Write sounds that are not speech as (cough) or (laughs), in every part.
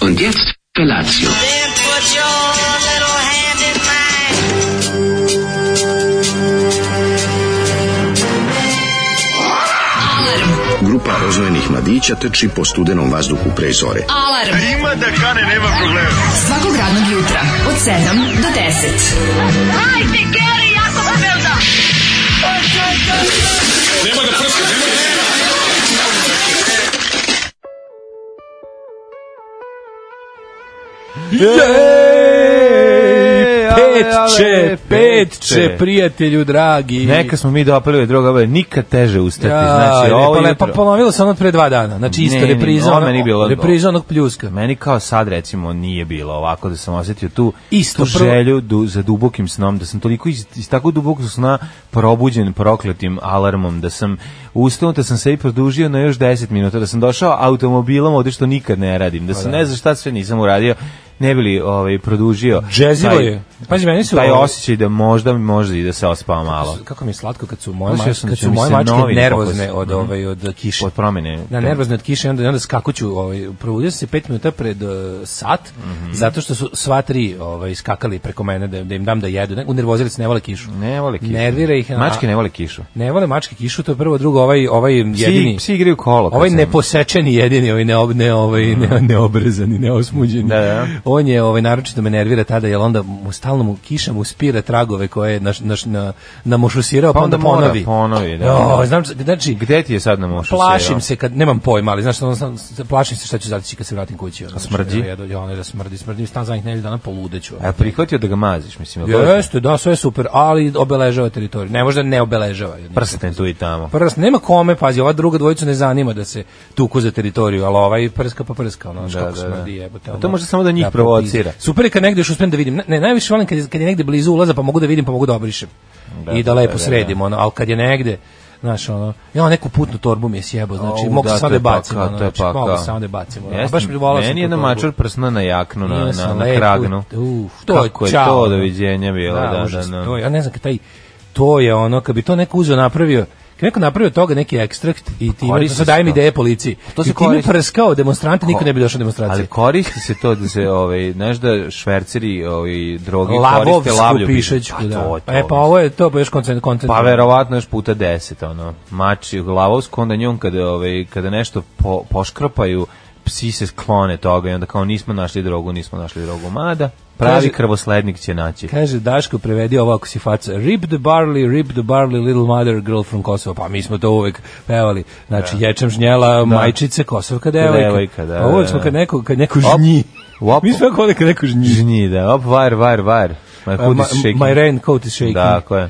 Und jetzt Felatio. Then put your little hand in mine. Grupa rozvojenih mladića teči po studenom vazduhu pre zore. Alarm. Ima da kane, nema problema. Svakog radnog jutra, od 7 do 10. Ej, Petče, ale, petče, prijatelju dragi. Neka smo mi dopili druga ove, nikad teže ustati. Ja, znači, lepo, ovo lepo, jutro, ponovilo se ono od pre dva dana. Znači, isto Ne, ne, repriza, ovo ono, meni bilo odmah. repriza onog pljuska. meni kao sad recimo nije bilo ovako da sam osetio tu, Isto, tu prvo- želju du, za dubokim snom, da sam toliko iz, iz tako dubokog sna probuđen prokletim alarmom, da sam ustao, da sam se i produžio na još 10 minuta, da sam došao automobilom ovde što nikad ne radim, da Pa sam ne znam šta sve nisam uradio, ne bili ovaj, produžio. Džezivo taj- je. Pazi, meni su... taj ovo- osjećaj da možda možda i da se ospavam malo. Kako mi je slatko kad su moje, Osjećao mač, sam kad se su mi moje se mačke novim nervozne pokusom. od, Mhm. ovaj, od kiše. Od promene. Da, nervozne od kiše i onda, i onda skakuću, ovaj, probudio sam se pet minuta pred eh, sat, Mhm. zato što su sva tri ovaj, skakali preko mene da, da im dam da jedu. Ne, unervozili se, ne vole kišu. Ne vole kišu. Nervira ih. a- Mačke ne vole kišu. Ne vole mačke kišu, to je prvo, drugo, ovaj, ovaj Psi, jedini... psi igraju kolo. Pa kad Ovaj sam- Mm. neposečeni jedini, ovaj ne, ne, ovaj, ne, neobrezani, neosmuđeni. Da, da. On je ovaj, naročito me nervira tada, jer onda mu stalno mu kiša mu spira tragove koje je naš, naš, na, namošusirao, pa, Pa onda, onda mora, ponovi. ponovi, da. Jo, znam, znači, Gde ti je sad ono? na mošu? plašim se kad nemam pojma, ali znaš, ono, sam- plašim se šta ću zaći kad se vratim kući. Ono, smrdi? E, Ja, ja, ono, da smrdi, smrdi, stan zadnjih nedelja dana poludeću. A Pa prihvatio da ga maziš, mislim. jel to je- Jeste, da, sve je super, ali obeležava teritoriju. Ne može da ne obeležava. jednim Prsten tu i tamo. prst, nema kome, pazi, ova druga dvojica ne zanima da se tuku za teritoriju, ali ovaj prska pa prska, ono, da, Da, kako da, smrdi da. jebote. A ono, to može samo da njih napravi provocira. pizu. Super je kad negde još uspem da vidim, ne, ne, najviše volim kad je, kad je negde blizu ulaza pa mogu da vidim pa mogu da obrišem Da, i da da, lepo da, da. sredim, ono, ali kad je negde, znaš, ono, ja neku putnu torbu mi je sjebao, znači, Au, mogu da, samo to da je bacim, pakao, ono, to je znači, mogu pakao. samo da bacim, ono, Jeste, baš bi volao sam Meni je tu na torbu. mačar prsna na jaknu, na, Imao na, sam na lepu- kragnu. Uf, to je Kako je čao. to doviđenje bilo, da, da, užas, da. To, je- ja ne znam, kad taj, to je ono, kad bi to neko uzeo napravio, kad neko napravio od toga neki ekstrakt i ti ima, Koristi sad Pa se dajem to. ideje policiji. To se I time koristi. prskao demonstrante, niko ne bi došao na Ali demonstracije. koristi se to da se, ovaj, znaš da šverceri ovaj, droge koriste Lavovsku lavlju pišećku, Pa to da. je to, E, pa ovo je to, pa još koncent, koncent. Pa verovatno još puta 10 ono. Mači glavovsku onda njom kada ovaj kada nešto po, poškropaju psi se sklone toga i onda kao nismo našli drogu, nismo našli drogu. Mada pravi Kaže- krvoslednik će naći. Kaže Daško prevedi ovo ako si faca. Rip the barley, rip the barley, little mother girl from Kosovo. Pa mi smo to uvek pevali. Znači, ječem žnjela, majčice, kosovka devojka. Devojka, da, Pa uvek da, smo da. kad neko, kad neko Op, žnji. op. Mi smo uvek kad neko žnji. Uh, Žnji, da. Op, var, var, var. My hood E, Ma- is shaking. My raincoat is shaking. Da, ko je?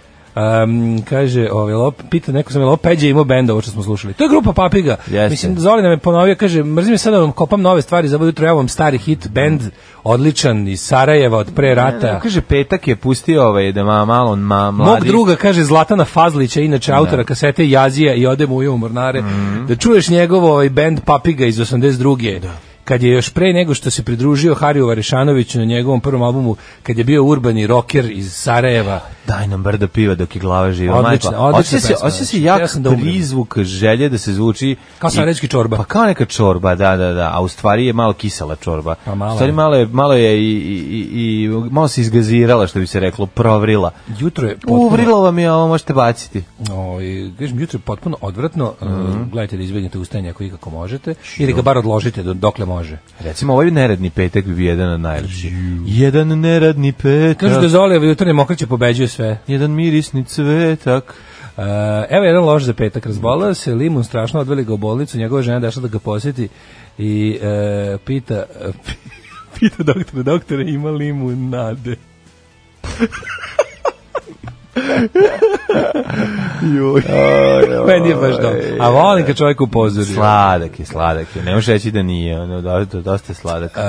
Um, kaže, ovaj, lop, pita neko sam je lop, Peđe je imao benda, ovo što smo slušali. To je grupa Papiga. Jeste. Mislim, Zoli nam je ponovio, kaže, mrzim je sad da vam kopam nove stvari, za ovo jutro evo vam stari hit, bend, odličan iz Sarajeva od pre rata. Kaže, petak je pustio ovaj, da ma, malo ma, mladi... Mog druga, kaže, Zlatana Fazlića, inače autora kasete Jazija i Odem u Ujo u Mornare, da čuješ njegov ovaj band Papiga iz 82. Kad je još pre nego što se pridružio Hariju Varešanoviću na njegovom prvom albumu, kad je bio urbani rocker iz Sarajeva, Daj nam brda piva dok je glava živa. Odlična, Majko, odlična osjeća se, pesma, osjeća se znači, jak hteo sam da umrem. prizvuk želje da se zvuči... Kao i- sarajevski čorba. Pa kao neka čorba, da, da, da. A u stvari je malo kisela čorba. Pa mala U stvari je. malo je, malo je i, i, i, i malo se izgazirala, što bi se reklo, provrila. jutro je potpuno, Uvrilo vam je, ovo možete baciti. ovaj, kažem, jutro je potpuno odvratno, e, gledajte da izbjegnete ustajanje ako ikako možete, ili ga bar odložite do, dokle može. Recimo, ovaj neradni petak bi bio jedan od najljepših. Jedan neradni petak, Kažu da Zoli jutarnje mokraće pobeđuje sve. jedan mirisni cvetak. E, evo jedan loš za petak razbolao se, Limun strašno odveli ga u bolnicu, njegova žena je došla da ga posjeti i e, pita (laughs) e, pita doktora, doktore ima limunade. Meni je baš dobro. A volim kad čovjek upozori. Sladak je, sladak je. Ne možeš reći da nije, ono, da, da, dosta je sladak. E,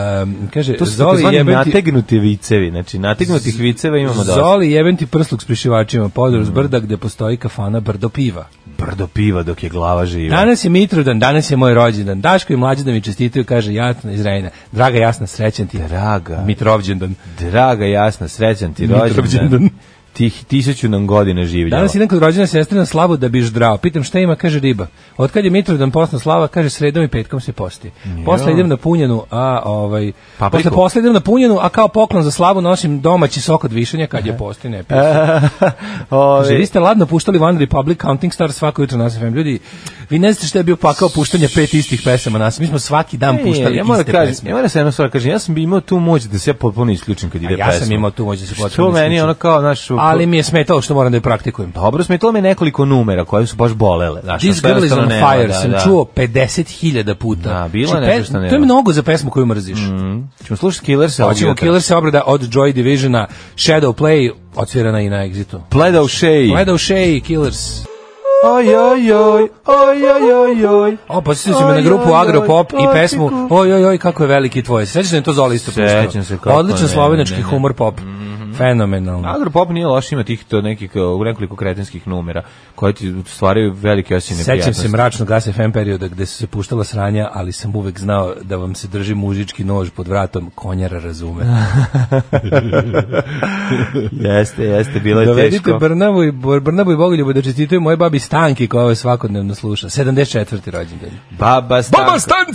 kaže, To su Zoli takozvani jebem ti... nategnuti vicevi, znači nategnutih viceva imamo dosta. Mm. Zoli jebem ti prsluk s prišivačima, podor s brda gde postoji kafana brdo piva. Brdo piva dok je glava živa. Danas je Mitrodan, danas je moj rođendan. Daško i mlađi da mi čestitaju, kaže Jasna iz Rejna. Draga Jasna, srećan ti. Draga, Mitrovđendan. draga, jasna, srećan ti rođendan. Mitrovđendan. tih tisuću nam godina življenja. Danas idem kod rođena sestrina Slavu da bi ždrao. Pitam šta ima, kaže riba. Otkad je Mitrovidan posna Slava, kaže sredom i petkom se posti. Posle idem na punjenu, a ovaj Papriku. posle posle idem na punjenu, a kao poklon za Slavu nosim domaći sok od višanja kad je posti ne pijem. Ove, Kaže, vi ste ladno puštali One Republic Counting Star svako jutro na SFM. Ljudi, vi ne znate šta je bio pakao puštanja pet istih pesama nas. Mi smo svaki dan puštali e, ja moram iste da kažem, pesme. ja moram se jedno stvar kažem, ja sam bi imao tu moć da se ja potpuno isključim kad ide ja pesma. sam imao tu moć da se potpuno Što meni je isključim. ono kao, znaš, Ali mi je smetalo što moram da je praktikujem. Dobro, smetalo mi je nekoliko numera koje su baš bolele. Znaš, This što Girl is jednostavno on nema, Fire da, sam da. čuo 50.000 puta. Da, bilo Znači, nešto pe- što nema. Mm, To je mnogo za pesmu koju mrziš. Ćemo slušati Killer se Hoćemo Killer se obrada od Joy Divisiona, Shadow Play, odsvirana i na Exitu. Pledav šeji. Gledao Shay, Killers. Oj, oj, oj, oj, oj, oj, oj. O, posjetio si me na Oj, grupu oj, oj, Agropop i oj, pesmu tiku. Oj, oj, oj, kako je veliki tvoj. Sećaš da je to Zola isto Sećam puštao? se kako Odličan ne, slovenački ne, Mhm. ne. humor pop. Fenomenalno. Agropop nije loš, ima tih to nekih, uh, nekoliko kretenskih numera koji ti stvaraju velike osjećaj Sećam neprijatnosti. se mračnog FM perioda gde su se puštala sranja, ali sam uvek znao da vam se drži mužički nož pod vratom, konjara razume. Jeste, jeste, bilo je Dovedite teško. Brnavu i, Bor- Brnavu i Bogoljubu da čestitaju moje babi Stanki koja ove svakodnevno sluša. 74. rođendan. Baba Stanka. Baba Stanka!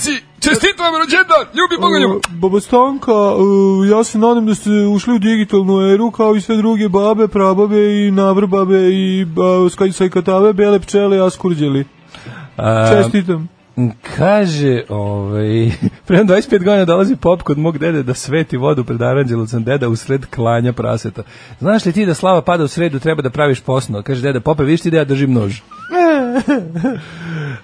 Baba Stanka, e, ja se nadam da ste ušli u digitalnu eru kao i sve druge babe, prababe i navrbabe i sajkatave, bele pčele, askurđeli. Čestitam. Kaže, ovaj, (laughs) prema 25 godina dolazi pop kod mog dede da sveti vodu pred aranđelovcem deda usred klanja praseta. Znaš li ti da slava pada u sredu, treba da praviš posno? Kaže deda, pope, viš ti da ja držim (laughs) nož.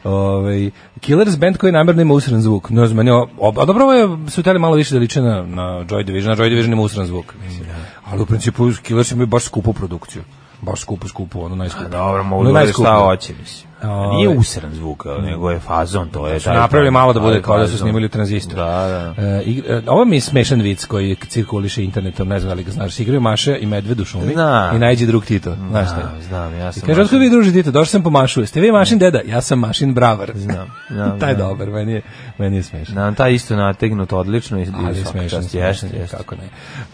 ovaj, Killers band koji namjerno ima usran zvuk. Ne znam, meni o- ob- a dobro ovo je, su teli malo više da liče na, na Joy Division, a Joy Division ima usran zvuk. mislim. Ali u principu Killers imaju baš skupu produkciju. Baš skupu, skupu, ono najskupu. Pa Dobro, mogu Ono da uradi najskuplje. šta hoće, mislim. Ovaj. Nije usran zvuk, e, nego je fazon, to je... su taj napravili fazon, malo da taj bude kao da su fazon. snimali u tranzistoru. Da, da. E, igra- e, ovo mi je smešan vic koji cirkuliše internetom, ne znam da li ga znaš. Igraju Maša i Medved u šumi Znam. i najđe drug Tito. Znaš šta Da, znam, ja sam... Kaže, otkud vi druži Tito, došao sam po Mašu. Jeste vi Mašin deda? Ja sam Mašin bravar. (laughs) Znam, znam, Taj je znam. dobar, meni je, meni je smešan. Na, taj isto nategnut odlično i, i Ali je svaka smešan, čast, smešan jeste, je, jeste. kako ne.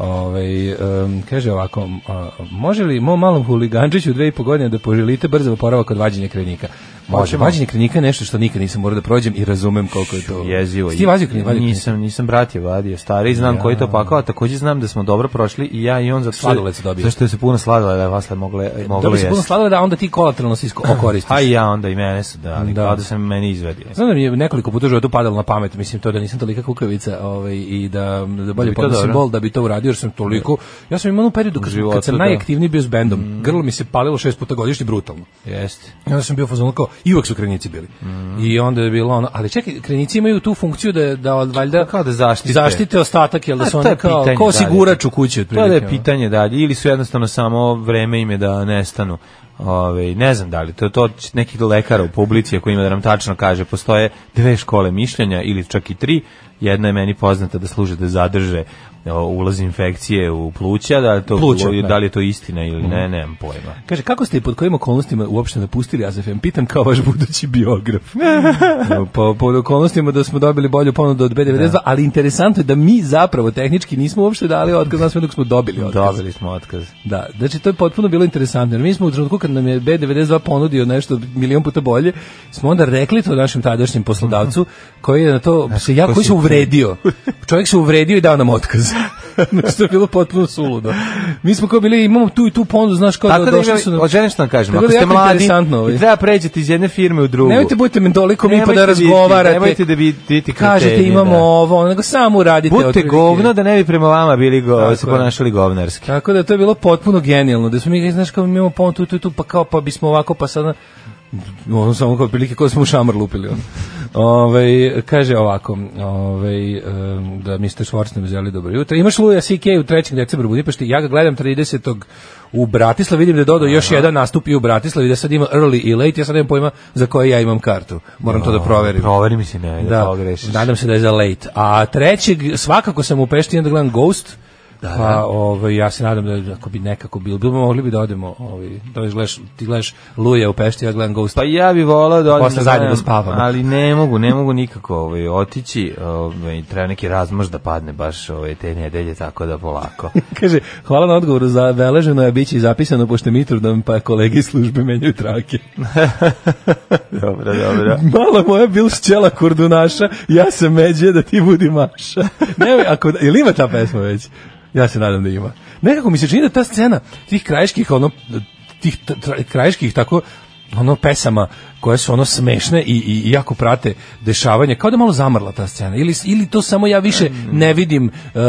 Ovaj, em, kaže ovako, m, a, može li mom malom huligančiću u dve i po godine da poželite brzo oporavak od vađenja krenika? Može, Hoćemo. vađenje krenika je nešto što nikad nisam morao da prođem i razumem koliko je to. jezivo. Jesi Ti vazio krenik, vadio krenik? Nisam, nisam brat je vadio, stari, znam koji to pakao, a takođe znam da smo dobro prošli i ja i on zato što- Sladoled su dobili. Zašto je se puno sladoleda vasle mogle moglo Dobio si puno jesti. sladoleda, a onda ti kolateralno se (clears throat) isko- okoristiš. A i ja onda i mene su dali, Da. kao da sam meni izvedio. Znam da mi je nekoliko puta u životu padalo na pamet, mislim to da nisam tolika kukavica ovaj, i da, da bolje bi to podnosim dobro. bol da bi to uradio jer sam toliko... Ja sam imao onu periodu kad, životu, kad sam da. Mm. najaktivniji bio s bendom. Grlo mi se palilo šest puta godišnje brutalno. Jeste. I onda sam bio fazon kao, i uvek su krenici bili. Mhm. I onda je bilo ono, ali čekaj, krenici imaju tu funkciju da, da od- valjda Pa Kao da zaštite. zaštite ostatak, jel da A, su to oni je kao, pitanje kao dalje. osigurač u kući. To da otprilike, je ono. pitanje dalje, ili su jednostavno samo vreme im je da nestanu. Ove, ne znam da li, to, to će neki lekar u publici koji ima da nam tačno kaže, postoje dve škole mišljenja ili čak i tri, jedna je meni poznata da služe da zadrže o, ulaz infekcije u pluća, da li, to, Pluća, Mhm. da li je to istina ili ne, nemam pojma. Kaže, kako ste i pod kojim okolnostima uopšte napustili AZFM? Pitam kao vaš budući (laughs) biograf. po, po okolnostima da smo dobili bolju ponudu od B92, ali interesantno je da mi zapravo tehnički nismo uopšte dali otkaz, nas dok smo dobili otkaz. Dobili smo otkaz. Da, znači to je potpuno bilo interesantno. Jer mi smo u trenutku kad nam je B92 ponudio nešto milion puta bolje, smo onda rekli to našem tadašnjem poslodavcu koji je na to se jako Mhm. ko koji se si- uvredio. Čovjek se uvredio i dao nam (laughs) otkaz. Znači, to je bilo potpuno suludo. Mi smo kao bili imamo tu i tu ponudu, znaš kao Tako da da Pa, došli ima, su nam- o, želim što vam kažem, Tako ako da ste jako mladi interesantno ovo je. i treba pređete iz jedne firme u drugu. Nemojte budite mi toliko mi pa Nemojte da biti- razgovarate. nemojte da biti- biti Kažete kretenje, imamo da. ovo, ono, nego samo uradite. Budite otprilike. govno da ne bi prema vama bili go, Tako se je. ponašali govnarski. Tako da to je bilo potpuno genijalno, da smo mi, znaš, kao mi imamo pomoć tu, tu, tu, pa kao, pa bismo ovako, pa sada, ono samo kao prilike koje smo u šamar lupili. Ono. Ove, kaže ovako, ove, da Mr. Schwarz nam želi dobro jutro. Imaš Luja CK u 3. decembru u Budimpešti, ja ga gledam 30. u Bratislavi, vidim da je dodao još jedan nastup i u Bratislavi, da sad ima early i late, ja sad nemam pojma za koje ja imam kartu. Moram to da proverim. Proveri mi se ne, da, Da, pogrešiš. nadam se da je za late. A trećeg, svakako sam u Pešti, onda gledam Ghost, da. Pa, ovaj, ja se nadam da ako bi nekako bilo, bilo bi mogli bi da odemo, ovaj, da gledaš, ti gledaš Luja u Pešti, ja gledam Ghost. Pa ja bi volao da odem Posle da zajedno gledam, da spavamo. Ali ne mogu, ne mogu nikako ovaj, otići. Ovaj, treba neki razmož da padne baš ovaj, te nedelje, tako da polako. Kaže, hvala na odgovoru, zabeleženo je, bit će i zapisano, pošto mi trudom, pa kolege iz službe menjaju trake. dobro, dobro. (laughs) Mala moja bil šćela kurdunaša, ja sam međe da ti (laughs) budi maša. Ne, ako, ili ima ta pesma već? Ja se nadam da ima. Nekako mi se čini da ta scena tih krajiških, ono, tih tra- tra- krajiških tako, ono pesama koje su ono smešne i, i, i jako prate dešavanje, kao da je malo zamrla ta scena. Ili, ili to samo ja više ne vidim um,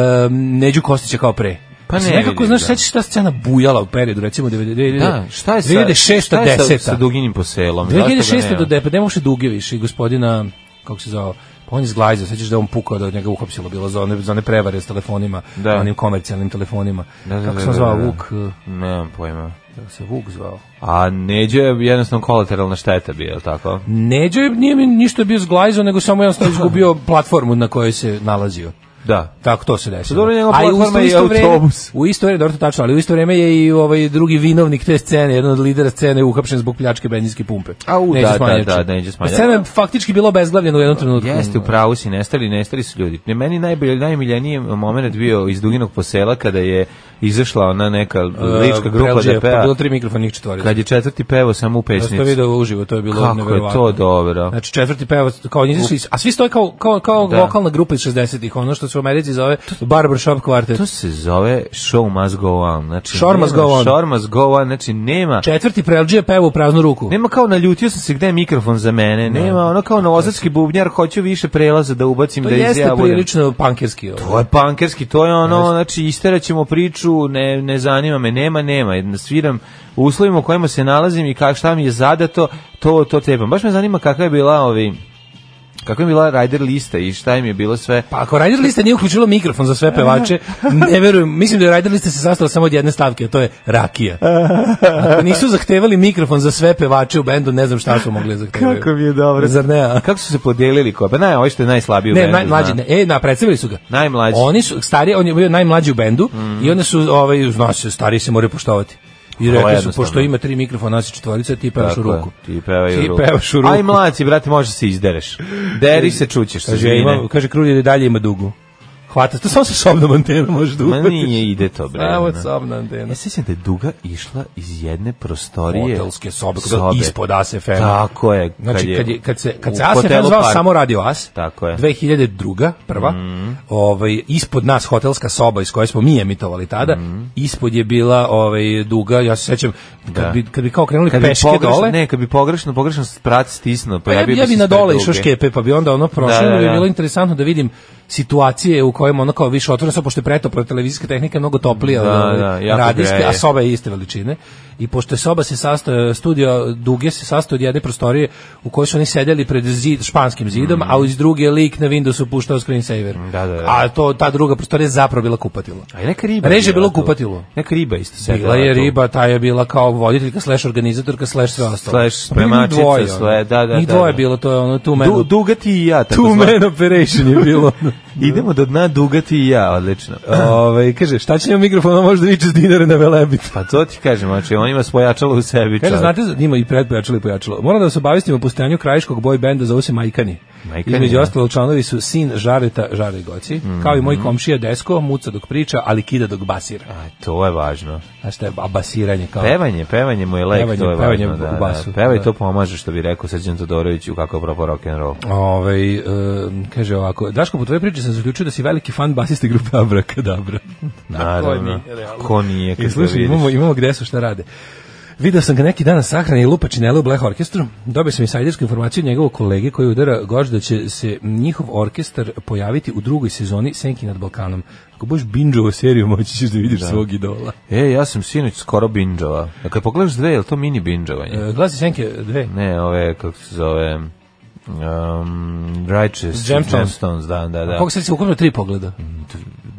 Neđu Kostića kao pre. Mm. Pa Mislim, ne nekako, vidim, znaš, da. sećaš se ta scena bujala u periodu, recimo, 90, Da, šta je sa, 2006. šta je sa, 10. sa Duginjim poselom? Zašto ga 2006. do nema? depe, nema uopšte duge više i gospodina, kako se zvao, pa on je zglajzao, sećaš da je on pukao da od njega uhapsilo bilo za one, za one prevare s telefonima, Da. onim komercijalnim telefonima. Da, da, kako da, se on da, zvao, da. Vuk, eh, Nemam pojma. kako se Vuk zvao? A Neđo je jednostavno kolateralna šteta bio, je li tako? Neđo je, nije mi ništa bio zglajzao, nego (laughs) samo jednostavno izgubio platformu na kojoj se nalazio. Da. Tako to se desilo. Pa Dobro, njegova A i u platforma isto- je isto vreme- autobus. U isto vreme, dobro to tačno, ali u isto vreme je i ovaj drugi vinovnik te scene, jedan od lidera scene uhapšen zbog pljačke benzinske pumpe. Au, Neđo da, da, Smanjača. da, Neđo Smanjača. Pa Scena je faktički bilo obezglavljena u jednom trenutku. Jeste, u pravu si, nestali, nestali su ljudi. Ne, meni najbolji, najmiljeniji moment bio iz Duginog posela kada je izašla ona neka lička grupa Prelđe, da Pa peva. bilo tri mikrofonih četvorica. Kad je četvrti pevo samo u Da ste pesnici. video uživo, to je bilo Kako je neverovatno. to dobro. Znači četvrti pevac kao njih svi, a svi stoje kao kao kao Da. vokalna grupa iz 60-ih, ono što se u Americi zove barbershop kvartet. To se zove Show Must Go On. Znači, Show Must nema- Go On. Show Must Go On, znači nema... Četvrti prelđe peva u praznu ruku. Nema kao naljutio sam se gde je mikrofon za mene, nema ono kao novosadski bubnjar, hoću više prelaza da ubacim to da jeste izjavljam. prilično ovaj. pankerski. Ovo. To je pankerski, to je ono, znači isteraćemo priču, ne, ne zanima me, nema, nema, jedna sviram u uslovima u kojima se nalazim i kak, šta mi je zadato, to, to trebam. Baš me zanima kakva je bila ovi, kakva je bila rider lista i šta im je bilo sve. Pa ako Rider Lista nije uključila mikrofon za sve pevače, ne verujem, mislim da je Rider Lista se sastala samo od jedne stavke, a to je rakija. Ako nisu zahtevali mikrofon za sve pevače u bendu, ne znam šta su mogli zahtevati. Kako mi je dobro. Zar ne? a? Kako su se podelili ko? Pa naj, ovo što je najslabiji u Ne, bendu, najmlađi, zna. ne, e, na, predstavili su ga. Najmlađi. Oni su, stari, on je bio najmlađi u bendu i onda su, ovaj, znaš, se, stariji se moraju poštovati. I rekli su, jednostavno. pošto ima tri mikrofona, nas je četvorica, ti pevaš Tako u je, ruku. Ti pevaju Ti ruku. pevaš u ruku. Aj mlaci, brate, može se izdereš. Deri se čućeš sa Kaže, žene. ima, kaže, kruljer i dalje ima dugu. Hvata, to samo sa sobnom antenom možeš da Ma uhvatiš. nije ide to, bre. Samo ono. sobna antena. Ja sećam da je Duga išla iz jedne prostorije. hotelske sobe, kada ispod ASFM. Tako je. Znači, kad, je, kad se, kad u se ASFM hotelu zvao Park. samo Radio As, Tako je. Mhm. 2002. prva, ovaj, ispod nas hotelska soba iz koje smo mi emitovali tada, Mhm. ispod je bila ovaj, duga, ja se sećam, kad, Da. bi, kad bi kao krenuli Kad bi peške pogrešno- dole, Ne, kad bi pogrešno, pogrešno sprat stisnuo, pa ja, pojavio bi, ja bi bi se na sprat dole Duge. išao škepe, pa bi onda ono prošlo, Da, da, da, bi da. bilo interesantno da vidim situacije u kojima ono kao više otvoreno, sad pošto je pretopla televizijska tehnika je mnogo toplija Da, od da, ove jako radijske, greje. a soba je iste veličine. I pošto je soba se sastoja, studio Duge se sastoji od jedne prostorije u kojoj su oni sedeli pred zid, španskim zidom, a iz druge lik na Windowsu puštao screensaver. Mhm. Da, da, da. A to, ta druga prostorija je zapravo bila kupatilo. A je neka riba. Reže je bila bilo tu. kupatilo. Neka riba isto se. Bila je riba, ta je bila kao voditeljka, slash organizatorka, slash sve ostalo. Slash Pa bili mi spremačica, dvoje, sve, da, da, Njih da, dvoje da. bilo, to je ono, tu Du, duga ti i ja. tako Two zvano. man operation je bilo. Idemo do dna duga ti i ja, odlično. Ove, kaže, šta će njemu mikrofon, on može da viče s dinare na velebit. Pa to ti kažem, znači on ima svojačalo u sebi. Kaže, čovjek. znate, da ima i predpojačalo i pojačalo. Moram da vas obavestim o postojanju krajiškog boj benda, zove se Majkani. Majkani, Između da. Mhm. ostalog članovi su sin Žareta Žare Goci, kao i moj komšija Desko, muca dok priča, ali kida dok basira. A, to je važno. Znaš šta je, a basiranje kao... Pevanje, pevanje mu je lek, Pa. Pevanje, to je pevanje važno. Da, u basu, da. Pevaj, da. to pomaže, što bi rekao Srđan Todorović u kako je propao rock'n'roll. Ove, e, kaže ovako, Daško, po tvojoj priči sam zaključio da si veliki fan basiste grupe Abrakadabra. Naravno. nije, realno. Ko nije, I kad ga slušaj, vidiš. imamo, imamo gde su šta rade. Video sam ga neki dan na sahrani Lupa Činele u Black Orkestru. Dobio sam insajdersku informaciju od njegovog kolege koji udara goš da će se njihov orkestar pojaviti u drugoj sezoni Senki nad Balkanom. Ako budeš binđovo seriju, moći ćeš da vidiš svog idola. E, ja sam sinoć skoro binđova. A kad pogledaš dve, je li to mini binđovanje? E, glasi Senke dve. Ne, ove, kako se zove... Um, Righteous Gemstones. Gemstones, da, da, da. Koliko se se ukupno tri pogleda? Mm.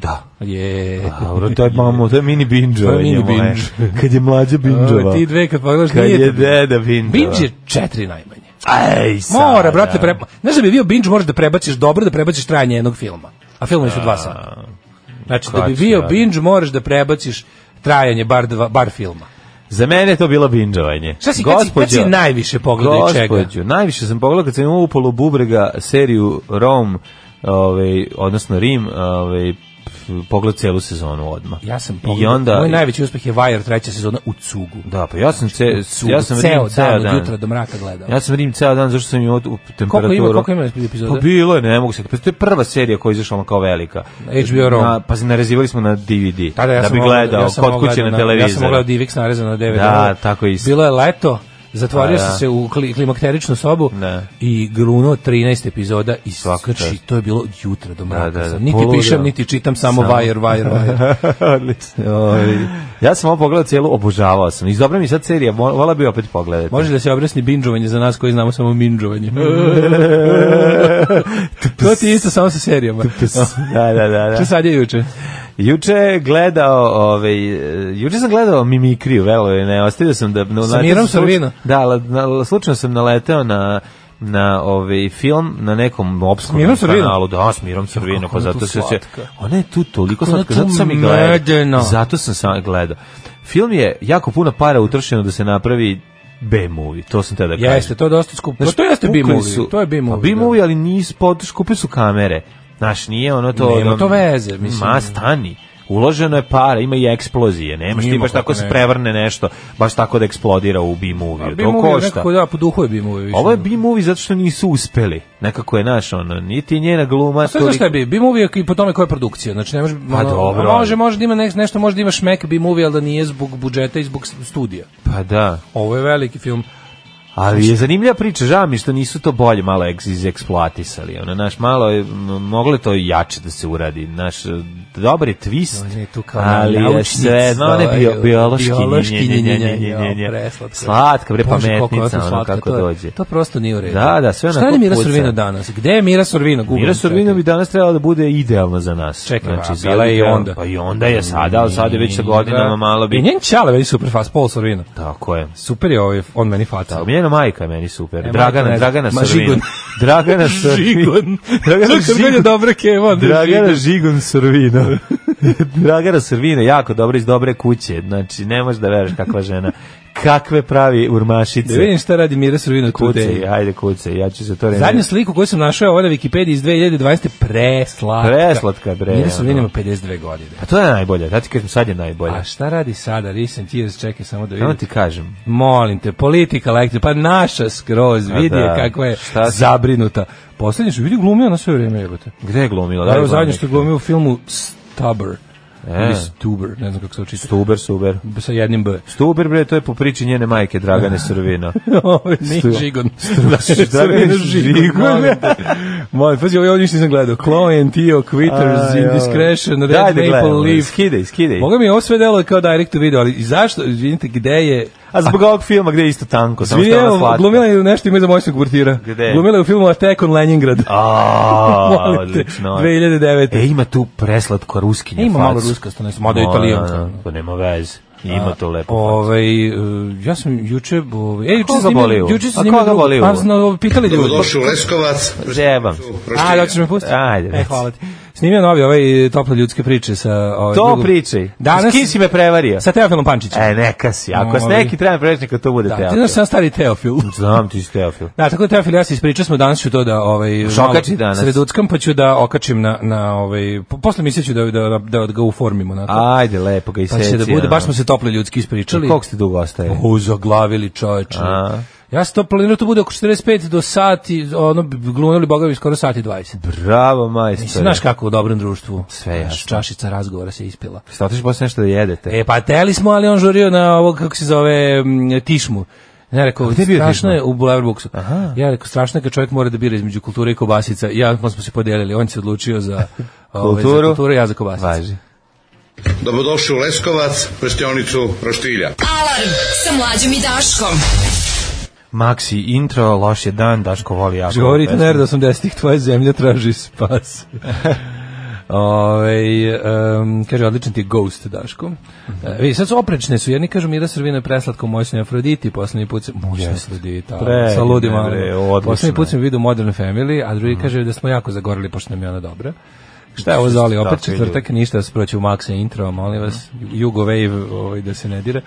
Da. Je. Dobro, to je mamo, to je mini binđovanje. To je mini moje. binđ. Kad je mlađa binđova. Ti dve kad pogledaš Kad nije je to- deda binđova. Binge je četiri najmanje. Ej, sada. Mora, brate, pre... Znaš da bi bio binge, moraš da prebaciš dobro, da prebaciš trajanje jednog filma. A filmi su dva sata. Znači, da bi Kači, bio ali. binge, moraš da prebaciš trajanje bar, dva, bar filma. Za mene je to bilo binđovanje. Šta si, kad si- kad si najviše pogledao i Gospođo, najviše sam pogledao kad sam imao upolo bubrega seriju Rom, ovaj, odnosno Rim, ovaj, pf, pogledao celu sezonu odmah. Ja sam I pogledao, onda, moj najveći uspeh je Wire treća sezona u cugu. Da, pa ja sam, ce, Cugu, ja sam Znači, ceo Rim ceo dan, dan. od jutra do mraka gledao. Ja sam Rim ceo dan, zašto sam imao tu Koliko temperaturu. ima, koliko ima epizoda? Pa bilo je, ne mogu se. Pa to je prva serija koja je izašla ono kao velika. HBO Rom. Na, pa se narezivali smo na DVD. Tada ja da sam bi mogao- gledao ja sam kod mogao kuće na, da- televizoru. Ja sam mogao Divix narezano na DVD. Da, tako isto. Bilo je leto, zatvorio Pa, sam da. se u kli- klimakteričnu sobu Ne. i grunuo 13 epizoda i Svaka skrči, čast. to je bilo od jutra do mraka. da, da, sam. niti poludeo. pišem, niti čitam, samo Samo. Wire, Wire, (laughs) Wire. Odlično. Ovaj, ja sam ovo pogledao cijelu, obožavao sam. I dobra mi sad serija, vo- vola bi opet pogledati. Može da se objasni binđovanje za nas koji znamo samo minđovanje. to ti je isto samo sa serijama. (laughs) da, da, da. da. Šta sad je juče? Juče je gledao, ovaj, e, juče sam gledao Mimikriju, velo je, ne, ostavio sam da... No, Sa Mirom Sorvinom? Da, la, na, slučajno sam naleteo na na ovaj film na nekom Mirom opskurnom Sorvinom? kanalu da s Mirom Sorvinom Kako pa ona tu zato se se slatka. ona je tu toliko Kako ona slatka tu zato sam i gledao medena. zato sam sam gledao film je jako puno para utrošeno da se napravi B movie to sam te da kažem Jeste, to je dosta skupo. Znaš, Pa to jeste pukli B-movie. su- To je B-movie. Pa B-movie, ali nisu, potuš, kupili su kamere. Znaš, nije ono to... Nema ono- to veze, mislim. Ma, stani. Uloženo je para, ima i eksplozije, nemaš ti Ima baš kako tako se ne. prevrne nešto, baš tako da eksplodira u B-movie. To B-movie je košta. nekako, da, po duhu je B-movie. više. Ovo je B-movie zato što nisu uspeli. Nekako je, naš, ono, niti je njena gluma... Sve znaš toliko- šta je bi? B-movie je i po tome koja je produkcija. Znači, ne može, Pa dobro, a Može, ali- može da ima nek- nešto, može da ima šmek B-movie, ali da nije zbog budžeta i zbog studija. Pa da. Ovo je veliki film. Ali je zanimljiva priča, žao mi je što nisu to bolje malo eks, izeksploatisali. Ono, naš, malo je, m- moglo je to i jače da se uradi. Naš, dobar je twist, On je tu kao ali je naučnica, sve, no, ne, bio, ovaj, biološki, biološki, nje, nje, nje, nje, nje, nje, nje. jo, preslatko. Slatka, bre, Bože, koliko je pametnica, to ono, slatka, kako to je- dođe. To prosto nije u redu. Da, da, sve Šta onako je Mira puca. Sorvino danas? Gde je Mira Sorvino? Google Mira mi, Sorvino čekaj. bi danas trebala da bude idealna za nas. Čekaj, a Znači, bila je i idealno- onda. Pa i onda je sada, ali sada je već sa godinama malo I bi... njen čale meni super fast, Paul Sorvino. Tako je. Super je ovaj, on meni faca. Da, njena majka je meni super. E, majka Dragana, ne znam. Dragana Ma, Sorvino. Žigon. Dragana Sorvino. (laughs) Žigon. Dragana Kako meni je Žigon. dobra keva. onda je Dragana Žigon. Žigon Sorvino. (laughs) Dragana Sorvino, jako dobro iz dobre kuće. Znači, ne možeš da veruješ kakva žena. Kakve pravi urmašice. Da vidim šta radi Mira Sorvino kuce, kude. ajde kuce, ja ću se to reći. Zadnju sliku koju sam našao je ovo na Wikipediji iz 2020. Preslatka. Preslatka, bre, Mira Sorvino ono. ima 52 godine. Pa to je najbolje, da ti kažem, sad je najbolje. A šta radi sada? Recent years, čekaj samo da Samo vidim. ti kažem. Molim te, politika lekcija, pa naša skroz, A vidi je da, kakva je šta si- zabrinuta. Poslednje što vidi glumio na sve vreme, jebote. Gde je glumila? Da, li Evo zadnje glumila? što je glumio u filmu Stubber. E. Ili Stuber, ne znam kako se očita. Stuber, Stuber. Sa jednim B. Stuber, bre, to je po priči njene majke, (laughs) Dragane Sorvino. Ovo je Nik Žigon. Dragane Žigon. Moj, pazi, ovo ja ništa nisam gledao. Chloe and Theo, Quitters, Aj, ovo. Indiscretion, Red Dajde, Maple gledamo, Leaf. Skidaj, skidaj. Boga mi, ovo sve delo je kao direct to video, ali i zašto, izvinite, gde je... A zbog ovog filma gde je isto tanko, samo što je ona Zvijel, slatka. glumila je u nešto ima za moćnog portira. Gde? Glumila je u filmu Attack on Leningrad. A, (laughs) Molim te, odlično. 2009. E, ima tu preslatko ruskinje. E, ima malo facu. ruskasto, ne znam, mada je Ma, italijanka. da, Pa nema veze. Ima to lepo. Ovaj e, ja sam juče, ovaj, e juče Koga sam boli snimio, ovo? juče A sam snimio, koga boli drugu- ovo? pa sam ovo, pitali ljudi. Dobrodošli u Leskovac. Zjebam. A, da ćeš me pustiti? Ajde, E, reci. hvala ti. Snimio novi ovaj e, tople ljudske priče sa... Ovaj, To drugom- pričaj. Danas- S kim si me prevario? Sa Teofilom Pančićem. E, neka si. Ako s Ovi. neki treba preći, neka to bude da, ti Teofil. znaš sam stari Teofil. Znam ti si Teofil. Da, tako da Teofil, ja se ispričao smo danas ću to da ovaj Šokači danas. Sreduckam pa ću da okačim na na ovaj po- posle misle ću da da da, da ga uformimo na Ajde, lepo ga iseci. Pa će da bude, ono. baš smo se toplo ljudski ispričali. Koliko ste dugo ostaje? O, zaglavili čoveče. A. Ja sam to planirao, to bude oko 45 do sati, ono, bi glumili bogavi skoro sati 20. Bravo, majstore. Mislim, znaš kako u dobrom društvu. Sve jasno. Znaš, Čašica razgovora se ispila. Šta otiš posle nešto da jedete? E, pa teli smo, ali on žurio na ovog, kako se zove, m, tišmu. Ja rekao, Pa gde je bio strašno Tišma? je u Bulevar Buksu. Ja rekao, strašno je kad čovjek mora da bira između kulture i kobasica. Ja, pa smo se podijelili, on se odlučio za, ovaj, za (laughs) Kulturu? kulturu, ja za kobasice. Važi. Dobrodošli u Leskovac, prštionicu Roštilja. Alarm sa mlađom i Daškom. Maxi intro, loš je dan, Daško voli jako. Govorite ovu nerd 80-ih, tvoja zemlja traži (laughs) spas. Ove, um, kaže, odličan ti je Ghost, Daško. E, vidi, sad su oprečne su, jedni kažu Mira Srvina je preslatko moćnoj Afroditi, poslednji put sam... Moćnoj Afrodita, Pre, sa ludim ne, Alanom. bre, odlično Poslednji put je. sam vidio Modern Family, a drugi kaže da smo jako zagorili, pošto nam je ona dobra. Šta je ovo Zoli, opet Takvi ljudi. četvrtak, ništa da se proći u Maxa intro, molim vas, Jugo Wave ovaj, da se ne dira.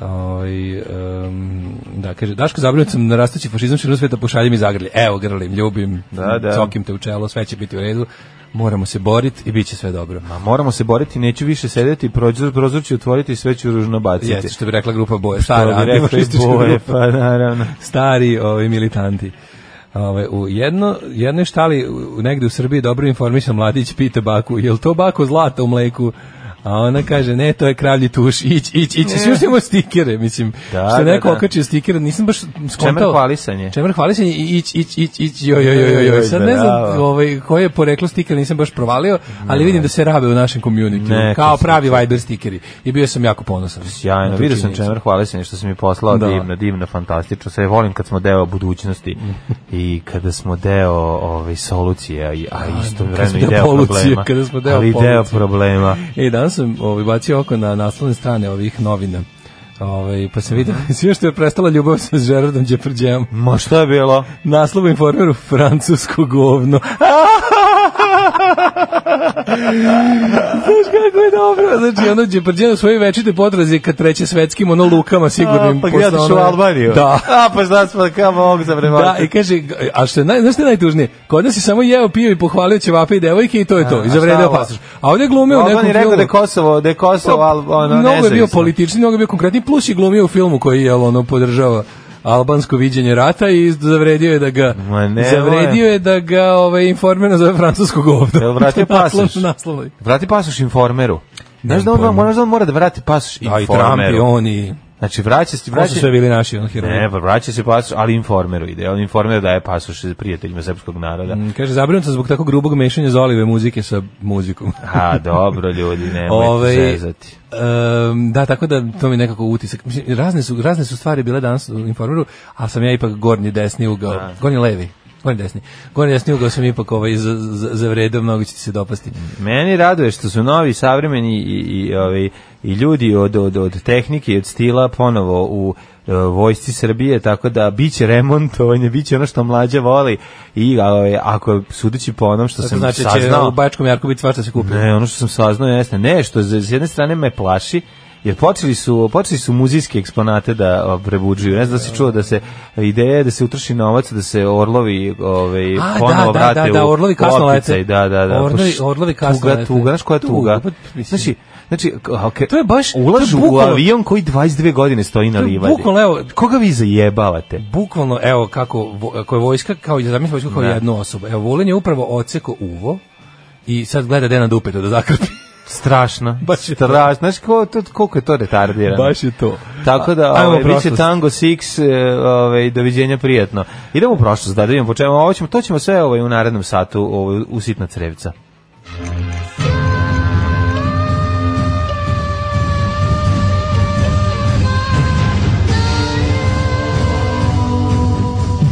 Ovaj, em, da, kaže, Daško, zabrinut sam na rastući fašizam širom sveta, pošalji mi zagrlje. Evo, grlim, ljubim, Da, da. cokim te u čelo, sve će biti u redu, moramo se boriti i bit će sve dobro. Ma moramo se boriti, neću više sedeti, prozor, prozor ću otvoriti i sve ću ružno baciti. Jeste, što bi rekla grupa Boje, Što stara bi rekli antifašistička boje, grupa. pa naravno. stari ovi militanti. Ove, u jedno, jednoj štali u- negde u Srbiji dobro informisan mladić pita baku, je li to bako zlata u mleku? A ona kaže, ne, to je kravlji tuš, ić, ić, ić, svi još imamo stikere, mislim, Da, što je da, neko da. okačio stikere, nisam baš skontao. Čemer hvalisanje. Čemer hvalisanje, i ić, ić, ić, ić, joj, joj, joj, joj, joj. sad ne znam Bravo. ovaj, koje je poreklo stikera, nisam baš provalio, ali vidim da se rabe u našem community, Neka kao su. pravi Viber stikeri, i bio sam jako ponosan. na Sjajno, tu vidio sam činjenicu. Čemer Hvalesenje što si mi poslao, Da. divno, divno, fantastično. Sve volim kad smo deo (laughs) budućnosti i kada smo deo ovaj, solucija, i- a isto smo vremeno i deo deo polucije, problema. kada smo deo ali i deo polucije. problema. E, danas sam ovaj, bacio oko na naslovne strane ovih novina. Ovaj, pa sam vidio, Mhm. (laughs) sve što je prestala ljubav sa Gerardom Đeprđem. Ma šta je bilo? Naslov u informeru francusko govno. (laughs) Znaš kako je dobro. Znači, ono Đeprđem u svojoj večite potrazi kad treće svetskim, ono lukama sigurnim. A, pa pošto gledaš ono- u Albaniju? Da. A, pa šta smo, kao mogu za Da, i kaže, a što je, naj, znaš što je najtužnije? Kod nas je samo jeo, pio i pohvalio ćevape i devojke i to je to. A, I a zavredeo šta ovo? pasaš. A ovdje glumio u nekom Alban je rekao da je filmu. Kosovo, da je Kosovo, al, ono, Pa, mnogo je bio nezavisno. politični, mnogo je bio konkretni, plus i glumio u filmu koji je ono podržava albansko viđenje rata i zavredio je da ga Ma ne, zavredio je da ga ovaj informerno zove francusko govno. Jel (laughs) vratio Naslov- pasoš? naslov je. Vrati pasoš informeru. Znaš da on, pojma. moraš da on mora da vrati pasoš Da, i Trump i informeru. on i Znači, vraća se, ko su vraća, sve bili naši on heroji. Ne, pa vraća se pasoš, ali informeru ide. On informer daje pasoš prijateljima srpskog naroda. Mm, Kaže, zabrinut sam zbog tako grubog mešanja zolive muzike sa muzikom. A, dobro, ljudi, nemojte (laughs) Ovaj, zezati. em, da, tako da to mi je nekako utisak. Mislim, razne su, razne su stvari bile danas u informeru, ali sam ja ipak gornji desni ugao, gornji levi, gornji desni. Gornji desni ugao sam ipak ovaj za, za, zavredao, mnogo će ti se dopasti. Meni raduje što su novi, savremeni i, i, ovi, i ljudi od, od, od tehnike i od stila ponovo u e, vojsci Srbije, tako da biće remontovanje, biće ono što mlađa voli i a, ovaj, ako sudeći po onom što Tako sam znači će saznao... u Bačkom Jarku biti svašta se kupio. Ne, ono što sam saznao jeste, ne, što za- s jedne strane me plaši, jer počeli su, počeli su muzejske eksponate da o, prebuđuju. Ne znam da si čuo da se ideja je da se utroši novac, da se orlovi ovaj, A, ponovo da, da, vrate da, da, u orlovi kasno opticaj. lete. Da, da, da. Orlovi- Poš- orlovi kasno tuga, lete. Tuga, znaš koja tuga? Tuga, pa, mislim. Znači, znači, okay, To je baš- to je Ulažu u bukvalno- avion koji 22 godine stoji na To je livadi. bukvalno, evo- Koga vi zajebavate? Bukvalno, evo kako, vo- ako je vojska, kao, zamislim vojsku kao Da. jednu osobu. Evo, Vulin je upravo oceko uvo i sad gleda gde na dupetu da zakrpi. Strašno. Baš je to. strašno. Znaš ko, to, koliko je to retardirano? je to. Tako da, Ajmo ovaj, u bit će prošlost. Tango Six, e, ovaj, doviđenja prijatno. Idemo u prošlost, da, da vidimo po čemu. Ovo ćemo, to ćemo sve ovaj, u narednom satu ovaj, u sitna crevca.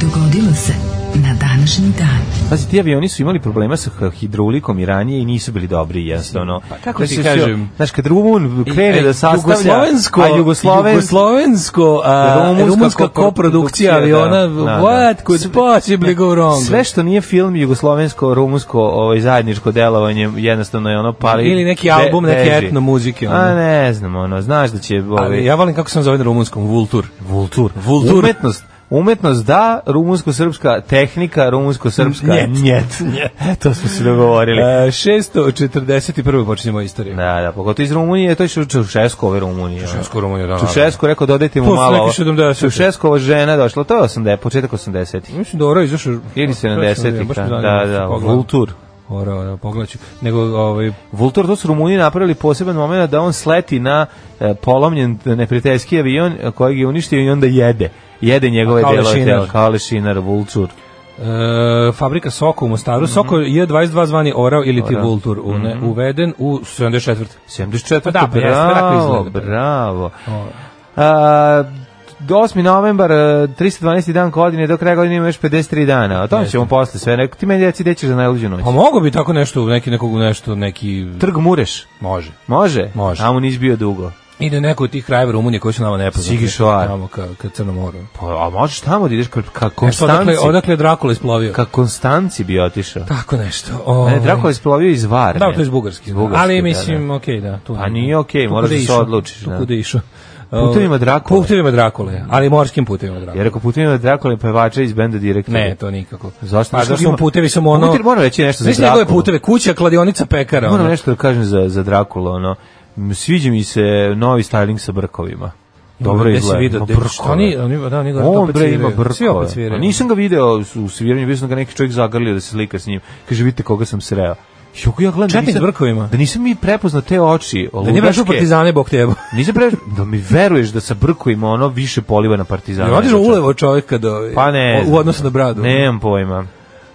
Dogodilo se na današnji dan. Pazi, ti avioni su imali problema sa h- hidrolikom i ranije i nisu bili dobri, jednostavno. Pa kako ti kažem? e, Znaš, kad Rumun krene da sastavlja... Jugoslovensko, a Jugosloven... jugoslovensko a, rumunska, Rumunska koprodukcija koprodukcija, aviona, da, da, what da. could possibly go wrong? Sve što nije film jugoslovensko-rumunsko ovaj, zajedničko delovanje, jednostavno je ono pali... Ili neki be- album neke beži. etno muzike, ono. A ne znam, ono, znaš da će... Ovaj, Ali ja volim kako se on zove na rumunskom, Vultur. Vultur. Vultur. Umetnost. Umetnost da, rumunsko-srpska tehnika, rumunsko-srpska (laughs) Njet. njet. E, to smo se dogovorili. E, 641. počinje moja istorija. Da, da, pogotovo iz Rumunije, to je Ču- Čušesko ove Rumunije. ono. Čušesko Rumunije, da, naravno. Čušesko rekao dodajte To mu su malo. neki ovo. 70-te. Čušeskova žena došla, to je 80, početak 80-ih. Mislim da Oro izašao... Ili 70-ih, Baš da, me zanima, da, da, pogledam. Vultur. Oro, da, pogledaću. Nego, ovaj, Vultur, to su Rumuniji napravili poseban moment da on sleti na e, polomljen neprijateljski avion e, kojeg je uništio i onda jede. Jede njegove Kao delove lešinar. tela, kao lešinar, Vultur. E, fabrika Soko u Mostaru. Mhm. Soko je 22 zvani Orao ili ti Vultur u, ne, uveden u 74. 74. Pa da, pa jeste, tako bravo, izgleda. bravo. A, 8. novembar, e, 312. dan godine, do kraja godine ima još 53 dana. O tome ćemo posle sve. Neko, ti meni reci gde ćeš za najluđu noć. Pa mogu bi tako nešto, neki nekog nešto, neki... Trg Mureš. Može. Može? Može. A on izbio dugo. Ide neko od tih krajeva Rumunije koji su nama nepoznati. Sigišoar. Tamo ka, ka Crnom moru. Pa, a možeš tamo da ideš ka, ka E, pa Konstanci. odakle, odakle je Drakula isplovio? Ka Konstanci bi otišao. Tako nešto. O, Ne, Drako E, je isplovio iz Varne. Ovaj. Da, to je iz Bugarske. Iz Bugarske, Ali da, mislim, da. okej, da. Tu, Pa nije okej, tu moraš kuda da se išao, odlučiš, Tu da. kuda je išao. Ovaj, Putevima Drakule. Putevima Drakule, ali morskim putevima Drakule. Ja rekao putovima Drakule pevača iz benda direktora. Ne, to nikako. Zašto? Pa Zašto zašto mu ima- putevi su mu ono... Putevi- moram reći nešto za Znaš njegove Drakulu. puteve, kuća, kladionica, pekara. Moram ono. nešto da kažem za, za Drakula, ono, m, sviđa mi se novi styling sa brkovima. Dobro Gde si izgleda. vidio, Ma, gde- šta oni- oni- da, oni ga On opet bre sviraju. ima Svi brkove. Pa opet sviraju. A nisam ga video s- u sviranju, bio sam ga neki čovjek zagrlio da se slika s njim. Kaže, vidite koga sam sreo. Joko ja gledam Četnik da s brkovima. nisam, da nisam mi prepoznao te oči. Da nije prešao partizane, bog te jebo. Nisam prepoznao, da mi veruješ da sa brkovima ono više poliva na partizana. Ja odiš nego čovjek. ulevo čovjek kad ovaj, Pa ne. o- u odnosu na bradu. ono. Nemam pojma.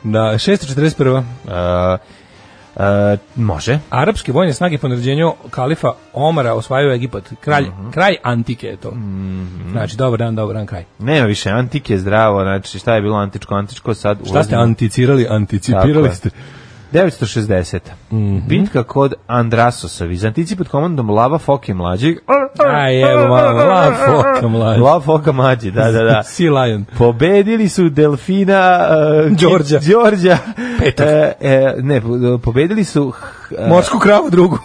Da, 641. E, e, može. Arapske vojne snage po naređenju kalifa Omara osvajaju Egipat. Kralj, Mhm. Kraj antike je to. Znači, dobar dan, dobar dan, kraj. Nema više antike, zdravo, znači šta je bilo antičko, antičko, sad Šta ste ulazimo- anticirali, anticipirali Tako je. ste? 960. Mhm. Bitka kod Andrasosa, Vizantici pod komandom Lava Foke mlađeg. Aj, evo, malo, la, foka, mlađe. Lava Foka mlađi, da, da, da. (laughs) Sea Lion. Pobedili su Delfina uh, Đorđa. Đorđa. Petog. E, e, ne, pobedili su uh, Morsku kravu drugu.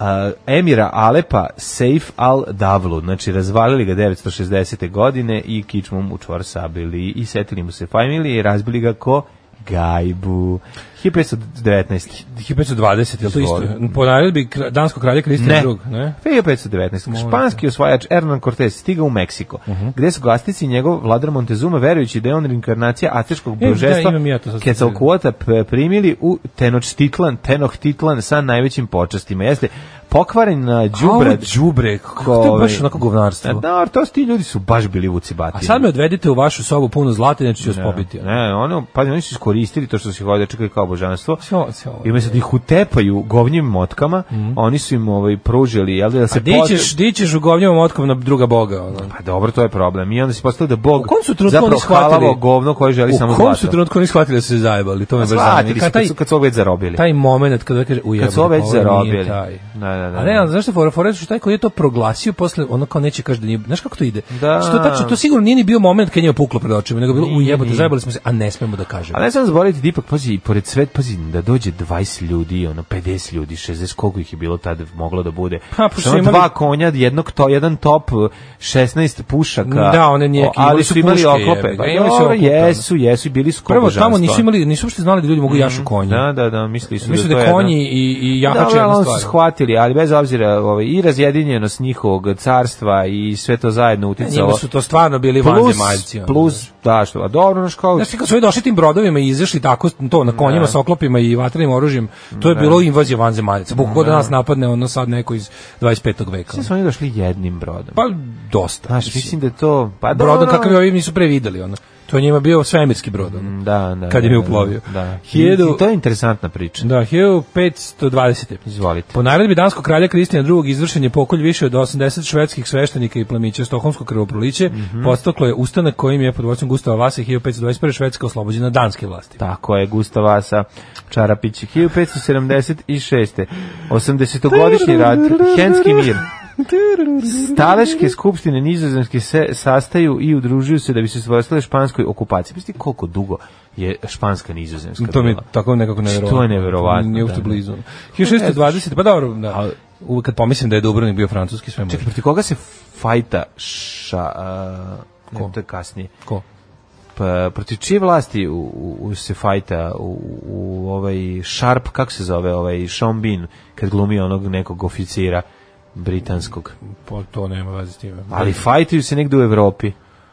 a, emira Alepa Seif al-Davlu, znači razvalili ga 960. godine i kičmom u čvor sabili i setili mu se familije i razbili ga ko gajbu. 1519. 1520, je li to isto? Izvoli. Po naredbi kra- danskog kralja Kristijana II. Ne. 1519. Španski osvajač Hernan Cortés stigao u Meksiko, Mhm. gde su glastici i njegov vladar Montezuma, verujući da je on reinkarnacija aztečkog E, da, božestva, imam ja to sad. Quetzalcoatla p- primili u Tenochtitlan, Tenochtitlan sa najvećim počastima. Jeste pokvaren na Đubre, đubre. đubre, kako to je baš onako A govnarstvo. Da, ali to su ti ljudi su baš bili vuci A sad me odvedite u vašu sobu puno zlata, neću ću vas pobiti. pobiti. Ne, ono, pa oni su iskoristili to što su ih ovdje čekali kao božanstvo. Sve ovo- sve ovo. Mhm. I umesto da ih utepaju govnjim motkama, oni su im ovaj, pružili, jel da da se A di ćeš, di ćeš u govnjevom otkom na druga boga? Ono. Pa dobro, to je problem. I onda se postavilo da Bog U kom su trenutku zapravo oni shvatili- halavo govno koje želi samo U zlato. Pa kom su trenutku oni shvatili da su se zajebali? To me baš zanima. Shvatili su Kad kad, taj, su- kad su ovo već zarobili. taj moment kada kaže ujebno, kad su ovo već zarobili. nije taj. Da, da, da. A ne, ali zašto fora fora je što taj koji je to proglasio posle ono kao neće kaže da nije, znaš kako to ide? Da. Što tačno to sigurno nije ni bio moment kad njemu puklo pred očima, nego je bilo Nije, ujebote, nije. zajebali smo se, a ne smemo da kažemo. Ali ne sam zaboraviti da ipak, pazi, i pored svet, pazi, da dođe 20 ljudi, ono, 50 ljudi, 60, koliko ih je bilo tada moglo da bude. Pa, pošto Što ono, imali- dva konja, jednog to, jedan top, 16 pušaka. Da, one nije- O, Ali imali su su imali puške, oklope. jebi ga, Pa, imali su dobro, oklope, ono. jesu, jesu, i bili su kao Prvo, tamo božanstva. nisu imali, nisu uopšte znali da ljudi mogu jašu konje. Mhm. Da, da, da, mislili su Mislim da, da, to je je jedna- konji i, i jahač Dobro, ali ono jedna oni su stvar. shvatili, ali bez obzira ovaj, i razjedinjenost njihovog carstva i sve to zajedno E, Njima uticalo. su to stvarno bili plus, vanzemaljci. ono. plus, da, što, a dobro, naš kao, Znaš, ti kad su ovi došli tim brodovima i izašli tako to na konjima sa oklopima i vatrenim oružjem, to je bilo invazija vanzemaljaca. Bukvalno da nas napadne ono sad neko iz 25. veka. mislim su oni došli jednim brodom. Pa dosta. Znaš, mislim da je to... Pa, brodom dobro, kakav je ovi nisu prevideli ono. To je njima bio svemirski brod. Ono. Mm, Da, da. Kad je da, mi da, uplovio. Da. Hiljadu- I, I to je interesantna priča. Da, 1520. Izvolite. Po naredbi danskog kralja Kristijana II. izvršen je pokolj više od 80 švedskih sveštenika i plemića Stoholmsko krvoproliće, Mhm. postaklo je ustanak kojim je pod vođstvom Gustava Vasa 1521. Švedska oslobođena danske vlasti. Tako je, Gustav Vasa Čarapić, 1576. 80-godišnji rat, Henski mir. Staleške skupštine nizozemske se sastaju i udružuju se da bi se svojstile španskoj okupaciji. Mislim koliko dugo je španska nizozemska To mi je bila? tako nekako neverovatno. To je neverovatno, Nije uopšte da. blizu. 1620, pa dobro, da. Uvek kad pomislim da je Dubrovnik bio francuski, sve može. Čekaj, protiv koga se fajta ša... a, ne, Ko? to je kasnije. Ko? Pa, protiv čije vlasti u, u, u se fajta u, u ovaj Sharp, kako se zove ovaj Sean Bean, kad glumi onog nekog oficira britanskog. Pa to nema veze s time. Ali fajtaju se negde u Evropi.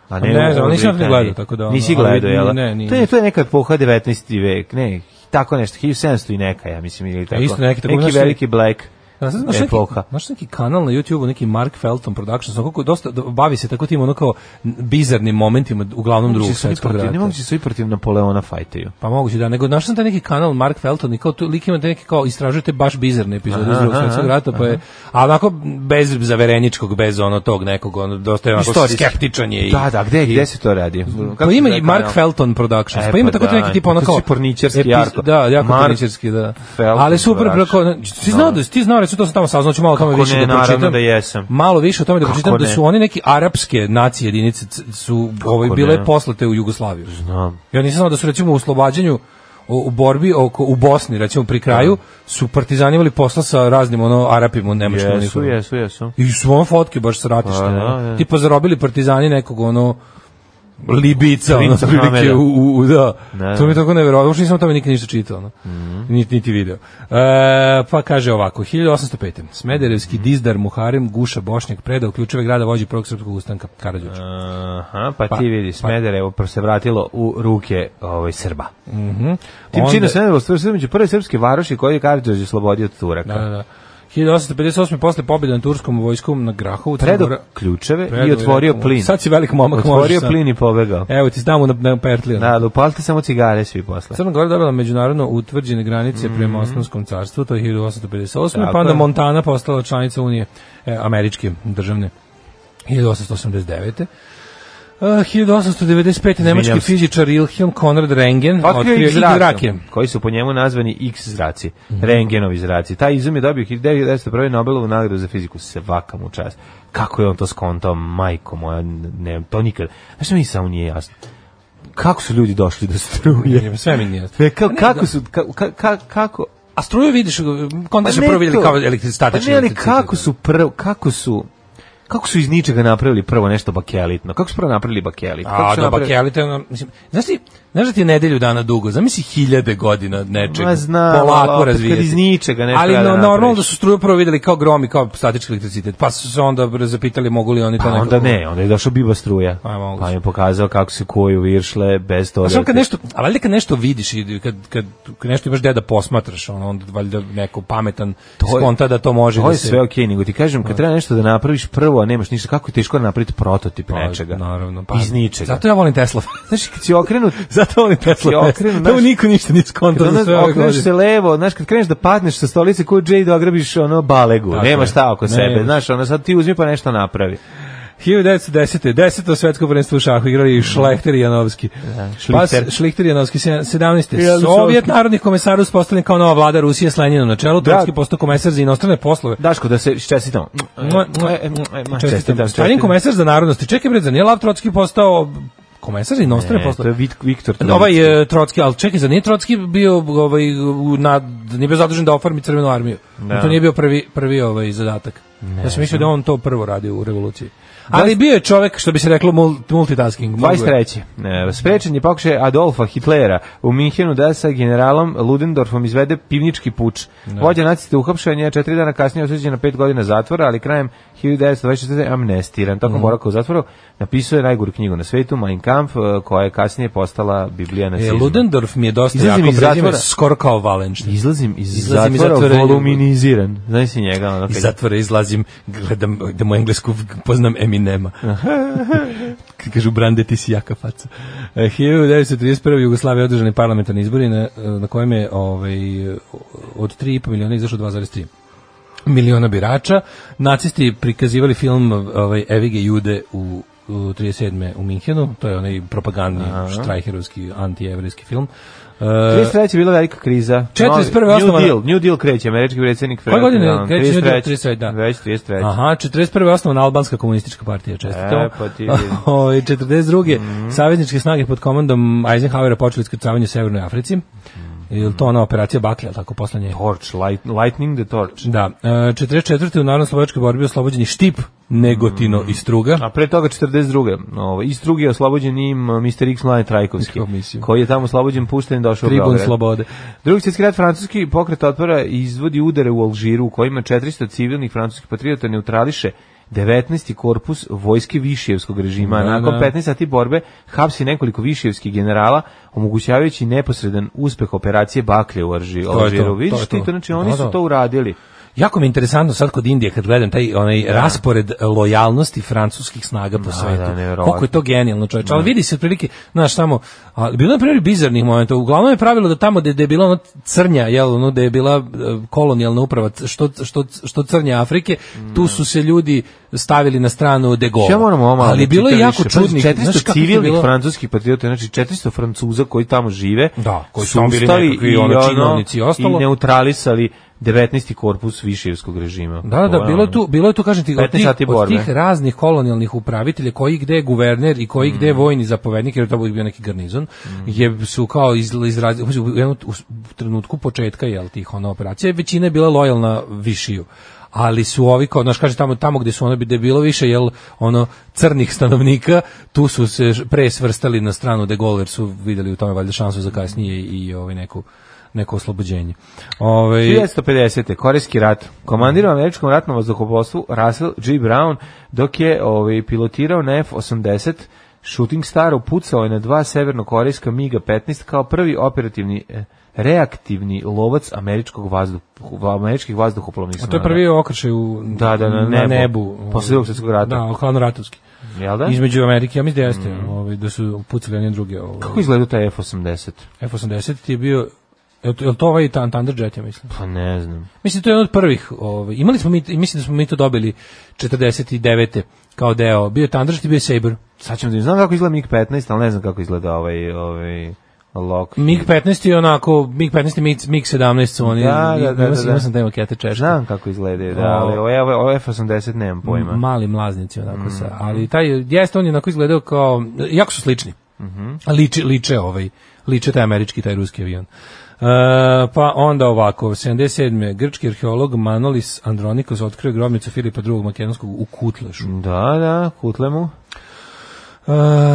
A ne, Pa- Ne u- znam, u nisam Britaniji. gledao, tako da ono, Nisi ali gledao, jel? ne, Ne, nisam. to, je, to je neka epoha 19. vek, ne, tako nešto, 1700 i neka, ja mislim, ili tako. E, isto neki tako, znaš, veliki black Da, sad, znaš, neki, epoha. znaš neki kanal na YouTubeu, neki Mark Felton Productions, ono kako dosta do- bavi se tako tim ono kao bizarnim momentima uglavnom drugog Moguće su i svetskog protiv- Ne rata. mogu se i protiv Napoleona fajtaju. Pa moguće da, nego našao sam taj neki kanal Mark Felton i kao tu lik ima te neki kao istražujete baš bizarne epizode iz drugog aha, svetskog rata, pa je, a onako bez zavereničkog, bez ono tog nekog, ono dosta je onako Istorijski. skeptičan je i Da, da, gde, gde se to radi? Pa Kako ima se i zove Mark kanal? Felton Productions. E, pa ima pa tako da, neki tip ono to su kao porničarski epiz- jako. Da, jako Mark porničarski, da. Felton Ali super Productions. preko ti znao da ti znao recimo to sam tamo saznao, ću malo o tome Kako više ne, da pročitam. naravno da jesam. Malo više o tome da Kako pročitam da ne? su one neki arapske nacije jedinice c- su ovaj, Kako bile ne? poslate u Jugoslaviju. Znam. Ja nisam znao da su recimo u oslobađanju u u borbi oko, u Bosni, recimo pri kraju, su partizani imali posla sa raznim ono, Arapima u Nemačkom. Jesu, jesu, jesu. I su ono fotke baš sa ratišta. Pa, da, ono. da. Tipa zarobili partizani nekog ono Libica, ono, Princa prilike, Hameda. u, u, u, da. Da, to mi je da. Mhm. tako nevjerovatno, uopšte nisam o tome nikad ništa čitao, no. niti, niti video. E, pa kaže ovako, 1805. Smederevski dizdar Muharem Guša Bošnjak predao ključeve grada vođi prvog srpskog ustanka, Karadžoč. Aha, pa, Pa- ti vidi, pa- Smederevo pa, se vratilo u ruke ovaj, Srba. Tim Mhm. Onda- činom Smederevo stvorio se među prve srpske varoši koji je Karadžođe slobodio od Turaka. Da, da, da. 1858. posle pobjede na turskom vojskom na Grahovu. Crna Predao Gora- ključeve predao i otvorio rekao mu, plin. Sad si E. velik momak, Otvorio možeš sad." plin i pobegao. Evo ti znamo na, na ono. pertliju. Da, da, upalite samo cigare svi posle. Pa. Crna Gora dobila međunarodno utvrđene granice prema Osmanskom carstvu, to je 1858. pa Mhm. Tako onda je. Montana postala članica Unije e, američke državne 1889. Uh, 1895. nemački Izvinjam se. fizičar Ilham Konrad Rengen otkrio ih X zrakom, zrake. koji su po njemu nazvani X zraci, Rengenovi zraci. Taj izum je dobio 1901. Nobelovu nagradu za fiziku, svaka mu čast. Kako je on to skontao, majko moja, ne, to nikad. Znaš što mi samo nije jasno? Kako su ljudi došli do struje? Sve mi Pa nije. Ve, ka- kako su, ka- ka- ka- kako, A struju vidiš, kontra se Pa ne Pa prvo vidi to. kao elektri- statični Pa ne, ali elektricitet. kako su prvo, kako su, kako su iz ničega napravili prvo nešto bakelitno? Kako su prvo napravili bakelit? Kako A, su do napravili- bakelite, ono, mislim, znaš ti, znaš da ti je nedelju dana dugo, zamisli hiljade godina od nečega, Ma znam, ali polako opet razvijati. kad iz ničega nešto Ali treba da no, normalno napraviš. da su struju prvo videli kao grom i kao statički elektricitet, pa su se onda zapitali mogu li oni to Pa nekako... onda ne, onda je došao Biba struja. Pa je moguće. Pa mi je pokazao kako se koju viršle bez toga. A samo ono kad nešto, a valjda kad nešto vidiš i kad, kad, kad nešto imaš gde da posmatraš, ono, onda valjda neko pametan je- skonta da to može To da je se... sve okej, nego ti kažem, kad treba nešto da napraviš prvo, a nemaš ništa, kako je teško da napraviti prototip Pa, nečega. Naravno, pa. pa. Iz ničega. Zato ja volim Tesla. (laughs) Znaš, kad si okrenut, Zato volim Tesla. Ti okrenu, Tamo znaš- niko ništa nije skonto kad za sve ono, ove okreneš godine. se levo, znaš, kad kreneš da padneš sa stolice ko Jay da ograbiš ono balegu, Tako nema je. šta oko Ne, sebe, nemaš. znaš, ono sad ti uzmi pa nešto napravi. 1910. 10. svetsko prvenstvo u šahu igrali Šlehter i Janovski. Šlihter. Pa, Šlihter i Janovski, se- 17. Janovski. Sovjet narodnih komesara uspostavljen kao nova vlada Rusije s Leninom na čelu, Da. turski postao komesar za inostrane poslove. Daško, da se E, čestitamo. Čestitam. Stalin komesar za narodnosti. Čekaj bre, za nije Lav Trotski postao komesar za inostrane Ne, E, to poslove? je Vit- Viktor Trojic. Ovaj e, Trotski, ali čekaj, za nije Trotski bio ovaj, u, na, nije bio zadužen da oformi crvenu armiju. Da. To nije bio prvi, prvi ovaj zadatak. ja sam mislio da on to prvo radi u revoluciji. Ali bio je čovek, što bi se reklo, mul- multitasking. Mogu je. 23. E, Sprečen je pokušaj Adolfa Hitlera u Minhenu da sa generalom Ludendorfom izvede pivnički puč. Vođa naciste uhapšen je četiri dana kasnije osuđen na pet godina zatvora, ali krajem 1924. je amnestiran. Mhm. Tokom boravka u zatvoru napisao je najguru knjigu na svetu, Mein Kampf, e, koja je kasnije postala Biblija E, nacizma. Ludendorff mi je dosta Izlazim jako iz prezime, zatvora. skoro kao Valenštajn. Izlazim iz Izlazim iz zatvora, zatvora. voluminiziran. Znaš si njega? Ono, Iz kad- zatvora izlazim, gledam, idem u englesku, poznam Eminema. (laughs) Kad Kažu, Brande, ti si jaka faca. E, 1931. Jugoslavije održani parlamentarni izbori na, e, na kojem je ovaj, od 3,5 miliona izašlo 2,3 miliona birača. Nacisti prikazivali film ovaj, Evige Jude u u 37. u Minhenu, to je onaj propagandni štrajherovski antijevrijski film. E, 33. je bila velika kriza. 41. Novi- New osnovana- Deal, New Deal kreće, američki predsjednik. Koje godine Franklin Delano. kreće New Deal? 33., 33., da. Već 33. Aha, 41. osnovna albanska komunistička partija, čestitamo. E, pa ti vidi. (laughs) Mhm. Ovaj, 42. savezničke snage pod komandom Eisenhowera počeli iskrcavanje u Severnoj Africi. Mhm. Je li to ona operacija Baklja, tako posle nje? Torch, light, Lightning the Torch. Da. E, 44. u narodno-slovačkoj borbi oslobođeni Štip, Negotino i Struga. Mhm. A pre toga 42. Ovo, iz druge je oslobođen im uh, Mr. X Mladen Trajkovski, Kako mislim. koji je tamo oslobođen, pušten i došao u Tribun Beograd. slobode. Drugi svjetski rat francuski pokret otpora izvodi udare u Alžiru u kojima 400 civilnih francuskih patriota neutrališe 19. korpus vojske Višijevskog režima. Da, Nakon da. 15 sati borbe hapsi nekoliko Višijevskih generala, omogućavajući neposredan uspeh operacije Baklje u Alži- to, Alžiru. to Vidiš je ti, to. to, znači oni Da, da. su to uradili. Jako mi je interesantno sad kod Indije kad gledam taj onaj raspored e, lojalnosti francuskih snaga po svetu. da, nevjerovatno. Koliko je to genijalno, čoveče. Ali vidi se otprilike, znaš, tamo ali bilo je na primjer bizarnih momenta. Uglavnom je pravilo da tamo gde gde je bila ono crnja, jel, ono gde je bila e, kolonijalna uprava c- što što što crnja Afrike, tu su se ljudi stavili na stranu de Gaulle. Ja moram ovo malo ali da bilo je čitam jako više. Pazi, čudnih, 400 znaš kako je to civilnih bilo? francuskih patriota, znači 400 Francuza koji tamo žive, Da, koji su su tamo bili ustali nekakvi, i ono, ono, činovnici i ostalo. i neutralisali 19. korpus Višijevskog režima. ono Da, da, bilo je tu, bilo je tu kažem ti, od 15 tih, sati od borbe. tih raznih kolonijalnih upravitelja, koji gde je guverner i koji Mm. gde je vojni zapovednik, jer to bi bio neki garnizon, je su kao iz, izrazili, u, jednom- u s- u trenutku početka jel, tih ona operacija, većina je bila lojalna Višiju ali su ovi kao znaš kaže tamo tamo gde su ono bi da je bilo više jel ono crnih stanovnika tu su se ž- pre svrstali na stranu de Gaulle jer su videli u tome valjda šansu za kasnije i ovaj neku neko oslobođenje. Ovaj 1950. Korejski rat. Komandirao američkom ratnom vazduhoplovstvu Russell G. Brown dok je ovaj, pilotirao na F-80 Shooting Star upucao je na dva severnokorejska MiG-15 kao prvi operativni eh, reaktivni lovac američkog vazduh, američkih vazduhoplovnih A to je snaga. prvi okršaj u, Da, da, na na nebu. nebu. Posle Drugog svjetskog rata. Da, hladnoratovski. Jel da? Mm. Između Amerike, ja mislim da jeste, ovaj, da su pucali jedni druge. Ovaj. Kako izgleda taj F-80? F-80 ti je bio, je li to ovaj tan, Thunderjet, ja mislim. Pa ne znam. Mislim, to je jedan od prvih. Ovaj. Imali smo mi, mislim da smo mi to dobili 49. kao deo. Bio je Thunderjet i bio je Sabre. Sad ćemo da im znam kako izgleda MiG-15, ali ne znam kako izgleda ovaj, ovaj Lockheed. MiG-15 je onako, MiG-15 i MiG- MiG-17 su oni. Da, da, da, da, Imao sam- da. imao sam te makete češke. Znam kako izgleda, da, ali ovaj, ovaj, ovaj F-80 nemam pojma. Mali mlaznici onako sa, ali taj jeste on je onako izgledao kao jako su slični. Liče liče ovaj, liče taj američki taj ruski avion. E, pa onda ovako, 77. grčki arheolog Manolis Andronikos otkrio grobnicu Filipa II. Makedonskog u Kutlešu. Da, da, kutlemu. E,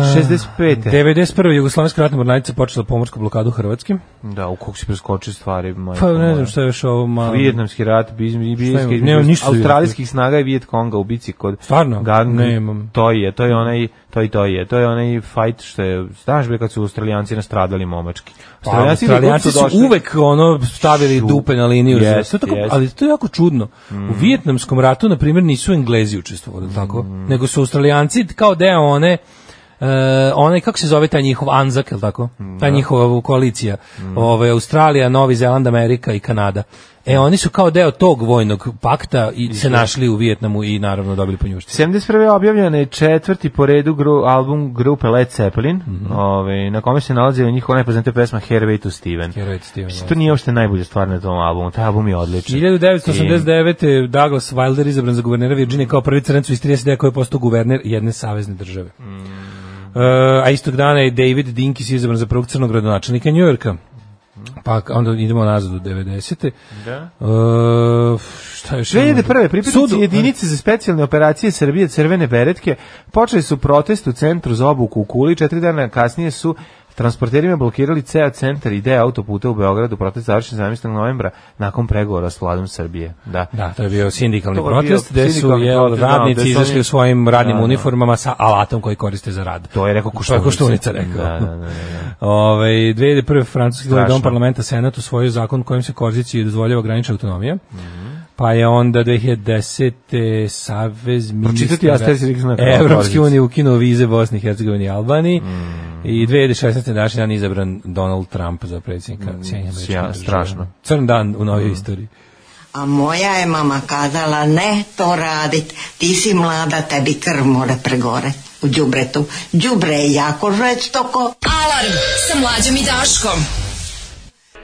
65. 91. Jugoslavijska ratna mornarica počela pomorsku blokadu Hrvatske. Da, u kog si preskočio stvari. majko Pa ne moja. znam šta je još ovo malo. Vijetnamski rat, imam? bizminski, Nemam ništa australijskih snaga i Vijet Konga u bici kod Stvarno? Gang. Nemam. To je, to je onaj, to je, to je, to je onaj fight što je, znaš bre kad su Australijanci nastradali momački. Pa, Australijanci dok su uvek ono stavili Šu- dupe na liniju. Jest, razumeš? To je tako, jest. ali to je jako čudno. U Vijetnamskom ratu, na primjer, nisu Englezi učestvovali, tako? Nego su Australijanci kao deo one Uh, onaj, kako se zove taj njihov Anzak, je li tako? Ta njihova koalicija. Ovaj, Australija, Novi Zeland, Amerika i Kanada. E, oni su kao deo tog vojnog pakta i se našli u Vijetnamu i naravno dobili po njušti. 71. objavljen je četvrti po redu gru, album grupe Led Zeppelin, ovaj, na kome se nalazi njihova najpoznatija pesma Hervey to Steven. Herojci Steven, Mislim, da. to nije uopšte najbolja stvar na tom albumu, taj album je odličan. 1989. je Douglas Wilder izabran za guvernera Virginije kao prvi crnac iz 30 koji je postao guverner jedne savezne države. E, a istog dana je David Dinkis izabran za prvog crnog gradonačelnika Njujorka. Pa k- onda idemo nazad u 90. Da. E, šta još? imamo? 2001. pripadnici Sudu- jedinice za specijalne operacije Srbije Crvene beretke počeli su protest u centru za obuku u Kuli. Četiri dana kasnije su transporterima blokirali ceo centar i deo autoputa u Beogradu. Protest završen 17. novembra nakon pregovora s vladom Srbije. Da. Da, to je bio sindikalni To je bio protest, gde su sindikalni jel, protest, da, radnici gde su izašli oni- u svojim radnim Da, da. uniformama sa alatom koji koriste za rad. To je rekao Koštunica. Koštunica rekao. Da, da, da, da. Ove, 2001. Francuski Strašno. dom parlamenta Senat usvojio zakon kojim se Korzici dozvoljava granična autonomija. Mhm. Pa je onda 2010. Savez Pročitati Pa ja ste si rekli znak kao Korzici. Evropske unije ukinuo vize Bosni i Hercegovini i Albaniji. Mhm. I 2016. današnji dan izabran Donald Trump za predsjednika Sjedinjenih Američkih Mhm. sja- Država. strašno. Mhm. Crn dan u novoj istoriji. A moja je mama kazala ne to radit, ti si mlada, tebi krv mora pregore u đubretu. Đubre je jako žestoko. Alarm sa mlađom i Daškom.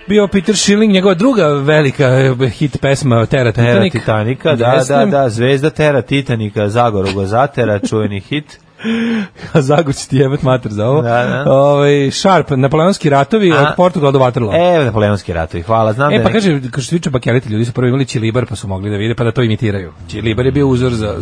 Bio Peter Schilling, njegova druga velika eh, hit pesma Tera Tera Titanic. Titanika, da, Jeste. da, da, zvezda Tera Titanika, Zagor Gozatera, čuveni (laughs) hit. A Zagu će ti jebat mater za ovo. Da, da. Ovaj, Sharp, napoleonski ratovi A- od Portugala do Waterloo. E, Napoleonski ratovi, hvala, znam da E, je pa neki- kaže, kao što se tiče bakelite, ljudi su prvo imali čilibar, pa su mogli da vide, pa da to imitiraju. Čilibar je bio uzor za, za,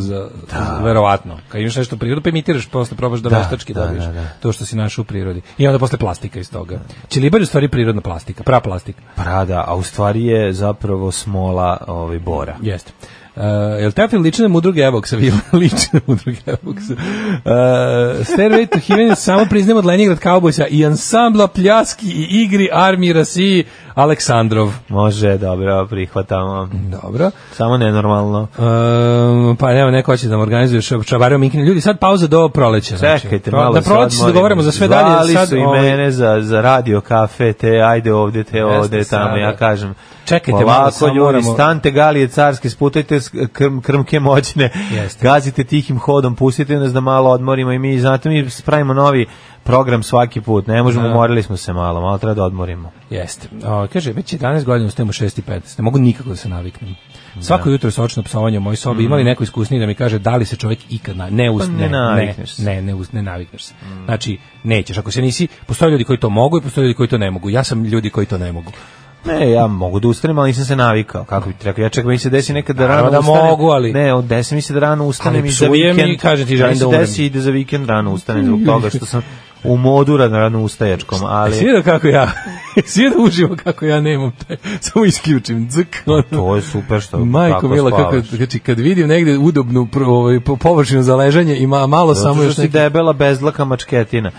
za- verovatno. Kad imaš nešto u prirodi, pa imitiraš, posle probaš da, Da, veštački da, dobiješ da, da. to što si našao u prirodi. I onda posle plastika iz toga. Čilibar je u stvari prirodna plastika, pra plastika. Prada, a u stvari je zapravo smola ovaj, bora. Jeste. Uh, jel taj film liči na mudrog (laughs) Evoksa? Vi liči na mudrog Evoksa. Uh, Stairway to Heaven je samo priznajem od Lenjegrad Cowboysa i ansambla pljaski i igri Armi Rasiji Aleksandrov. Može, dobro, prihvatamo. Dobro. Samo nenormalno. Um, pa evo, neko hoće da vam organizuje šo- čabariju Minkinu. Ljudi, sad pauza do proleća. znači. Čekajte, Pro- malo Da proleće sad, se molim. dogovaramo za sve dalje. Zvali sad, su i ovaj, mene za, za radio, kafe, te ajde ovde, te ovde, tamo, sada. ja kažem. Čekajte, malo Polako, samo ljudi, moramo- stante galije carske, sputajte s- krm, krmke moćne, Jeste. gazite tihim hodom, pustite nas da malo odmorimo i mi, znate, mi pravimo novi program svaki put, ne možemo, morali smo se malo, malo treba da odmorimo. Jeste. O, kaže, već 11 godina ustajemo 6 i 15. Ne mogu nikako da se naviknem. Svako jutro sočno psovanje u mojoj sobi. Imali neko iskusniji da mi kaže da li se čovjek ikad na, ne us, Mhm. Pa ne ne, ne, navikneš se. Mhm. ne, ne, us- ne navikneš se. Znači, nećeš. Ako se nisi, postoje ljudi koji to mogu i postoje ljudi koji to ne mogu. Ja sam ljudi koji to ne mogu. Ne, ja mogu da ustanem, ali nisam se navikao. Kako bi ti rekao, ja čekam mi se desi nekad da rano Naravno da ustanem. mogu, ali- Ne, od desi mi se da rano ustanem Ali i za psujem i vikend. kažem ti, želim mi se da umrem. desi i da za vikend rano ustanem zbog toga što sam u modu rano, rano ustajačkom, ali... Svi da kako ja, (laughs) svi da uživo kako ja nemam taj, (laughs) samo isključim, dzk, ono. To je super što Majko Mila, kako, Pa spavaš. znači, kad vidim negde udobnu pr- ovaj, po- površinu za ležanje, ima malo Zato samo što još si neki... Mm. debela bezlaka mačketina.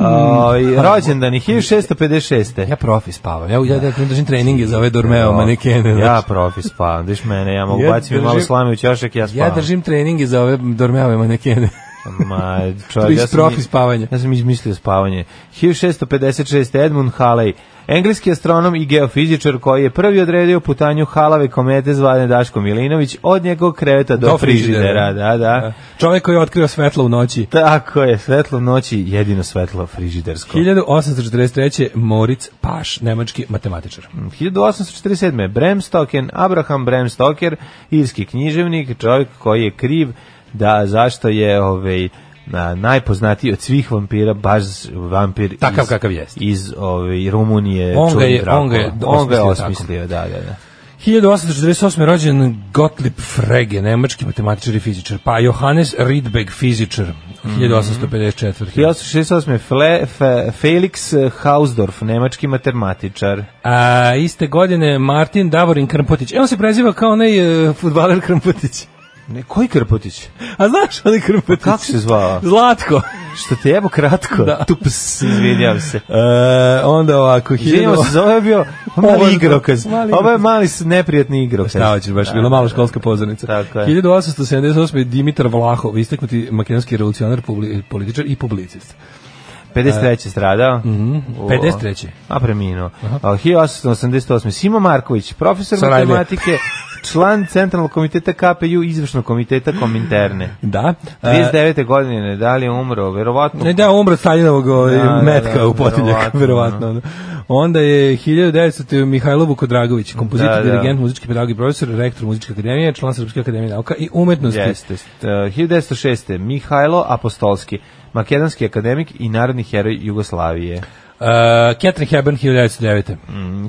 Ovaj, rođendan je 1656. Ja profi spavam, ja, ja, ja držim treninge za ove dormeo manekene. Ja znači. profi spavam, viš mene, ja mogu Ja bacim i malo držim- slame u ćošak, ja spavam. Ja držim treninge za ove dormeove manekene. (laughs) Ma, To je čovjek, iz ja sam, profi spavanja. ja sam izmislio spavanje. 1656. Edmund Halley, engleski astronom i geofizičar koji je prvi odredio putanju Halave komete zvane Daško Milinović od njegovog kreveta do, frižidera. Da, da. (laughs) Čovjek koji je otkrio svetlo u noći. Tako je, svetlo noći, jedino svetlo frižidersko. 1843. Moritz Paš, nemački matematičar. 1847. Bram Stoker, Abraham Bram Stoker, irski književnik, čovjek koji je kriv da zašto je ovaj na, najpoznatiji od svih vampira, baš vampir Takav iz, kakav jest. iz ovaj, Rumunije. On ga čuveni je- on ga je Dracula. on ga je osmislio osmislio, da, da, da. 1848. rođen Gottlieb Frege, nemački matematičar i fizičar. Pa Johannes Rydberg, fizičar. 1854. 1868. Fle, fe, Felix eh, Hausdorf, nemački matematičar. A, iste godine Martin Davorin Krmpotić. E, on se preziva kao onaj uh, futbaler Krmpotić. (laughs) Ne, koji Krpotić? A znaš onaj Krmpotić? Kako se zvao? Zlatko. Što te jebo kratko? Da. Tups, izvinjam se. E, onda ovako, Izvinjamo se, ovo je bio (laughs) Ovo mali je- igrokaz. mali Ovo je mali s- neprijatni igrokaz. Šta hoćeš, baš bila mala školska pozornica. Tako je. 1878. Dimitar Vlahov, istaknuti makedonski revolucionar, publi- političar i publicist. 53. stradao. Mhm, O, 53.. A preminuo. A, 1888. Simo Marković, profesor Sarajlije. matematike, član Centralnog komiteta KPU i izvršnog komiteta Kominterne. Da. (laughs) E, 39. godine, da li je umro, verovatno. Ne, da, umro od Stalinovog ovaj, Da, da, metka da, u potiljak, verovatno, verovatno. ono. Onda je 1900. Mihajlo Vukodragović, kompozitor, Da, da. dirigent, muzički pedagog i profesor, rektor muzičke akademije, član Srpske akademije nauka i umetnosti. Jeste. E, 1906. Mihajlo Apostolski, makedonski akademik i narodni heroj Jugoslavije. E, Catherine Hepburn, 1909. Mm,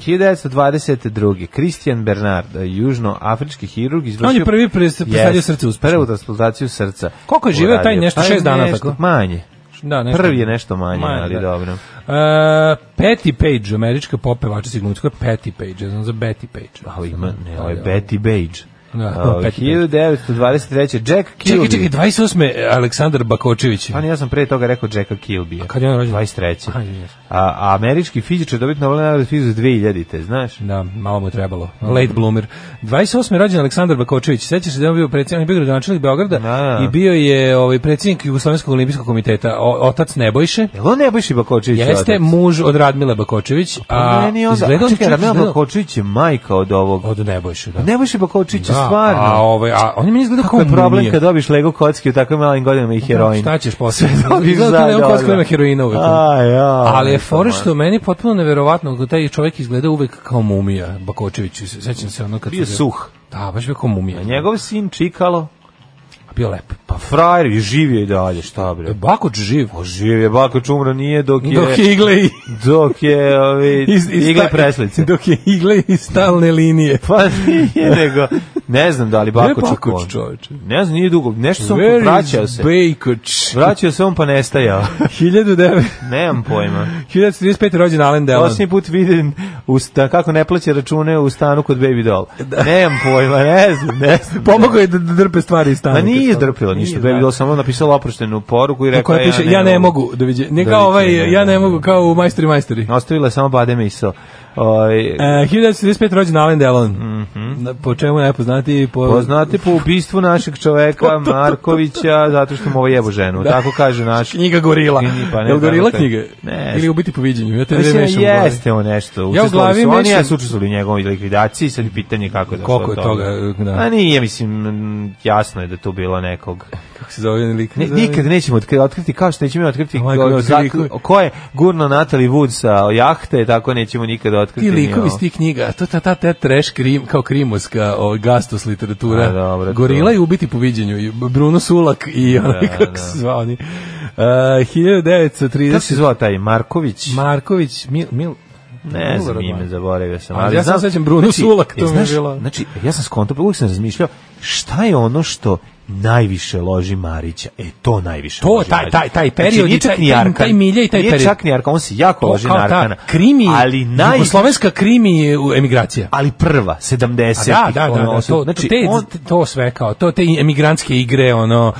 1922. Christian Bernard, e, južnoafrički hirurg, izvršio... On je prvi pres- presadio srce uspešno. Prvu transplantaciju srca. Koliko je živeo taj uradio? nešto, Pa je šest dana, nešto tako? Manje. Da, Prvi je nešto manje, ali da. dobro. E, Patty Page, američka pop pevačica i glumica, koja je Patty Page, ja znam za Betty Page. A ovo ima, ne, ovo je Da, da. Betty Page. Da, A, Betty Page. 1923. Jack Kilby. Čekaj, čekaj, 28. Aleksandar Bakočević. Pa ne, ja sam pre toga rekao Jacka Kilby. kad je on rođen? 23. A, izvinjavam se. A, a američki fizičar dobiti Nobel nagradu fizu 2000-te, znaš? Da, malo mu je trebalo. Late bloomer. 28. rođen Aleksandar Bakočević. Sećaš se da je on bio predsjednik, on je bio gradonačelnik Beograda Da. i bio je ovaj predsjednik Jugoslovenskog olimpijskog komiteta, o, otac Nebojše. Jel on Nebojši Bakočević? Jeste otac? muž od Radmila Bakočević, Pa a meni onda... izgledao A on čekaj, čovjek Ramila izgledao- Bakočević je majka od ovog. od Nebojše, da. Nebojši Bakočević je Da, stvarno. A, ovaj, a on je meni izgledao Kako kao je problem mumija. kad dobiš Lego kocki u takvim malim godinama i heroin? Šta ćeš posle? (laughs) dobiš Izgleda za, kao da je on da, kocka da. ima heroina uvek. A, ja, Ali je eto, fora man. što meni je potpuno neverovatno kako taj čovjek izgleda uvek kao mumija Bakočević. Sećam se ono kad Bio sam suh. Da, baš bio kao mumija. A njegov sin Čikalo, bio lep. pa frajer i živio i dalje, šta bre? E, Bakoč živ. Pa živio je, Bakoč umro nije dok je... Dok je igle i... Dok je, (laughs) ovi, igle i preslice. Dok je igle i stalne linije. Pa nije nego, ne znam da li Pa Bakoč Gde je je Bakoč, kon. čoveče? Ne znam, nije dugo, nešto sam Where vraćao is se. Bakoč? (laughs) Vraćao se on pa nestajao. (laughs) 1900 Nemam pojma. 1935. rođen Alan Delon. Posljednji put vidim u sta, kako ne plaća račune u stanu kod Baby Doll. Nemam pojma, ne znam, ne znam. Pomogao je da da drpe stvari iz stana. Ma nije izdrpila ništa, Baby Doll samo napisala oproštenu poruku i Na rekla koja piše, ja ne mogu, doviđe. Ne kao ovaj, Doviđenja, ja da, ne da. mogu, kao u majstori majstori. Ostavila je samo bade Ovaj, miso. Oj, E, 1935. rođen Alan Delon. Mhm. Na- Po čemu je najpoznatiji? Po... Poznate po ubistvu našeg (laughs) čoveka Markovića zato što mu ovo jebo ženu. Tako kaže naš. Knjiga Gorila. Knjiga, pa ne, Jel Gorila tako je. knjige? Ne. Ili u biti po viđenju. Ja te dve Mislim, mešam u glavi. jeste on nešto. Ja u glavi su oni, mislim- a suče su u njegovoj likvidaciji, sad je pitanje kako je došlo Koliko do je toga, da. A nije, mislim, m, jasno je da tu bilo nekog. Kako se zove onaj lik? Ne, nikad nećemo otkri- otkriti, kao što nećemo otkriti Majko, ko- evo, ti za- likovi. ko je gurno Natalie Wood sa jahte, tako nećemo nikada otkriti. ti ni likovi ovo. iz tih knjiga, to ta ta ta trash krim kao krimoska, o, gastos literatura. A, dobro, to. Gorila i ubiti po viđenju i Bruno Sulak i onaj (laughs) kako se zvao oni. Uh, Kako se 1930 zvao taj Marković? Marković Mil Mil Ne znam Muller, ime, zaboravio sam. Ali ja se sećam Bruno Sulak, je, to mi je znaš, bilo- Znači, ja sam skonto, uvijek sam razmišljao, šta je ono što najviše loži Marića? E, to najviše To, loži taj- Marića. taj- taj period Znači, nije i taj- čak ni taj- Arkan. taj milje i taj nije period. čak ni Arkan, on se jako to loži na Pa, kao ta Arkana. krimi, ali naj... jugoslovenska krimi emigracija. Ali prva, A 70. da, da, da, da, to, znači, te, on, to sve kao, to te emigrantske igre, ono,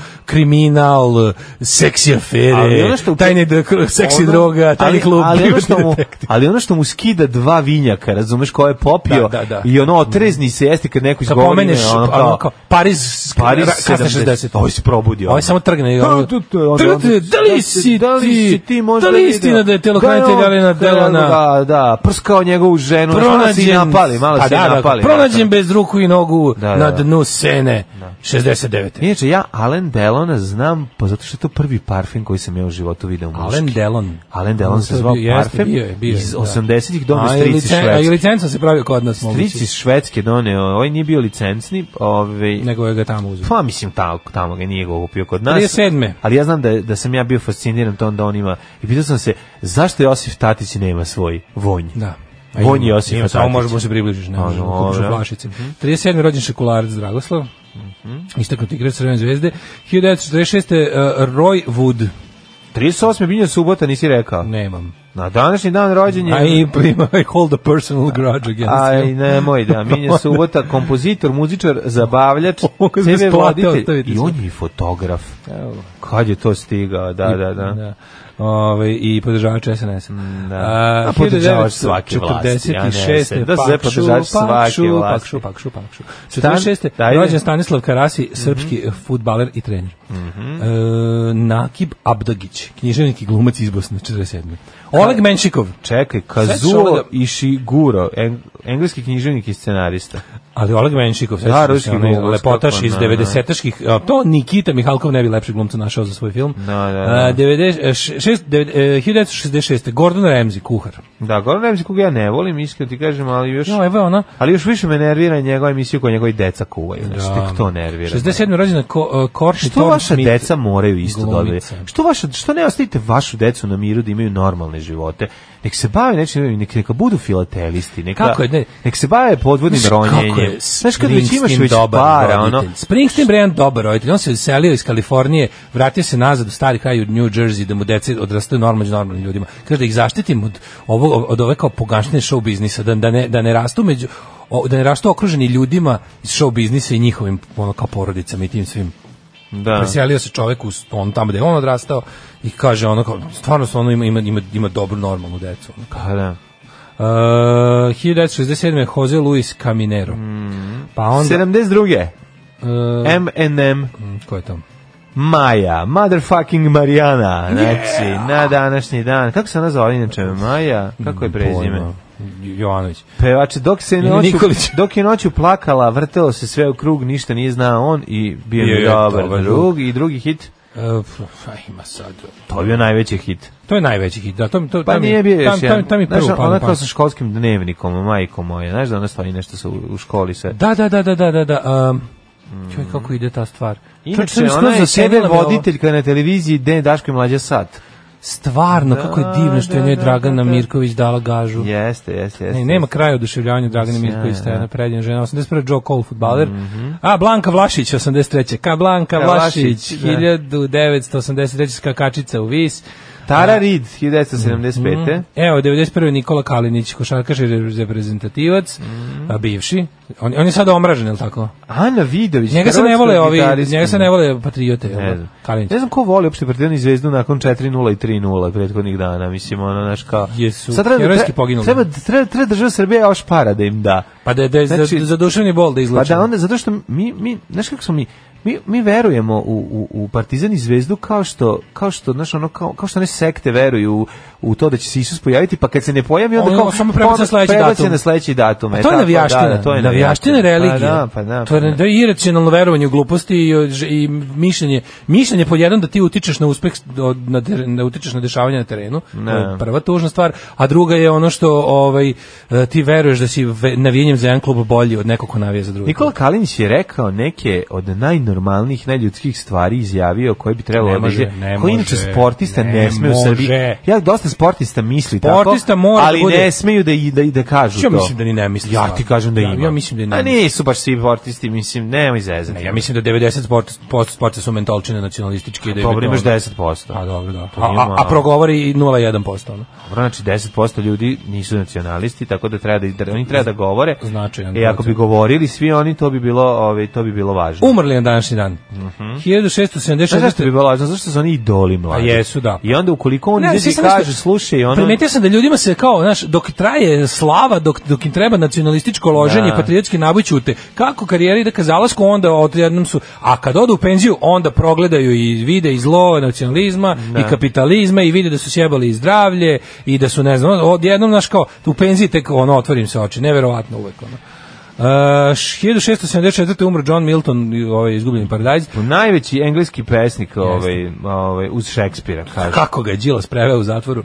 kriminal, seksi Ali afere, ono što u- tajne, dr- seksi ono- droga, tajni ali- klub, ali (laughs) ono, što mu, detektiv. ali ono što mu skida dva vinjaka, razumeš, ko je popio Da, da, da. i ono otrezni se jeste kad neko Kad izgovori. pomeneš, ime, ono kao, Pariz, Pariz ra- kasne 70. 60. Ovo se probudio. Ovo je samo trgne. i Da, ono- tu- tu je, onda- Trgne, da li si da li si ti, možda da li je video? istina da je Da telokranitelj on Alena krenuo Delona Da, da, prskao njegovu ženu. Malo se Ono, i pronađen, napali, malo Pa se i da, da, napali. ono. pronađen bez ruku i nogu Da, da, na da. dnu sene, 69. Inače, ja Alen Delona znam, pa zato što je to prvi parfem koji sam ja u životu video muški. Alen Delon. Alan Delon On se to je zvao bio- jeste, Parfem bio je, bio je, iz da. 80-ih dono A i strici licen- A i Švedske. licenca se pravio kod nas. Strici moguće. iz Švedske doneo, ovaj nije bio licencni, ovaj, Nego je ga tamo uzeo. pa mislim tamo, tamo ga nije ga kupio kod nas. 37.. Ali ja znam da, je- da sam ja bio fasciniran tom da on ima, i pitao sam se, zašto Josif Tatić nema svoj vonj? Da. A Vonj ima, Josifa ima, Samo Tatića. možemo se približiš, ne A, možemo, dobro. kupiš u flašici. Mhm. 37. rođen Šekularac Dragoslav, istaknuti igrač Crvene zvezde. 1946. Uh, Roy Wood, 38. bilja subota, nisi rekao. nemam. Na današnji dan rođenja... A i prima, I (laughs) hold a personal grudge against Aj, him. nemoj da, (laughs) minja subota, kompozitor, muzičar, zabavljač, Pa- Mogu bez TV plate voditelj ostaviti i sve. on je i fotograf. Kad je to stigao, da, da, da. Da. Ove, i podržavač SNS. Mm, da. A podržavač svake vlasti, ja ne znam. Da, sve podržavač svake vlasti. Pakšu, pakšu, pakšu. Stan- 46. Ajde. rođen Stanislav Karasi, Mhm. srpski fudbaler i trener. E, Nakib Abdagić, književnik i glumac iz Bosne, 47. Oleg Menšikov, Čekaj, Sećaš Kazuo ono da... da- Ishiguro, eng, engleski književnik i scenarista. ali Oleg Menšikov, sećam Da, se, ruski ono, glumac, lepotaš kako iz ne, 90-aških, a, to Nikita Mihalkov ne bi lepšeg glumca našao za svoj film. Da, da, da. A, 90 šest- devet- e, 1966. Gordon Ramsay, kuhar. Da, Goran Ramsey koga ja ne volim, iskreno ti kažem, ali još... No, evo je ona, Ali još više me nervira njegova emisija koju njegovi deca kuvaju. Znači, tek to nervira. 67. rođena ko, uh, Courtney Što Thorne vaša Smith. deca moraju isto dobiti? glumica. Što, vaša, što ne ostavite vašu decu na miru da imaju normalne živote? Nek se bave nečim, nek, neka budu filatelisti, neka, Kako je, ne? nek se bave podvodnim Znaš kako je ronjenjem. Znaš kad već imaš Springsteen već dobar para, roditelj? ono, Springsteen Brian dobar roditelj. On se uselio iz Kalifornije, vratio se nazad u stari kraj u New Jersey da mu deca odrastaju normalno normalnim ljudima. Kaže da ih zaštitim od ovo od ove kao pogaštine show biznisa, da, da ne da ne rastu među o, da ne rastu okruženi ljudima iz show biznisa i njihovim ono kao porodicama i tim svim ono- da. preselio Pa se čovek u on tamo gde je on odrastao i kaže ono kao stvarno stvarno ima ima ima, ima dobru normalnu decu ono. Pa da. Uh, 1967. Jose Luis Caminero. Pa onda... 72. Uh, M&M ko je to? Maja, motherfucking Marijana, znači, na današnji dan. Kako se ona zove inače? Maja, kako je prezime? Pojma. Jovanović. Pevač, dok se Ili noću, Nikolić. dok je noću plakala, vrtelo se sve u krug, ništa nije znao on i bio Bio je je dobar dobar drug. I drugi hit, Uh, pf, aj, ima sad. to je bio najveći hit. To je najveći hit. Da, to, mi- to, Pa to mi- nije bio još tam, tam, jedan. tam mi prvo Znaš, palo ona na kao pamet. sa školskim dnevnikom, majkom moje, znaš da ona stoji nešto sa, u školi se. Da, da, da, da, da, da. da um, Čuj, kako ide ta stvar. Čovječe, Inače, mi skroz ona je zasenila sebe me ovo. voditelj kada je na televiziji Den Daško i mlađa sat. Stvarno, kako je divno što je Da, njoj da, Dragana da, da. Mirković dala gažu. Jeste, jeste, jeste. Ne, nema kraja oduševljavanja Dragane Mirković, Sjajno. Stajana Prednja, žena, 81. Joe Cole, futbaler. A, Blanka Vlašić, 83. Ka Blanka Mhm. Ka Vlašić, Vlašić, da. 1983. skakačica u vis. Tara Reid, 1975. Evo, 91. Nikola Kalinić, košarkaš i reprezentativac, Mhm. a, bivši. On, on je sada omražen, je li tako? Ana Vidović, Njega se ne hrvatska vole ovi, gitaristkinja. njega se ne vole patriote, jel da? Ne znam. Kalinić. Ne znam ko voli uopšte Partizan i Zvezdu nakon 4-0 i 3-0 prethodnih dana, mislim, ono, znaš, kao... Jesu Sad treba, herojski treba- poginuli. Treba, treba, treba država Srbija još para da im da. Pa da, da, Znači- za, za duševni bol da Pa izlače. da onda, zato što mi, mi znaš kako smo mi, mi, mi verujemo u, u, u Partizan i Zvezdu kao što, kao što, znaš, ono, kao, kao što one sekte veruju u, u to da će se Isus pojaviti, pa kad se ne pojavi, onda Ono, kao samo prebaci na sledeći prebaci datum. na sledeći datum. A e, to je tako, navijaština, da, da, to je navijaština navijaština. religije. Pa da, pa da. to je, pa da. to je iracionalno verovanje u gluposti i, i mišljenje. Mišljenje pod jedan da ti utičeš na uspeh, od- na, ter- da utičeš na dešavanje na terenu, to je Ne. prva tužna stvar, a druga je ono što ovaj, e, ti veruješ da si ve- navijenjem za jedan klub bolji od nekog ko navija za drugi. Nikola Kalinić je rekao neke od najnormalnijih, najljudskih stvari izjavio koje bi trebalo Ne može, da izjave- ne Koji inače može, sportista ne, ne sme u Srbiji. može. Ja dosta sportista misli Sportista tako, mora da ali bude- ne smeju da i da i da kažu Ja to. mislim da ni ne misle Ja stvarno. ti kažem da Ja- ima. ja mislim da ne A nisu baš svi sportisti, mislim, nemoj zezati. Ne, ja mislim da 90 sport, sport, sporta su mentalčine nacionalističke. i Da je Dobro, to imaš ono- 10%. A dobro, da. To A, ima- a, a progovori i 0,1%. Ono. Dobro, znači 10% ljudi nisu nacionalisti, tako da treba da, da oni treba da govore. Značajan E ako bi procenat. govorili svi oni, to bi bilo, ovaj to bi bilo važno. Umrli na današnji dan. 1676. Mhm. Znaš zašto bi bilo važno? Zašto su oni idoli mladi? A Pa jesu, da. I onda ukoliko on Ne, izađe i sjećam se kaže, što- slušaj, ono... Primetio sam da ljudima se kao, znaš, dok traje slava, dok, dok im treba nacionalističko loženje, Da. patriotski naboj ćute. Kako karijeri da ka zalasku, onda odjednom su, a kad odu u penziju, onda progledaju i vide i zlo nacionalizma i kapitalizma i vide da su sjebali i zdravlje i da su, ne znam, ono, odjednom, znaš, kao, u penziji tek, ono, otvorim se oči, neverovatno uvek, ono. Uh, 1674. umro John Milton, ovaj izgubljeni paradajz. Najveći engleski pesnik ovaj, ovaj, uz Šekspira, kaže. Kako ga je Đilas preveo u zatvoru.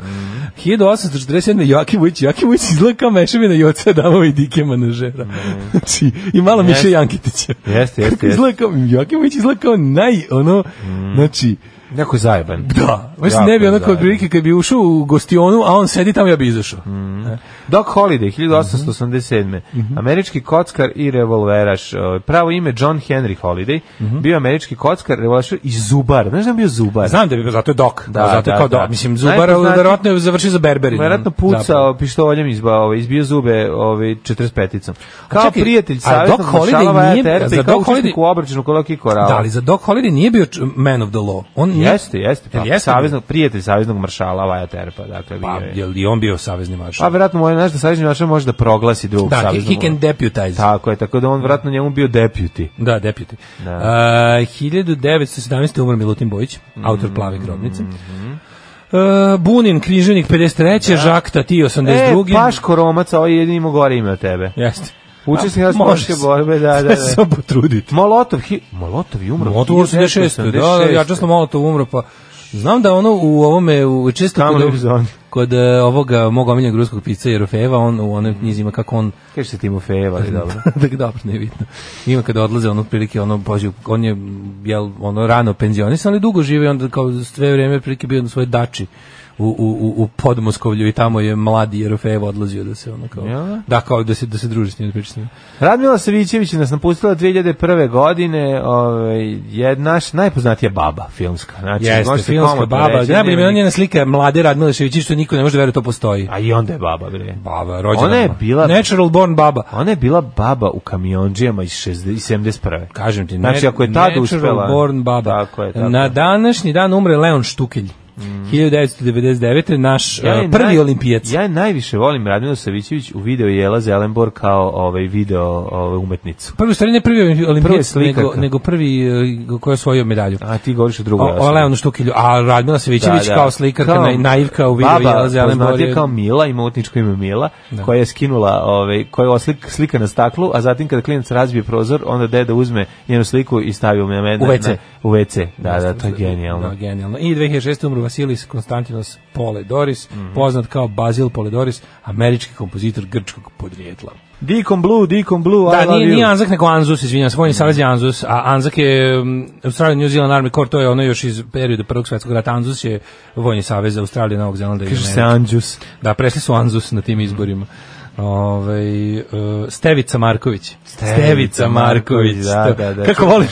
1847. Joakim Vujić, Joakim Vujić izgleda kao mešavina Joce Adamova i Dike Manažera. (laughs) Znači, I malo Jeste. Miše Jankitića. Jeste, jeste, Kako izgleda kao, Joakim Vujić izgleda kao naj, ono, znači, Neko je zajeban. da, baš Jako ne bi je onako zajeban. otprilike kad bi ušao u gostionu, a on sedi tamo ja bi izašao. Mm. Doc Holiday, 1887. Mhm. Američki kockar i revolveraš. Ovaj, Pravo ime John Henry Holiday. Mhm. Bio je američki kockar, revolveraš i zubar. Znaš da je bio zubar? Pa Znam da bi, zato je dok. Da, zato je da, kao da. dok. Mislim, Zubar Najpoznatiji- verovatno je završio za Berberin. Verovatno Zapravo. pucao pištoljem izba, ovaj, izbio zube ovaj, 45-icom. Kao čekaj, prijatelj a savjetnog Doc Holiday maršala nije- VTRP za i kao Doc Holiday- učesnik u obračunu kolokih korala. Da, ali za Doc Holiday nije bio č- man of the law. On nije- Jeste, jeste, pa Mm. Jel jeste? saveznog prijatelj saveznog maršala Vaja Terpa, dakle bio Pa, je. jel i on bio savezni maršal? Pa verovatno moj naš da savezni maršal može da proglasi drugog Da, he, saveznog. he can deputize. Tako je, tako da on verovatno njemu bio deputy. Da, deputy. Da. Da. 1917. umro Milutin Bojić, autor Mhm, Plave grobnice. E, Bunin, križenik 53. Žak Tati E, 82. Paško Romac, ovaj je jedini imao gore ime od tebe. Jeste. Učesnik A, nas može Moške se. borbe, da, da, da. Sve se (laughs) samo potruditi. Molotov, hi... Molotov je umro. Molotov 86. Da, da, ja časno malo to umro, pa Znam da ono u ovome, u, često Tamo kod, live zone. kod e, ovoga mog omiljenog ruskog pizza Jerofeva, on u onim knjizima kako on Kaže se Timofejeva, ali (laughs) dobro. da ga dobro ne vidno. Ima kada odlaze ono prilike ono bože on je jel ono rano penzionisan, ali dugo živi onda kao sve vrijeme prilike bio na svojoj dači u, u, u, u Podmoskovlju i tamo je mladi Jerofejev odlazio da se ono kao Jel da? da kao da se da se druži s njim, da priča s njim. Radmila Savićević nas napustila 2001. godine, ovaj je naš najpoznatija baba filmska. Znači, Jeste, može se filmska komotno baba. reći, Ja bih nema imao nikog. njena slika mlade Radmila Ševićić što niko ne može da veruje da to postoji. A i onda je baba, bre. Baba, rođena. Ona je bila- natural born baba. Ona je bila baba u kamionđijama iz 60 iz 71. Kažem ti, znači ne- ako je tada natural uspela. born baba. Tako je, tako. Na je. Mm. današnji dan umre Leon Štukelj. 1999. naš Ja je uh, prvi naj- olimpijac. Ja je najviše volim Radmila Savićević u video Jela Zelenbor kao ovaj video ovaj umetnicu. Prvi u stvari ne prvi olimpijac, slikarka. nego, nego prvi uh, koji je osvojio medalju. A ti govoriš o drugoj. O, o Leonu Štukilju, a Radmila Savićević kao slikarka, Kao naj- naivka u videu baba, Jela Zelenbor poznatija je- kao Mila, ima utničko ime Mila, koja je skinula, ovaj, koja je oslik, slika na staklu, a zatim kada klinac razbije prozor, onda deda uzme njenu sliku i stavi u mene. U WC. na- u WC, da, da, to je genijalno. Da, genijalno. I 2006. umro Vasilis Konstantinos Poledoris, Mhm. poznat kao Bazil Poledoris, američki kompozitor grčkog podrijetla. Deacon Blue, Deacon Blue, I Da, love nije, you. nije Anzak, nego Anzus, izvinjam se, Vojni savez je Anzus, a Anzak je um, Australian New Zealand Army Corps, to je ono još iz perioda Prvog svjetskog rata, Anzus je Vojni savez za Australiju, Novog Zelanda i Kaže se Ameriku. Anđus. Da, presli su Anzus na tim izborima. Ove, Stevica Marković. Stevica Marković, da, da, da. Kako voliš?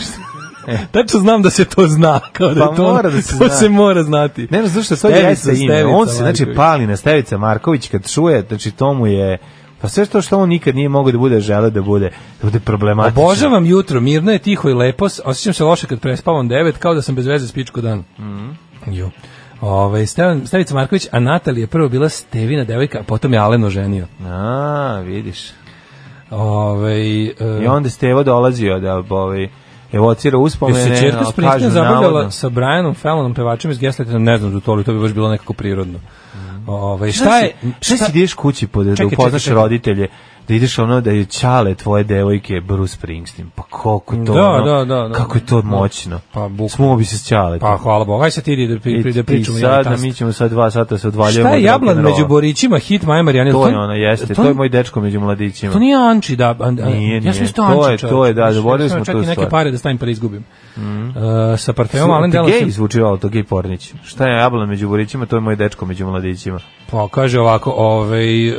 (laughs) Tačno znam da se to zna, kao da Pa je to, ono- mora da se (laughs) to zna. se mora znati. Ne znam zašto to Stevica, jeste ime. Stevica On se znači Marković. pali na Stevica Marković kad čuje, znači to mu je pa sve to što on nikad nije mogao da bude, žele da bude, da bude problematično. Obožavam jutro, mirno je, tiho i lepo, s- osjećam se loše kad prespavam devet, kao da sam bez veze spičko dan. Mhm. Jo. Ove, Ovaj, Stevan, Stevica Marković, a Natalija je prvo bila Stevina devojka, a potom je Aleno ženio. Ovaj, A, vidiš. Ove, e, I onda Stevo dolazio da ovaj evocira uspomene, se Čerka ali Springsteen ono, kažu, zabavljala navodno. sa Brianom Fallonom, pevačem iz Gaslighta, ne znam za to, ali to bi baš bilo nekako prirodno. Ovaj šta je Mhm. Šta si ideš kući pod, da Čekaj, čekaj, upoznaš čekaj. roditelje, da ideš ono da je čale tvoje devojke Bruce Springsteen. Pa koliko je to Da, ono, da, da, da. kako je to moćno. Pa, bukvalno. Smuo bi se s čale. Pa hvala Bogu, aj sad ti idi da, pri, pri, da pričamo. E, sad, da mi ćemo sad dva sata se odvaljujemo. Šta je od jablan rock'n'rolla. među borićima, hit Maja Marijana? To je ono, jeste. To je moj dečko među mladićima. To nije Anči, da. An, a- ono. Nije, Ja sam nije. isto To Anči, je- čovječe. to je, da, Znaš, zaboravili ja smo čak tu i neke stvar. pare da stavim pa da izgubim. Uh, sa parfemom Slu- Alen Ti gej Delon. zvuči ovo, to gej pornić. Šta je jablan među borićima, to je moj dečko među mladićima. Pa kaže ovako, ovaj,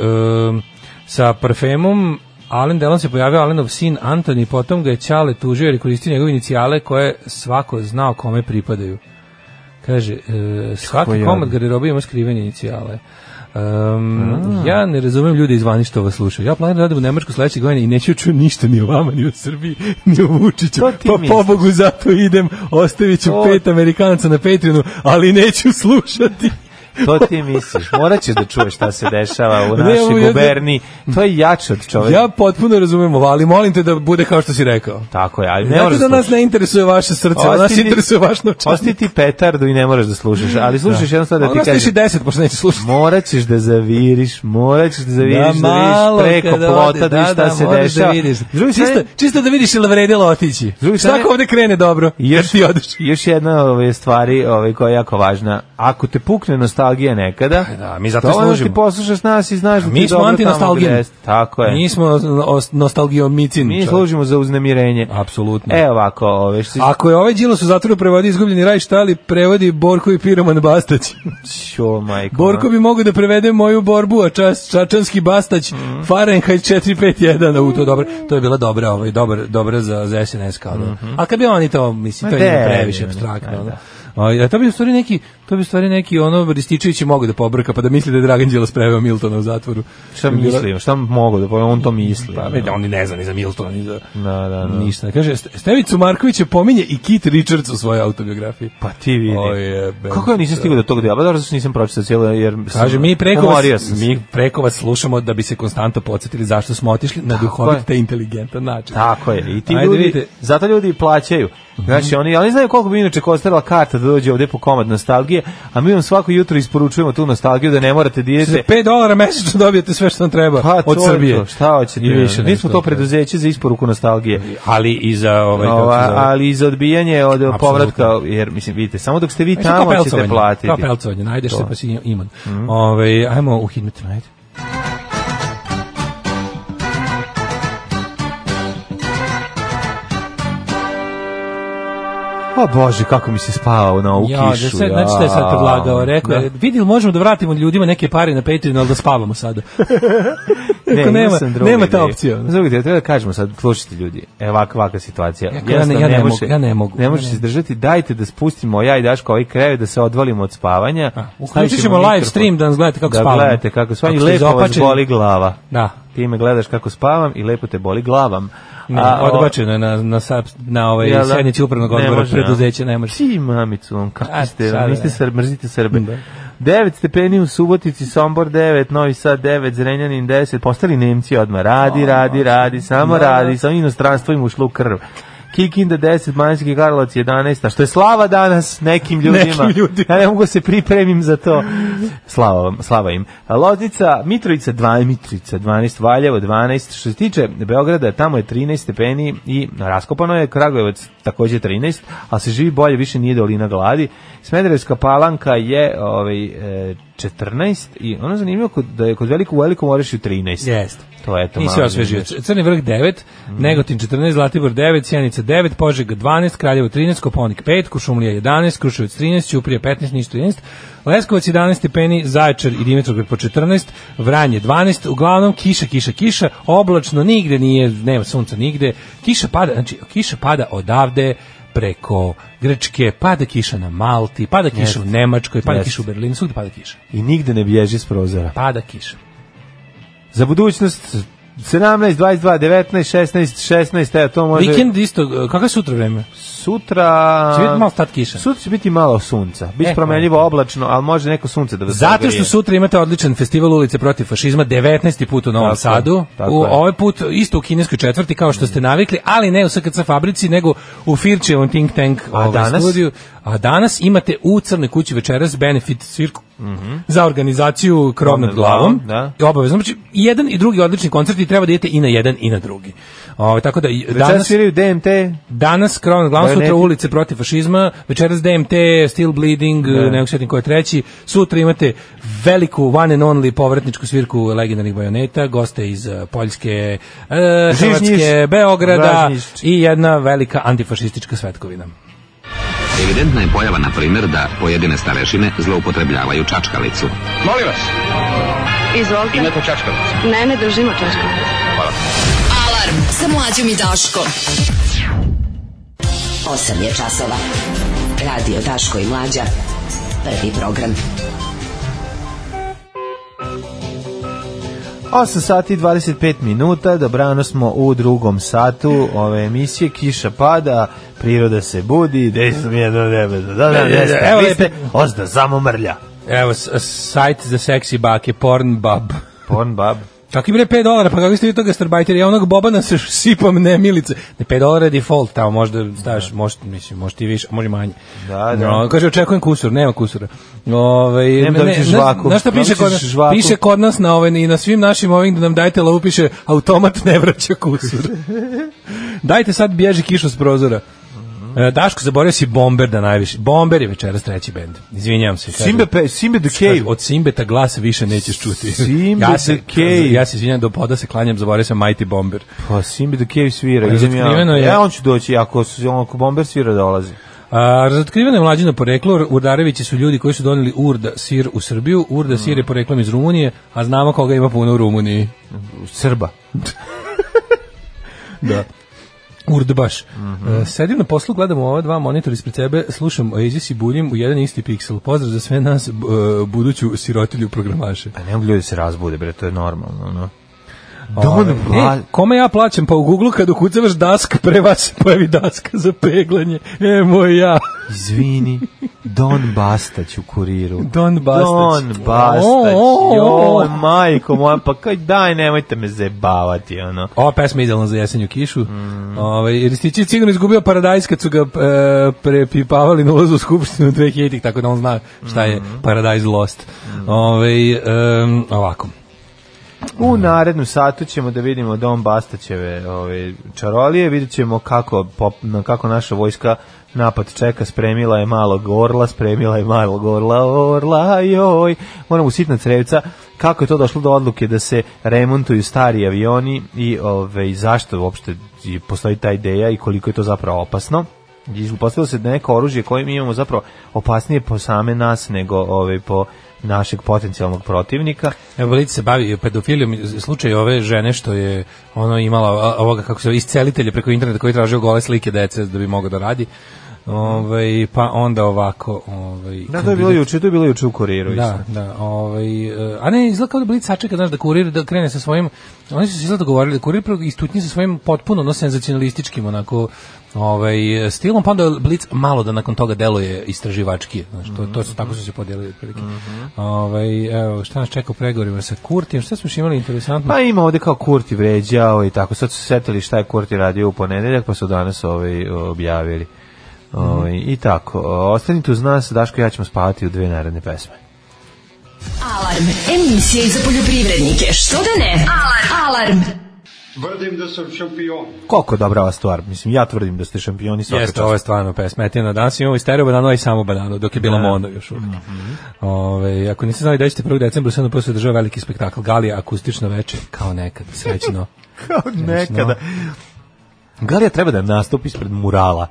um, sa parfemom Alen Delon se pojavio Alenov sin Antoni, potom ga je Ćale tužio jer je koristio njegove inicijale koje svako znao kome pripadaju. Kaže, e, svaki jadno. komad garderobe ima skrivene inicijale. Um, ja ne razumem ljude iz vani što vas slušaju. Ja planiram da radim u Nemačku sledeće godine i neću čuti ništa ni o vama, ni o Srbiji, ni o Vučiću. To ti Pa misliš. pobogu zato idem, ostavit ću To- pet Amerikanaca na Patreonu, ali neću slušati. To (laughs) ti misliš. Morat ćeš da čuješ šta se dešava u Ne, ovo našoj je- guberni. To je jače od čoveka. Ja potpuno razumem ovo, ali molim te da bude kao što si rekao. Tako je, ali ne Znate moraš da da nas ne interesuje vaše srce, a nas Osti ti- interesuje vaš novčanik. Osti ti petardu i ne moraš da slušaš, ali slušaš jedno sad da ti Ono stiši kažem. 10, pošto neće slušati. Morat ćeš da zaviriš, morat ćeš da Da, zaviriš, da, malo vidiš preko kada ode, plota, da, vidiš šta da, se moraš dešava. Da vidiš. S druge strane- čisto, čisto da vidiš ili vredilo otići. druge Šta strane- ako ovde krene dobro? I Jer još, ti odeš. (laughs) još jedna ove stvari ove, koja je jako važna. Ako te pukne nostalgija nekada, da, mi zato dovoljno služimo. ti poslušaš nas i znaš da ti je Mi smo dobro tamo antinostalgijni. gde jeste. Tako je. Mi smo os- nostalgiomicin. Mi čovječe. služimo za uznemirenje. Apsolutno. E ovako, ove, što Ako je ovaj Đilas u zatvoru prevodi izgubljeni raj, šta li prevodi Borko i Piroman Bastać? Ćo, majko. Borko bi mogao da prevede moju borbu, a čas, čačanski bastać Mhm. Fahrenheit 451, u to je dobro. To je bila dobra, ovaj dobar, dobra za, za SNS kao. Da. A kad bi oni to, mislim, to Mhm. Ma je njima de, previše ne, apstraktno. ne, Da. Ovaj, A to bi u stvari neki, to bi u stvari neki ono Rističević je mogao da pobrka pa da misli da je Dragan Đilas preveo Miltona u zatvoru. Šta Bi bila- mislim? Šta mogu da povem? On to misli. ono? Pa, vidi, on ni ne zna ni za Miltona, ni za Da, da, da. ništa. Kaže, Ste- Stevicu Markovića pominje i Kit Richards u svojoj autobiografiji. Pa ti vidi. O, jebe. Kako ja nisam stigao do tog dela? Pa Dobro, zašto nisam pročitao cijelo, jer sam- Kaže, mi preko umorio vas, sam se. mi preko vas slušamo da bi se konstantno podsjetili zašto smo otišli na duhovit je. te inteligentan način. Tako je, i ti Ajde, ljudi, vidite. Mhm. zato ljudi i plaćaju. Znači, oni, ali znaju koliko bi inače kostala karta da dođe ovde po komad nostalgije, a mi vam svako jutro isporučujemo tu nostalgiju da ne morate da Za idete 5 dolara mesečno dobijete sve što vam treba pa, od to je Srbije. To, šta hoćete? I više Mi nego smo što to treba. preduzeće za isporuku nostalgije. Ali i za ovaj... kako se Ova, zove. ali i za odbijanje od Apsolutno. povratka, jer mislim, vidite, samo dok ste vi E, to je kao tamo ćete pelcovanje, platiti. Mhm. Kao pelcovanje, najdeš se pa si iman. Ovaj, ajmo u hitnu temu, ajde. O Pa Bože, kako mi se spava na ovu Ja, kišu. da sad, znači šta je sad ja. predlagao, rekao Da. je, vidi li možemo da vratimo ljudima neke pare na Patreon, ali da spavamo (laughs) sada. Rekao, imao nema- sam drugu nema ono." ta ideju. opcija. Znaš Drugi, ideju, treba da kažemo sad, slušajte ljudi, evo ovakva, ovakva situacija. Ja- ja ne- Jednostavno ja ne može- mogu, ja ne mogu. Ne možeš Ja ne- izdržati, dajte da spustimo ja i Daško ovaj krevet, da se odvalimo od spavanja. Uključit Stavit ćemo live mikrofon. stream da nas gledate kako da spavamo. gledate kako ovaj spavamo i Ako ste lepo vas izopačeni- boli glava. Da. Ti me gledaš kako spavam i lepo te boli glavam. Ne, o- odbačeno je na, na, sab- na ovaj Jel da? sednici upravnog Ne odbora može, preduzeća, ne a? može. Ti mamicu, on, A, kako ste, sada niste ne. srb, mrzite Srbe. Da. 9 stepeni u Subotici, Sombor 9, Novi Sad 9, Zrenjanin 10, postali Nemci odmah, radi, radi, radi, samo radi, samo inostranstvo im ušlo u krv. Kikinda 10, Manjski Karlovac 11, a što je slava danas nekim ljudima. Nekim ljudima. (laughs) Ja ne mogu da se pripremim za to. Slava, vam, slava im. Loznica, Mitrovica 2, Mitrovica 12, Valjevo 12. Što se tiče Beograda, tamo je 13 stepeni i raskopano je. Kragujevac takođe 13, ali se živi bolje, više nije dolina gladi. Smederevska palanka je ovaj, e, 14 i ono zanimljivo kod, da je kod velikog u velikom Orešu 13. Jeste. To je to Nisi malo osvežio. zanimljivo. Crni vrh 9, Negotin 14, Zlatibor 9, Sjenica 9, Požega 12, Kraljevo 13, Koponik 5, Kušumlija 11, Kruševac 13, Ćuprija 15, Niš 13, Leskovac 11 stepeni, Zaječar i Dimitrovgrad po 14, Vranje 12, uglavnom kiša, kiša, kiša, oblačno nigde nije, nema sunca nigde, kiša pada, znači kiša pada odavde preko Grčke, pada kiša na Malti, pada kiša u Nemačkoj, pada Jeste. kiša u Berlinu, svugde pada kiša. I nigde ne bježi s prozora. Pada kiša. Za budućnost 17, 22, 19, 16, 16, evo to može... Vikend isto, kakvo je sutra vreme? Sutra... Će biti malo tad kiša. Sutra će biti malo sunca. Biće E, promenljivo oblačno, ali može neko sunce da vas Zato zagrije. što sutra imate odličan festival ulice protiv fašizma, 19. put u Novom Tako je, Sadu. tako u je. ovaj put isto u kineskoj četvrti kao što ste navikli, ali ne u SKC fabrici, nego u Firčevom Think Tank A ovaj, danas? studiju. A danas imate u Crnoj kući večeras benefit svirku za organizaciju Krov nad glavom. da. I obavezno. Znači, i jedan i drugi odlični koncert i treba da idete i na jedan i na drugi. Ovaj tako da i- Večeras danas, sviraju DMT. danas Krov nad glavom, sutra Bajoneti. ulice protiv fašizma, večeras DMT, Still Bleeding, ne mogu se sjetim ko je treći, sutra imate veliku one and only povratničku svirku legendarnih bajoneta, goste iz eh, Poljske, eh, Žižnjiš, Hrvatske, Beograda Dražnjić. i jedna velika antifašistička svetkovina. Evidentna je pojava, na primjer, da pojedine starešine zloupotrebljavaju čačkalicu. Molim vas, Izvolite. imate čačkalicu. Ne, ne držimo čačka. Alarm sa mlađom i Daškom. 8 je časova. Radio Daško i Mlađa. Prvi program. 8 sati i 25 minuta, dobrano smo u drugom satu ove emisije, kiša pada, priroda se budi, gde sam jedno nebe, da, da, da, gde ste, E, Evo vi lepe- ste, ozda, samo mrlja. Evo, s- sajt za seksi bake, Pornbub. Pornbub. Kako im 5 dolara, pa kako ste vi to gastarbajteri, ja onog bobana se š- sipam, ne milice. Ne, 5 dolara je default, tamo možda staviš, možda, mislim, možda i više, a može i manje. Da, da. No, kaže, očekujem kusur, nema kusura. Ove, Nema dobit ćeš žvaku. Znaš šta piše Dobit ćeš kod, nas? žvaku. piše kod nas na ovaj, i na svim našim ovim da nam dajte lovu, piše automat ne vraća (laughs) kusur. dajte sad bježi kišu s prozora. Mhm. E, Daško, zaboravio si Bomber da najviše. Bomber je večeras treći bend. Izvinjavam se. kažem. Simbe, pe, Simbe the Kaže, Cave. od Simbeta glas više nećeš čuti. (laughs) Simbe ja se, the Cave. Ja se izvinjam, do poda se klanjam, zaboravio sam Mighty Bomber. Pa Simbe the Cave svira, Pa, idem razotkriveno ja. je- Ja, on će doći, ako, su- ako bomber svira dolazi. A, razotkriveno je mlađino poreklo, Urdarevići su ljudi koji su doneli Urda sir u Srbiju, Urda sir je poreklom iz Rumunije, a znamo koga ima puno u Rumuniji. Srba. Da. Urd baš. E, sedim na poslu, gledam ova dva monitora ispred sebe, slušam Oasis i buljim u jedan isti piksel. Pozdrav za sve nas, b- e, buduću sirotilju programaše. Pa ne mogu ljudi da se razbude, bre, to je normalno, ono. Ovaj, no. Ove, Don Bla... e, kome ja plaćam? Pa u Google kad ukucavaš dask, pre vas se pojavi daska za peglanje. E, moj ja. Izvini, Don Bastać u kuriru. Don Bastać. Don Bastać. O, o, o. Joj, majko moja, pa kaj daj, nemojte me zebavati, ono. Ova pesma je idealna za jesenju kišu. Mm. Ovaj, jer Stići je sigurno izgubio paradajz kad su ga e, prepipavali na ulazu u skupštinu 2000-ih, tako da on zna šta Mm. je paradajz lost. Ovaj, em, ovako. U narednu satu ćemo da vidimo Don Bastaćeve ove, čarolije, vidjet ćemo kako, pop, na- kako naša vojska napad čeka, spremila je malog orla, spremila je malog orla, orla, joj, moramo u sitna crevca, kako je to došlo do odluke da se remontuju stari avioni i ove, zašto uopšte i postoji ta ideja i koliko je to zapravo opasno. I upostavilo se da neko oružje koje mi imamo zapravo opasnije po same nas nego ove, po našeg potencijalnog protivnika. Evo, Lice se bavi pedofilijom, slučaj ove žene što je ono imala a- ovoga, kako se zove, iscelitelja preko interneta koji je tražio gole slike dece da bi mogao da radi. Ovaj, pa onda ovako... Ovaj, Da, to je bilo juče, to je bilo juče u kuriru. Da, da, ovaj, e, a ne, izgleda kao da Blic sačeka, znaš, da kurir, da krene sa svojim, oni su se izgleda govorili da kurir prvo istutnji sa svojim potpuno ono, senzacionalističkim, onako, ovaj, stilom, pa onda Blic malo da nakon toga deluje istraživački, znaš, to, to su, tako su se podijelili otprilike. Ovaj, evo, šta nas čeka u pregovorima sa Kurtijem, šta smo još imali interesantno? Pa ima ovde kao Kurti vređao i ovaj, tako. Sad su se setili šta je Kurti radio u ponedeljak, pa su danas ovaj objavili. Ovaj, I tako. Ostanite uz nas, Daško i ja ćemo spavati u dve naredne pesme. Alarm, emisija i za poljoprivrednike. Što da ne? Alarm. Alarm. Koliko je dobra ova stvar? Mislim, ja tvrdim da ste šampioni svaka Jeste, čast. ovo je stvarno pesmetina. Danas imamo i stereo bananu, a i samo bananu, dok je bila mono još uvijek. Ove, ako niste znali da ćete 1. decembra, sada posle država veliki spektakl. Galija, akustično veče, kao nekad, (laughs) srećno. Kao nekada. Galija treba da nastupi ispred murala.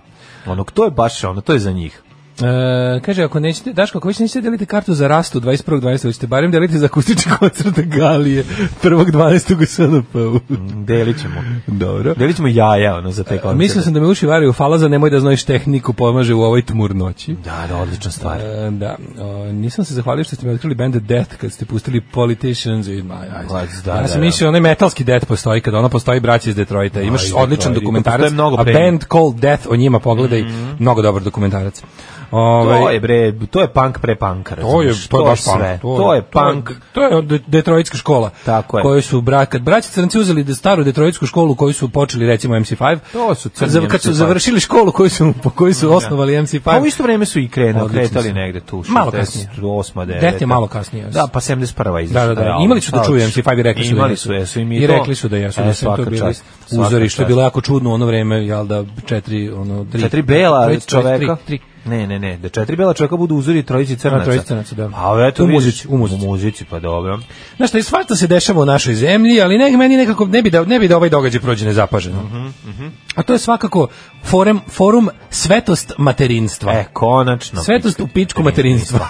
Ono, to je baš ono, to je za njih. E, kaže, ako nećete, Daško, ako već nećete deliti kartu za rastu 21.12. hoćete barem deliti za (laughs) akustični koncert Galije 1.12. u SNP-u. Delit ćemo. Dobro. Delit ćemo jaja, ono, za te koncerte. Mislio sam da me uši varaju, hvala za nemoj da znojiš tehniku, pomaže u ovoj tmurnoći. Da, da, odlična stvar. E, da, o, nisam se zahvalio što ste mi otkrili band Death kad ste pustili Politicians in my eyes. Let's- Pa, da, ja da, sam da. mislio onaj metalski Death postoji kad ono postoji braća iz Detroita. Imaš iz Detroita. odličan I dokumentarac, postoje mnogo Mhm. a pre njih. band Cold Death o njima pogledaj, mnogo dobar dokumentarac. Ovaj, to je bre, to je punk pre panka, To je, razumeš? to je baš punk. sve. To je punk. To je, od detroitska škola. Tako je. Koju su brak, kad braća crnci uzeli de staru detroitsku školu koju su počeli recimo MC5. To su kad, crni za- kad su MC5. završili školu koju su po kojoj su osnovali MC5. Pa u isto vreme su i krenuli, Odlični kretali su. negde tu. Malo 68., kasnije. 9. Devet je malo kasnije. Da, pa 71. Da, izašla. da, da. realno. Imali su da Sad, čujem se, i rekli su da Imali jesu. su, jesu im to- I rekli su da jesu, E, da su im to svaka bili čast, svaka uzori, što je čast. bilo jako čudno u ono vreme, jel da, četiri, ono, tri. Četiri bela trojica, čoveka. Tri, tri. Ne, ne, ne, da četiri bela čoveka budu uzori trojici crnaca. A, trojici crnaca, da. A eto, U vidiš, muzici, u muzici. U muzici, pa dobro. Znaš, šta, i svašta se dešava u našoj zemlji, ali ne, meni nekako ne bi da, ne bi da ovaj događaj prođe nezapaženo. Mhm, A to je svakako forum, forum svetost materinstva. E, konačno. svetost u pičku materinstva. (laughs)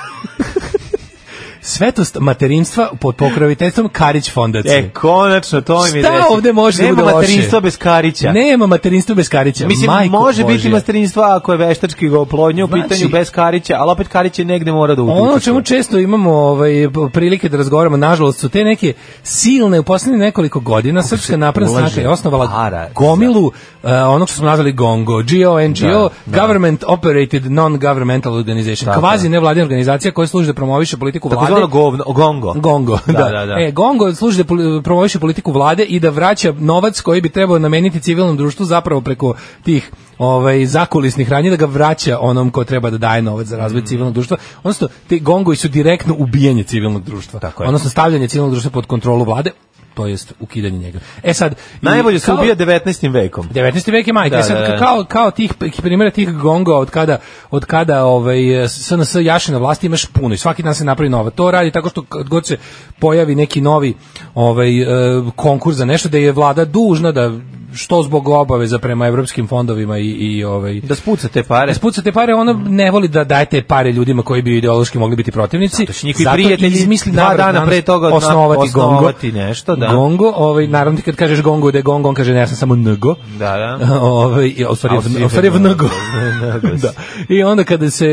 svetost materinstva pod pokroviteljstvom Karić fondacije. E, konačno, to im je Šta reci. ovde može da Nema bude loše? materinstva bez karića. Nema materinstva bez Karića. Mislim, Majko može biti Božja. materinstva ako je veštački ga oplodnje u Znači- pitanju bez karića, ali opet karić je negde mora da Ono o uključi. čemu često imamo ovaj, prilike da razgovaramo, nažalost, su te neke silne, u posljednjih nekoliko godina Srpska napredna ulaže stranka je osnovala para gomilu eh, onog što smo nazvali GONGO, GONGO, Da, da. Government Operated Non-Governmental Organization, Tako je. kvazi nevladina organizacija koja služi da promoviše politiku Tako vlade. zvano ono govno, gongo. Gongo, da, da, da. E, Gongo služi da poli- promoviše politiku vlade i da vraća novac koji bi trebao nameniti civilnom društvu zapravo preko tih ovaj zakulisnih radnji da ga vraća onom ko treba da daje novac za Mhm. razvoj civilnog društva. Odnosno, ti gongovi su direktno ubijanje civilnog društva. Tako je. Odnosno, stavljanje civilnog društva pod kontrolu vlade, to jest ukidanje njega. E sad, i Najbolje se kao- ubija 19. vekom. 19. vek je majka. Da, E sad, da, da. Kao, kao tih primjera tih gonga od kada, od kada ovaj, SNS jaše na vlasti imaš puno i svaki dan se napravi nova. To radi tako što kad god se pojavi neki novi ovaj, e, konkurs za nešto da je vlada dužna da što zbog obaveza prema evropskim fondovima i, i ovaj, Da spuca te pare. da spucate pare, ona ne voli da dajete pare ljudima koji bi ideološki mogli biti protivnici. Zato što njihovi prijatelji izmisli dva navrat dana danas pre toga odna- osnovati, gongo. osnovati nešto, da. Gongo, ovaj, naravno ti kad kažeš gongo da je gongo, on kaže ne, ja sam samo nego. Da, da. (laughs) ovaj, i, a u stvari, A u stvari je v- u stvari je je vnego. Vnego. (laughs) da. I onda kada se,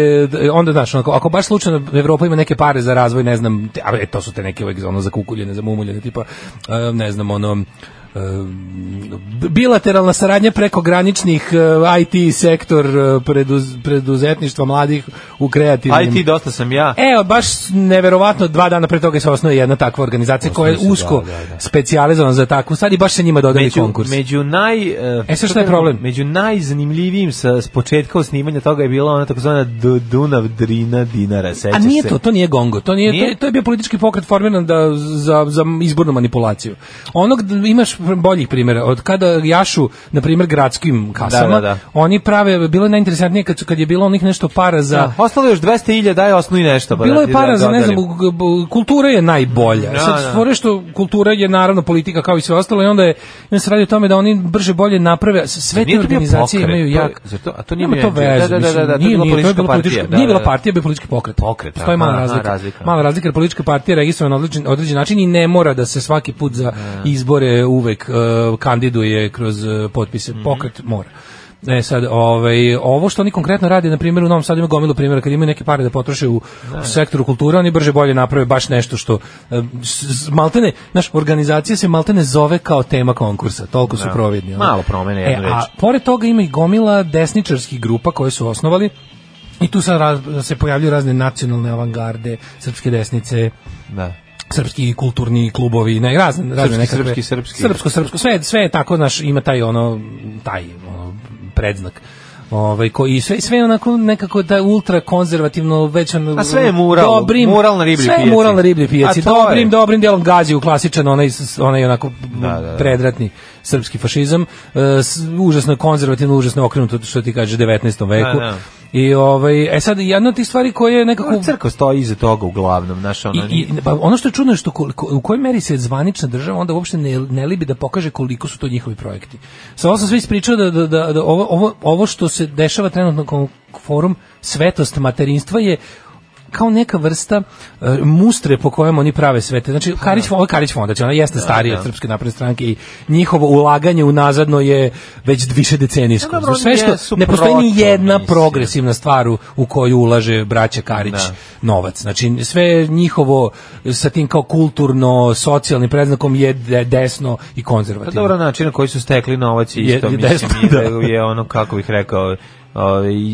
onda znaš, onako, ako baš slučajno Evropa ima neke pare za razvoj, ne znam, te, a, e, to su te neke uvek ono, za kukuljene, za mumuljene, tipa, e, ne znam, ono, e, bilateralna saradnja preko graničnih IT sektor e, preduz, preduzetništva mladih u kreativnim Aj ti, dosta sam ja. Evo, baš neverovatno, dva dana pre toga se osnuje jedna takva organizacija koja je Osnuje se, usko da, da, da. specijalizovana za takvu stvar i baš se njima dodali Među, konkurs. među naj... eh, E, sad šta je problem? Među najzanimljivijim sa, s početka osnivanja toga je bila ona takozvana D- Dunav Drina Dinara, sećaš A nije se? to, to nije Gongo, to nije, Nije? To, je, to je bio politički pokret formiran da za za izbornu manipulaciju. Onog d- imaš boljih primjera. Od kada jašu na primjer gradskim kasama, Da, da, da. oni prave bilo je najinteresantnije kad su- kad je bilo onih nešto para za Da, ostalo je još 200.000, daj osnovi nešto. pa da Bilo je ti para da- za ne dodarim. znam, bu- bu- kultura je najbolja. Da, da. Sad fore što kultura je naravno politika kao i sve ostalo i onda je onda se radi o tome da oni brže bolje naprave s- sve te Nije to bio organizacije pokret, imaju to je- jak. zar to- a to nije Nema bio to entity, da, da, veze, da, mislim, da, to je nije- bila nije, to je politička bilo političko- partija, da, Nije bila da, da. partija, bio je politički pokret. Pokret, Postoji aha, mala aha, razlika. razlika. Mala razlika jer politička partija je registrovana na određen, određen način i ne mora da se svaki put za izbore uvek e, kandiduje kroz e, potpise. Mhm. Pokret mora. E sad, ovaj, ovo što oni konkretno rade, na primjer, u Novom Sadu ima gomilu primjera, kad imaju neke pare da potroše u, u sektoru kulture, oni brže bolje naprave baš nešto što, e, s- s- maltene, naš organizacija se maltene zove kao tema konkursa, toliko su providni. ono. Malo promene jednu e, reč. A pored toga ima i gomila desničarskih grupa koje su osnovali, i tu sad raz- se pojavljuju razne nacionalne avangarde, srpske desnice, Da. srpski kulturni klubovi, ne, razne, razne Srpski, nekakve- srpski, srpski. Srpsko, srpsko, sve, sve je tako, znaš, ima taj ono, taj ono, predznak. Ovaj koji i sve sve je onako nekako da ultra konzervativno već ono A sve je mural, mural na ribljoj sve je pijaci. mural na ribljoj pijaci. A to je. Dobrim dobrim delom gazi u klasičan onaj s- onaj onako da, da. predratni srpski fašizam. E, s- užasno je konzervativno, užasno je okrenuto što ti kaže 19. veku. Da, da. I ovaj e sad jedna od tih stvari koje je nekako Crkva stoji iza toga uglavnom, znaš, ono... i, i, pa ono što je čudno je što koliko, u kojoj meri se zvanična država onda uopšte ne, ne libi da pokaže koliko su to njihovi projekti. Sa ovo sam sve ispričao da, da, da, da ovo, ovo, ovo što se dešava trenutno kao forum svetost materinstva je kao neka vrsta e, mustre po kojem oni prave sve te. Znači, Karić, ovo je Karić fondacija, ona jeste starija od Srpske napredne stranke i njihovo ulaganje unazadno je već više decenijsko. Pa dobro, Znači, sve oni što, jesu ne postoji ni proto, jedna mislim. progres progresivna stvar u, u koju ulaže braća Karić Da. novac. Znači sve njihovo sa tim kao kulturno, socijalnim predznakom je de- desno i Pa konzervativno. dobro, način na koji su stekli novac je Je- isto, je mislim, desno, je, da. je ono, kako bih rekao, ovaj,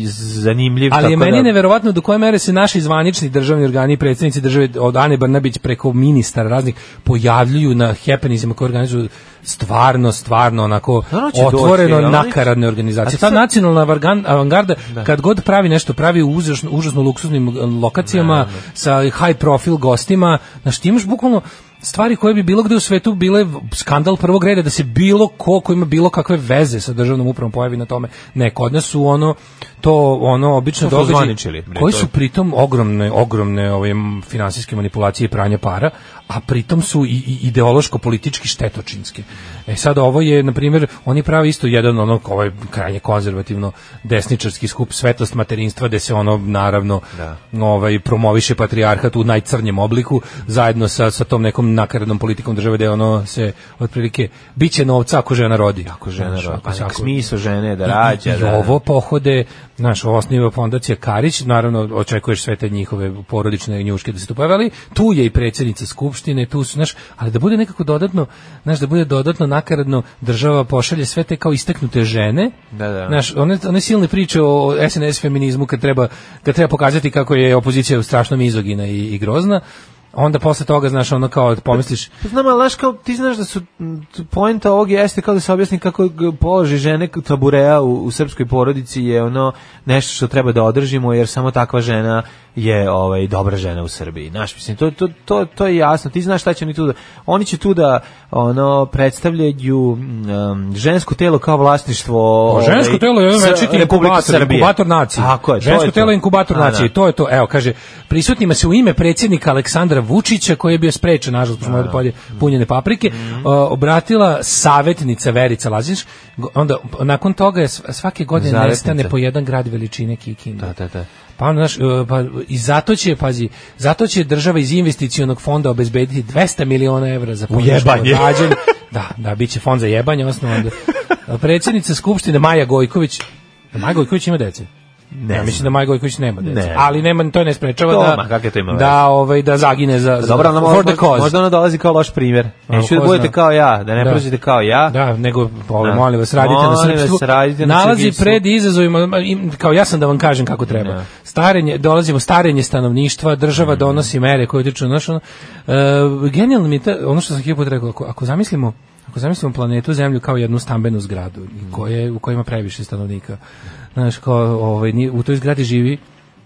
zanimljiv. Ali je tako meni da- neverovatno do koje mere se naši zvanični državni organi i predstavnici države od Ane Brnabić preko ministara raznih pojavljuju na happenizima koje organizuju stvarno, stvarno onako Naravno će otvoreno doći, ali oni- nakaradne A ti organizacije. Ta sad- nacionalna avargan- avangarda kad god pravi nešto, pravi u užasno, užasno luksuznim lokacijama sa high profil gostima, znaš ti imaš bukvalno stvari koje bi bilo gde u svetu bile skandal prvog reda da se bilo ko ko ima bilo kakve veze sa državnom upravom pojavi na tome. Ne, kod nas su ono to ono To obično su događaji zvaničili, bre, koji to su je- pritom ogromne ogromne ove m, finansijske manipulacije i pranje para, a pritom su i, i ideološko politički štetočinske. E sad ovo je na primjer oni pravi isto jedan ono ovaj krajnje konzervativno desničarski skup svetlost materinstva gde se ono naravno ovaj promoviše patrijarhat u najcrnjem obliku zajedno sa sa tom nekom nakaradnom politikom države gde ono se otprilike biće novca ako žena rodi. Ako žena roba, pa nek smisao žene je da rađa. i, i da- ovo pohode, znaš, ovo osniva fondacija Karić, naravno očekuješ sve te njihove porodične njuške da se tu pojave, ali tu je i predsjednica Skupštine, tu su, znaš, ali da bude nekako dodatno, znaš, da bude dodatno nakaradno država pošalje sve te kao isteknute žene, Da, da. znaš, one, one silne priče o SNS feminizmu kad treba, kad treba pokazati kako je opozicija strašno mizogina i, i grozna, onda posle toga, znaš, ono kao pomisliš, Znam, ali znaš kao, ti znaš da su m, poenta ovog jeste kao da se objasni kako je g- položaj žene k- taburea u, u srpskoj porodici je ono nešto što treba da održimo jer samo takva žena je ovaj dobra žena u Srbiji. Znaš, mislim to to to to je jasno. Ti znaš šta će oni tu da oni će tu da ono predstavljaju m, em, žensko telo kao vlasništvo. Pa, žensko ovaj, telo je jedan Sr- večiti Republike inkubator, Srbije. inkubator nacije. Tako je, to žensko je to. telo je inkubator Da, da. nacije, i to je to. Evo, kaže, prisutnima se u ime predsjednika Aleksandra Vučića, koji je bio sprečen, nažalost, pošto da, polje Mm. punjene paprike, o, obratila savjetnica Verica Lazić, Go- onda nakon toga je s- svake godine Zavetnica. nestane po jedan grad veličine Kikinde. Da, da, da. Pa ono, znaš, e, pa i zato će, pazi, zato će država iz investicionog fonda obezbediti 200 miliona evra za podršku jebanje. rađen- Da, da, bit će fond za jebanje osnovan. Da. Predsjednica Skupštine Maja Gojković, Maja Gojković ima dece. Ne ja mislim znam. da Maja Gojković nema dece, Ne. ali nema to ne sprečava To, da ma, kakve to ima veze? da ovaj da zagine za, za Dobro, ona for the možda, cause. možda ona dolazi kao loš primjer. Ono, Neću da ko budete zna. kao ja, da ne Da. prođete kao ja. Da, nego pa, ovo, Da. molim vas radite na Molim vas, srpstvu. radite na Nalazi srpstvu. pred izazovima ma, im, kao ja sam da vam kažem kako treba. Starenje, dolazimo starenje stanovništva, država Mm. donosi mere koje utiču na naš ono, e, genijalno mi je ta- ono što sam hipo rekao, ako, ako zamislimo Ako zamislimo planetu Zemlju kao jednu stambenu zgradu Mm. i koje, u kojoj ima previše stanovnika, znaš, kao, ovaj, ni- u toj zgradi živi,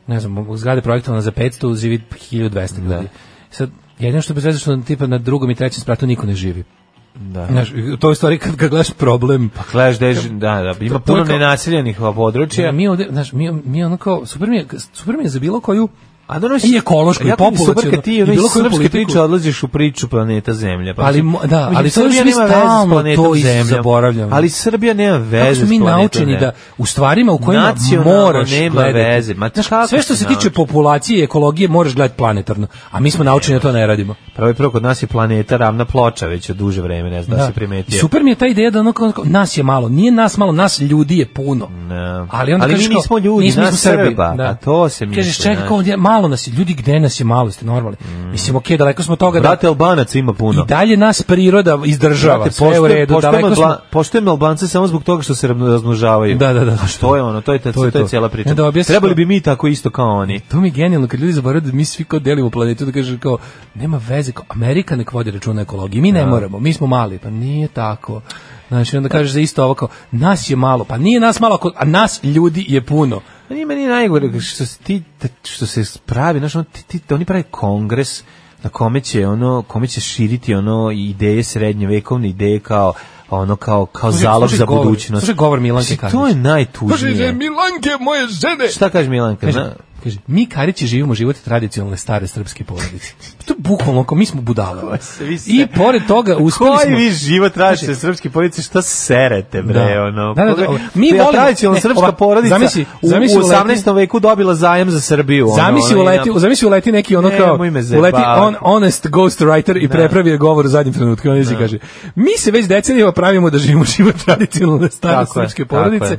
ne znam, zgrada je projektovana za 500, živi 1200 ljudi. Sad, jedino što bez veze što tipa na drugom i trećem spratu niko ne živi. Da. Znaš, to je u stvari kad, kad gledaš problem. Gledaš da, je ž- da, da, ima To- to je puno kao- nenaseljenih područja. Mi ovde, znaš, mi, mi ono kao, super mi je, super mi je za bilo koju A da ono I ekološko, i jako mi je populaciono, Super kad ti i ono, iz bilo koju srpske politiku. priče odlaziš u priču planeta Zemlja. Pa Ali mislim, mo- da, mislim, ali to još Srbija mi nema veze s stalno planetom to iz- Zemljom. zaboravljamo. Ali Srbija nema Kako veze smo s mi planetom naučeni da Zemljom. u stvarima u kojima Nacionalno moraš nema gledati. veze, ma Znaš, kako sve što si se tiče naučen? populacije i ekologije moraš gledati planetarno, a mi smo naučeni da to ne radimo. Prvo i prvo kod nas je planeta ravna ploča već od duže vreme, ne znam da, Pa si primetio. Super mi je ta ideja da ono kao, kao, nas je malo, nije nas malo, nas ljudi je puno. Ne. Ali, onda Ali mi kažeš kao, nismo ljudi, nismo, nas nismo Srbi. Srba, da. a to se misli, Kažeš, čekaj, znaš. Mm. kao, ovdje, malo nas je, ljudi gde nas je malo, ste normalni. Mislim, okej, daleko smo od toga da Brate Albanac ima puno. I dalje nas priroda izdržava, Brate, sve je u poštujem- redu, poštujem daleko smo... Alba- Poštujem Albance samo zbog toga što se ravno- razmnožavaju. Da, da, da. A što je ono, to je, ta, To to je je, to. cijela priča. E, da objasniš Trebali to. bi mi tako isto kao oni. To mi je genijalno, kad ljudi zaboravaju da mi svi kao delimo planetu, da kaže kao, nema veze, kao, Amerika nek vodi računa o ekologiji, mi ne moramo, mi smo mali, pa nije tako. Znači, onda kažeš za isto ovo kao, nas je malo, pa nije nas malo, ako- a nas ljudi je puno. Pa nije meni najgore što se ti što se pravi, znači ono, ti, ti, oni prave kongres na kome će ono kome će širiti ono ideje srednjevekovne ideje kao ono kao kao Slušaj, zalog slušaj za govor, budućnost. slušaj govor Milanke Mislim, To Karić. je najtužnije. Milanke, moje žene! Šta kaže Milanka? Kaže, na- kaže, mi Karići živimo život tradicionalne stare srpske porodice. Pa To je bukvalno kao mi smo budale. vi ste- I pored toga uspeli smo... Znači, Koji vi život tražite srpski porodice, šta serete bre, Da. ono. Da, da, da, Koga- mi Ja volimo- tradicionalna ne, srpska ova- porodica zamisli- u, zamisli u uleti- 18. veku dobila zajem za Srbiju. ono, Zamisli ono, i uleti, na- zamisli uleti neki ono kao Nemoj me pa- uleti zajebavati. on honest ghostwriter i prepravi je govor u zadnjem trenutku. On izi kaže: "Mi se već decenijama pravimo da živimo život tradicionalne stare Tako je, srpske tako porodice."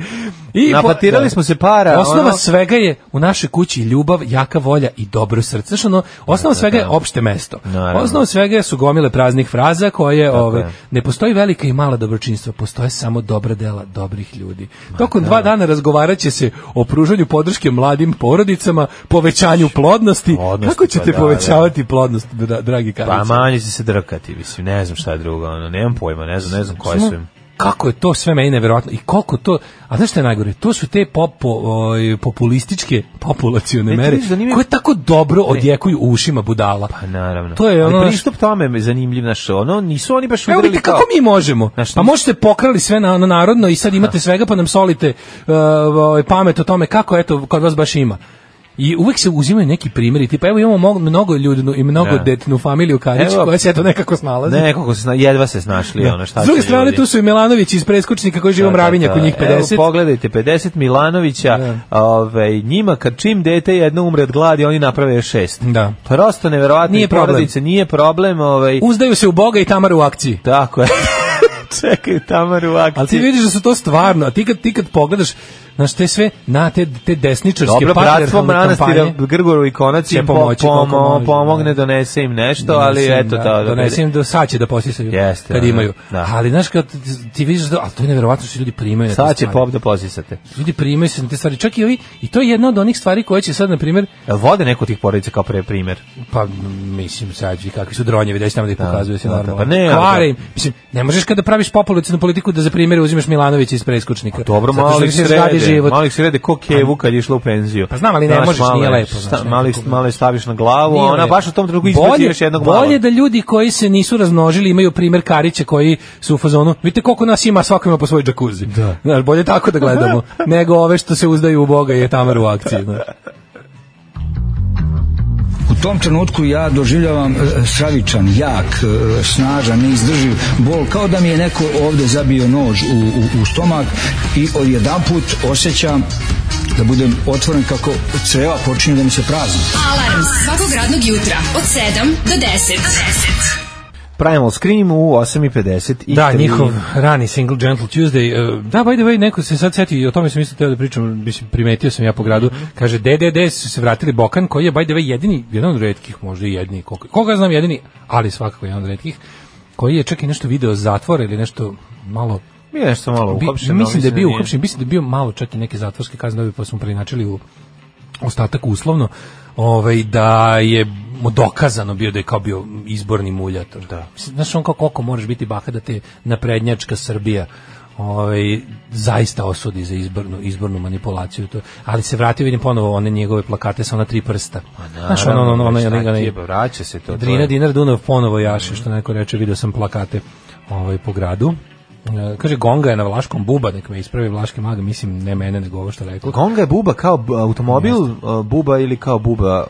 je. Napatirali da. smo se para, Osnova ono- svega je u našoj kući ljubav, jaka volja i dobro srce. Znaš, ono, osnova svega je opšte mesto. Naravno. Osnova svega su gomile praznih fraza koje ove, je. ne postoji velika i mala dobročinstva, postoje samo dobra dela dobrih ljudi. Tokom dva dana razgovarat će se o pružanju podrške mladim porodicama, povećanju plodnosti. Plodnosti, Kako pa ćete da, povećavati plodnost, dra- dragi Karlić? Pa manje će se drkati, mislim, ne znam šta je drugo, ono, nemam pojma, ne znam, ne znam koje Samo su im. Kako je to sve meni neverovatno i koliko to, a znaš šta je najgore, to su te popo, oj, populističke populacione Ne, ti mere vidiš da nije- koje tako dobro odjekuju u ušima budala. Pa naravno. To je Ali ono, znaš- pristup tome me zanimljiv, znaš, ono, nisu oni baš Pa Evo udarili vidite kao... kako mi možemo. Znaš, Pa možete pokrali sve na, na narodno i sad imate svega pa nam solite uh, ovaj, pamet o tome kako eto kod vas baš ima. I uvek se uzimaju neki primjeri, tipa evo imamo mog- mnogo ljudnu i mnogo Da. detnu familiju Karić Evo- koja se eto nekako snalazi. Nekako se, sna- jedva se snašli, ono, šta S druge će strane ljudi? tu su i Milanović iz preskočnika koji žive u Mravinjaku, njih 50. Pa Evo, pogledajte, 50 Milanovića, Da. ovaj, njima kad čim dete jedno umre od gladi, oni naprave još šest. Da. Prosto neverovatno. Nije i porodice, Nije problem, ovaj, Uzdaju se u Boga i Tamara u akciji. tako je. (laughs) Čekaj, Tamar u akciji. Ali ti vidiš da su to stvarno, a ti kad, ti kad pogledaš, znaš, te sve, na, te, te desničarske Dobro, bratstvo patriarhalne manastira kampanje, Grgoru i Konac će im po, pomoći koliko pomo- može, pomogne, da. donese im nešto, ali donesem, eto, da, da, donesem im do sad će da posisaju, Jeste, kad da, imaju. da. Ali, znaš, kad ti- ti vidiš da, ali to je nevjerovatno što ljudi primaju. na te Sad će stvari. pop da posisate. Ljudi primaju se na te stvari. Čak i ovi, i to je jedna od onih stvari koje će sad, na primjer, Jel Vode neko od tih porodica kao pre primer. Pa m, mislim sad vi kakvi su dronjevi da tamo da ih pokazuju se da, da, normalno. pa ne, ali Kvare da. im. Mislim ne možeš kada praviš populacionu politiku da za primjer uzmeš Milanovića iz preskočnika. Pa Dobro, Zato što malo im ih se zgradi srede, život. malo ih srede ko Kevu kad je išla u penziju. Pa znam, ali ne Znaš, možeš, malo nije je, lepo, znaš, sta- nekako. Malo, ih- malo je staviš na glavu, a Nije ona lepo. baš u tom trenutku izbaci Bolje- još jednog malo. Bolje da ljudi koji se nisu razmnožili imaju primjer Karića koji su u fazonu. Vidite koliko nas ima, svako ima po svoj džakuzi. Da. Znaš, bolje tako da gledamo (laughs) nego ove što se uzdaju u Boga i je Tamar u akciji. znaš. U tom trenutku ja doživljavam e, stravičan, jak, e, snažan, neizdrživ bol, kao da mi je neko ovde zabio nož u, u, u stomak i odjedan put osjećam da budem otvoren kako creva počinju da mi se prazni. Alarm svakog radnog jutra od 7 do 10. Primal Scream u 8.50 i Da, tri. njihov rani single Gentle Tuesday. uh, Da, by the way, neko se sad seti, i o tome sam isto teo da pričam, mislim, primetio sam ja po gradu, Mhm. kaže DDD su se vratili Bokan, koji je by the way jedini, jedan od retkih, možda i jedini, koga, koga znam jedini, ali svakako jedan od retkih, koji je čak i nešto video zatvor ili nešto malo Bio je nešto malo bi- uhapšeno. mislim da je bio nije. uhapšen, mislim da je bio malo čak i neke zatvorske kazne, ovi pa smo preinačili u ostatak uslovno, ovaj, da je mu dokazano bio da je kao bio izborni muljator. Da. Mislim, znaš on kao koliko moraš biti baka da te naprednjačka Srbija ovaj, zaista osudi za izbornu, izbornu manipulaciju. To. Ali se vratio, vidim ponovo one njegove plakate sa ona tri prsta. Znaš, ono, ono, ono, ono, Pa šta ono, ti ono, je, pa vraća se to, to Drina je. Dinar Dunav ponovo jaše, što neko reče, video sam plakate ovaj, po gradu. E, kaže, Gonga je na Vlaškom buba, nek me ispravi Vlaški mag, mislim, ne mene, nego ovo što rekao. Gonga je buba kao b- automobil, a, buba ili kao buba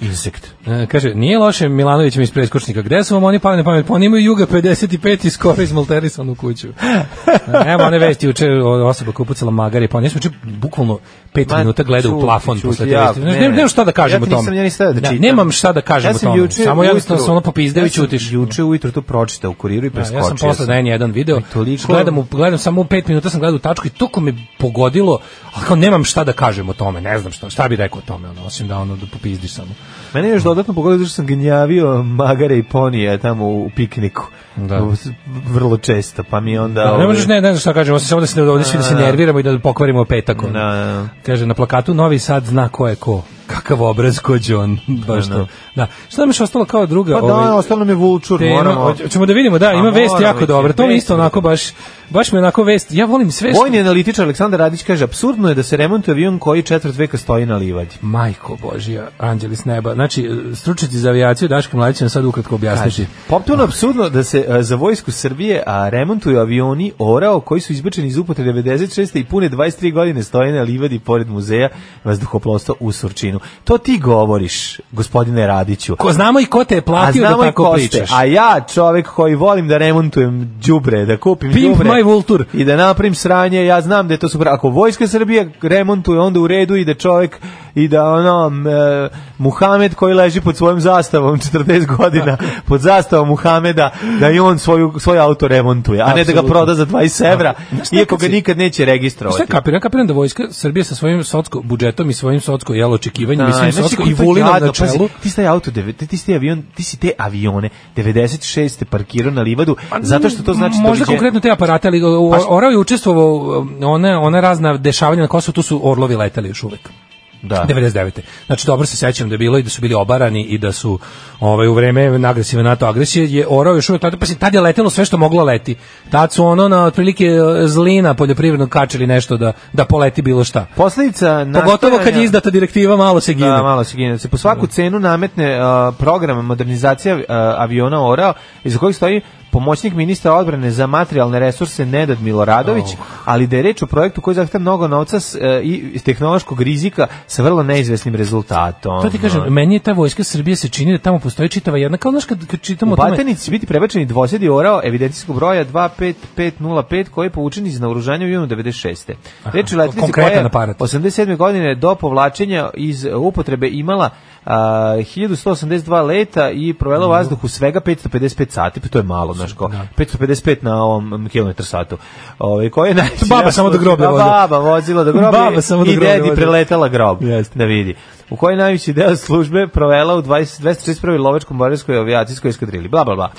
insekt. E, kaže, nije loše Milanovićem iz preskučnika. Gde su vam oni pali na pamet? Pa oni imaju Juga 55 i skoro izmolterisanu (laughs) kuću. E, Evo one vesti juče o- osoba koja je upucala magari, pa nismo juče bukvalno 5 Ma, minuta gleda u čuti, plafon čuti, posle te ja, vesti. Znaš, ne, nemam- ne. nemam šta da kažem Ja o ti tome. nisam- ja nisam hteo da čitam. nemam šta da kažem Ja o sam tome. juče Samo jednostavno ujutru- sam ono popizdeo ja i sam ćutiš. Juče ujutru to pročitao u kuriru i Da, preskočio. ja sam posle na N1 video, I toliko- gledam, u, gledam samo u pet minuta sam gledao u tačku i toliko me pogodilo, ali kao nemam šta da kažem o tome, ne znam šta, šta bi rekao o tome, ono, osim da ono da popizdiš samo. Mene je još dodatno pogodio zato što sam gnjavio magare i ponije tamo u pikniku. Da. U- s- Vrlo često, pa mi onda... Da, ne ovaj, možeš ne, ne znam šta kažem, osim samo da se ovde svi da se nerviramo i da pokvarimo petak. ono. Da, da. Kaže, na plakatu Novi Sad zna ko je ko. Kakav obraz kođe on, (laughs) baš to. Da. Šta nam je još ostalo kao druga? Pa ovaj, da, ostalo nam je vulčur, tema? moramo... Hoć- Hoćemo da vidimo, da, Pa ima vest moramo, jako već, dobra. To mi vest isto je onako baš, baš mi je onako vest. Ja volim sve što... Vojni analitičar Aleksandar Radić kaže, apsurdno je da se remontuje avion koji četvrt veka stoji na livadi. Majko Božija, anđeli s neba. Znači, stručnici za avijaciju Daško Mladić će nam sad ukratko objasniti. Potpuno Ah. apsurdno da se e, za vojsku Srbije a, remontuju avioni Orao koji su izbačeni iz upotrebe 96. i pune 23 godine stoje na livadi pored muzeja vazduhoplovstva u Surčinu. To ti govoriš, gospodine Radiću. Ko znamo i ko te je platio znamo da i tako ko ste. pričaš. A ja, čovek koji volim da remontujem đubre, da kupim Pimp đubre my vulture. i da napravim sranje, ja znam da je to super. Ako vojska Srbije remontuje, onda u redu i da čovek i da ono m, e, Muhamed koji leži pod svojom zastavom (laughs) 40 (laughs) godina pod zastavom Muhameda da i on svoju svoj auto remontuje, a ne da ga Apsolutno. proda za 20 evra, Znaš šta, iako kad ga si- nikad neće registrovati. Sve kapiram, ja kapiram da vojska Srbije sa svojim socko budžetom i svojim socko jel očekivanjem i Da, svim znači, socko i koliko je Vulinom gadno, na pazi, čelu. Ti si taj auto, deve- ti, ti si taj avion, ti si te avione 96. parkirao na livadu, zato što to znači Pa možda doviđenja. konkretno te aparate, ali o- Pa o- Orao je učestvovao um, one, one razna dešavanja na Kosovu, tu su orlovi leteli još uvek. Da. 99. Znači dobro se sećam da je bilo i da su bili obarani i da su ovaj u vreme agresivne NATO agresije je orao još uvek tada, pa se tad je letelo sve što moglo leti. Tad su ono na otprilike e, zlina poljoprivrednog kačili nešto da da poleti bilo šta. Posledica Pogotovo kad je nastojanja- izdata direktiva malo se gine. Da, malo se gine. Se po svaku cenu nametne uh, program modernizacija uh, aviona Orao, iza kojeg stoji pomoćnik ministra odbrane za materijalne resurse Nedad Miloradović, Oh. ali da je reč o projektu koji zahteva mnogo novca s, uh, i iz tehnološkog rizika sa vrlo neizvesnim rezultatom. To ti kažem, meni je ta vojska Srbije se čini da tamo postoji čitava jedna, kao znaš kad, kad čitamo U o tome... Batenici će biti prebačeni dvosedi orao evidencijskog broja 25505 koji je povučen iz naoružanja u junu 96. Reč je o letilici koja konkretan je aparat. 87. godine do povlačenja iz uh, upotrebe imala uh, a, 1182 leta i provela u vazduhu svega 555 sati, pa to je malo, znaš ko, 555 na ovom mm, kilometar satu. Ove, koja je najveći Baba naš- samo do groblja A, vozila. Baba vozila do groblja Baba samo do i groblja dedi vozila. preletala grob Jeste. da vidi. U kojoj najveći deo službe provela u 20 231. lovačkom borijskoj avijacijskoj eskadrili, bla, bla, bla.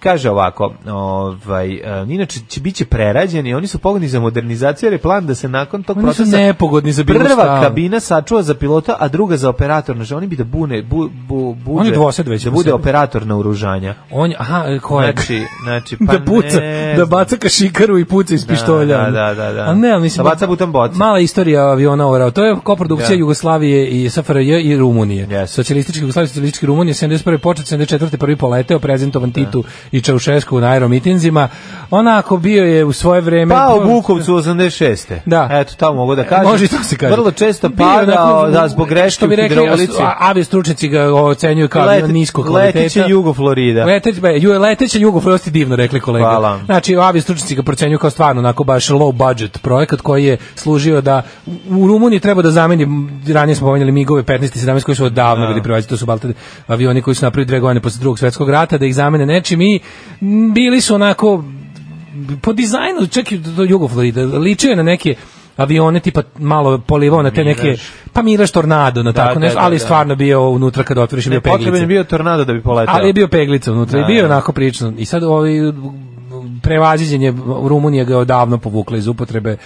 Kaže ovako, ovaj, e, inače će biće prerađeni, oni su pogodni za modernizaciju, jer je plan da se nakon tog Oni su procesa nepogodni za bilo prva šta. kabina sačuva za pilota, a druga za operator. Znači, oni bi da bune, bu, bu, buđe, Oni dvosed već da po bude sebi. operator naoružanja. On, je- aha, e, ko je? Znači, znači, pa (laughs) da puca, ne da znam. baca kašikaru i puca iz pištolja. da, da, da, da. A ne, ali mislim... Da baca butan boca. Mala istorija aviona orao. To je koprodukcija Da. Jugoslavije i SFRJ i Rumunije. Yes. Socijalistički Jugoslavije, socijalistički Rumunije, 71. počet, 74. prvi poleteo, prezentovan Titu i Čaušesku na aeromitinzima. Onako bio je u svoje vreme... Pa u Bukovcu 86. Da. Eto, tamo mogu da kažem. Može i to se kaže. Vrlo često Bio je padao onako- da zbog greške što u bi rekli, hidrolici. a- Avi stručnjaci ga ocenjuju kao Lete- avion nisko kvaliteta. leteće jugo Florida. Leteć, be, ju, leteće jugo, prvo ste divno rekli kolega. Hvala. Znači, avi stručnjaci ga procenjuju kao stvarno onako baš low budget projekat koji je služio da u Rumuniji treba da zameni, ranije smo pomenjali migove 15 i 17 koji su odavno bili privađeni, to su balte avioni koji su napravili dve godine posle drugog svetskog rata, da ih zamene nečim i m, bili su onako po dizajnu, čak i do Jugo Florida, ličio je na neke avione tipa malo polivao na te neke pa Miraž Tornado na tako da, nešto, da, ali da. stvarno bio unutra kad otvoriš je bio Ne, potreban je peglica. bio tornado da bi poletao. Ali je bio peglica unutra i bio je onako prilično. I sad ovaj prevaziđen je Rumunija ga je odavno povukla iz upotrebe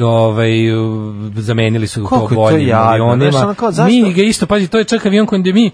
ovaj zamenili su Koliko to je to boljim jadno, znaš, avionima ono kao, zašto- mi ga isto pazi to je čak avion kojim gde mi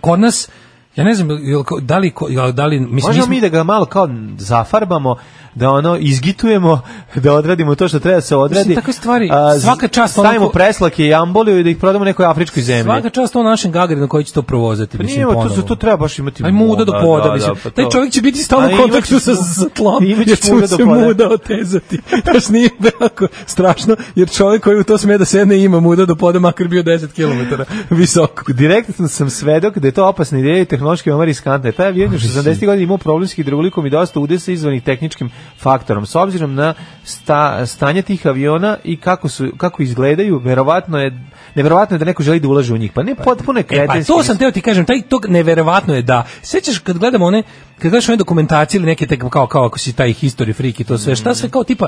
kod nas ja ne znam jel ko- da li ko- jel da li mislim Možemo nismo- mi da ga malo kao zafarbamo, da ono izgitujemo, da odradimo to što treba da se odradi. Mislim, takve stvari, z- svaka čast ono Stavimo ko- preslake i amboliju i da ih prodamo nekoj afričkoj zemlji. Svaka čast to našem Gagarinu koji će to provozati, Pa mislim, nije, to, su, ponovo. to treba baš imati Aj muda do poda, mislim. pa to- Taj čovjek će biti stalno A u imaćeš kontaktu sa, mu- sa tlom, imaćeš jer će mu muda do se poda. muda otezati. Znaš, nije (laughs) veliko strašno, jer čovjek koji u to sme da sedne ima muda do poda, makar bio 10 km visoko. direktno sam svedok da je to opasna ideja i tehnološki veoma riskantna. Taj avion je u 60. godina imao problem s hidrolikom i dosta udesa izvanih tehničkim faktorom. S obzirom na sta, stanje tih aviona i kako su kako izgledaju, verovatno je neverovatno je da neko želi da ulaže u njih. Pa ne potpuno je E, pa kretenski. to sam teo ti kažem, taj to neverovatno je da. Sećaš kad gledamo one kad gledaš one dokumentacije ili neke tek kao kao ako si taj history freak i to sve, šta sve kao tipa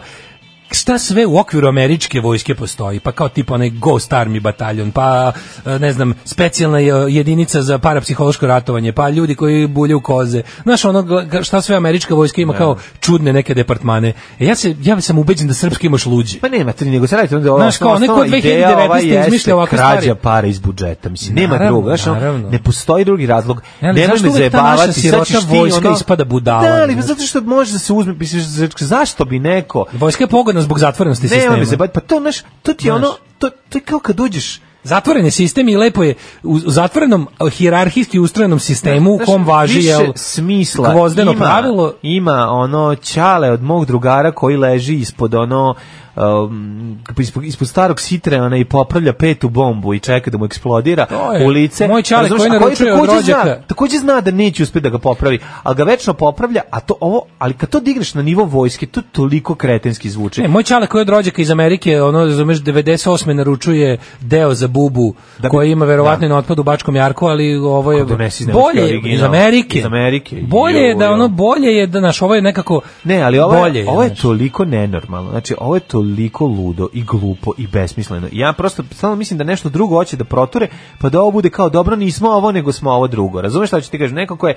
šta sve u okviru američke vojske postoji, pa kao tipa onaj Ghost Army bataljon, pa e, ne znam, specijalna je jedinica za parapsihološko ratovanje, pa ljudi koji bulje u koze. Znaš ono gla- šta sve američka vojska ima kao čudne neke departmane. E, ja, se, ja sam ubeđen da srpski imaš luđi. Pa nema tri nego se radi o tome da ova Znaš, kao, osnovna neko od ideja, ova 2019. jeste izmišlja ovakve krađa stvari. para iz budžeta, mislim, nema Naravno, drugog, znaš, ono, naravno. ne postoji drugi razlog. Ne, ali Nemoj me zašto uvek ta naša zajebavati, sad ćeš sirotna ti, vojska ono- ispada budala, Da, ali znaš. zato što može da se uzme, misliš, zašto bi neko Vojska je pogodna zbog zatvorenosti Ne, sistema. on mi se bati, pa to znaš, to ti je Znaš. ono, to, to je kao kad uđeš, Zatvoren je sistem i lepo je u u zatvorenom hijerarhijski ustrojenom sistemu u znaš, kom važi više jel smisla, gvozdeno ima, pravilo Ima ono čale od mog drugara koji leži ispod ono um, ispod, ispod starog sitreana i popravlja petu bombu i čeka da mu eksplodira To je u lice. moj čale Razumeš, koji a naručuje od takođe zna, rođaka. takođe zna da neće uspjeti da ga popravi, ali ga večno popravlja, a to ovo, ali kad to digneš na nivo vojske, to toliko kretenski zvuči. Ne, E, moj čale koji je od rođaka iz Amerike, ono, razumeš, 98. naručuje deo za bubu, Da bi- koji ima verovatno da. i na otpadu u Bačkom Jarku, ali ovo je Ako donesi iz Nemačke bolje original, iz Amerike. iz Amerike, Bolje je da jo, jo. ono bolje je da naš ovo je nekako Ne, ali ovo, bolje, je, ovo je znaš. toliko nenormalno. Znači, ovo je toliko ludo i glupo i besmisleno. I Ja prosto samo mislim da nešto drugo hoće da proture, pa da ovo bude kao dobro, nismo ovo, nego smo ovo drugo. Razumeš šta ću ti kažem? Neko ko je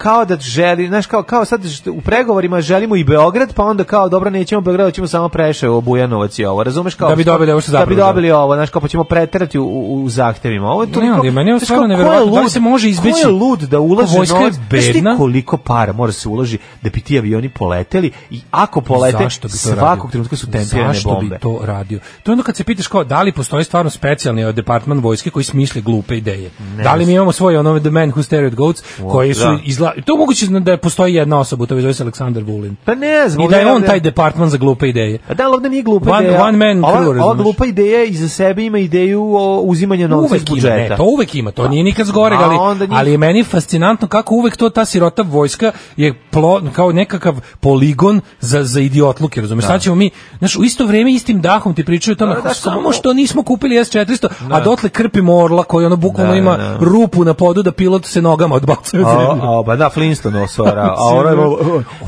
kao da želi, znaš, kao, kao sad što u pregovorima želimo i Beograd, pa onda kao dobro nećemo Beograd, hoćemo samo Preševo, Bujanovac i ovo, razumeš kao Da bi dobili ovo što da bi zapravo dobili ovo, znaš, kao pa ćemo preterati u, u, u zahtevima. Ovo je Ne, toliko, ali meni je ovo znaš, stvarno kao, ko neverovatno. Da li lud- se može izbeći? Ko je lud da ulaže Vojska je novac? Znaš ti bedna. koliko para mora se uloži da bi ti avioni poleteli i ako polete Zašto bi to svakog radio? trenutka su tempirane Zašto bombe. bi to radio? To je onda kad se pitaš kao da li postoji stvarno specijalni eh, departman vojske koji smisli glupe ideje. da li mi imamo svoje ono The Man Who Stared at Goats koji su da. izla... to je moguće da postoji jedna osoba, to je zove se Aleksandar Vulin. Pa ne znam. I da je ovdje- on taj departman za glupe ideje. A da, ali ovde nije glupa One- ideja. one man ova, crew, ova razumeš? glupa ideja iza sebe ima ideju o uzimanju novca iz Uvek ima, budžeta. ne, to uvek ima, to nije nikad zgore, Pa, A ali, onda njih- ali je meni fascinantno kako uvek to ta sirota vojska je plo, kao nekakav poligon za, za idiotluke, razumiješ, sad ćemo mi, znaš, u isto vrijeme istim dahom ti pričaju o tome, Da, da, samo samo- što nismo kupili S-400, a dotle krpimo orla koji ono bukvalno Da, ima da. rupu na podu da pilot se nogama odbacuje od zemlje. A, a, ba da, Flintstone (laughs) osvara. a ono je...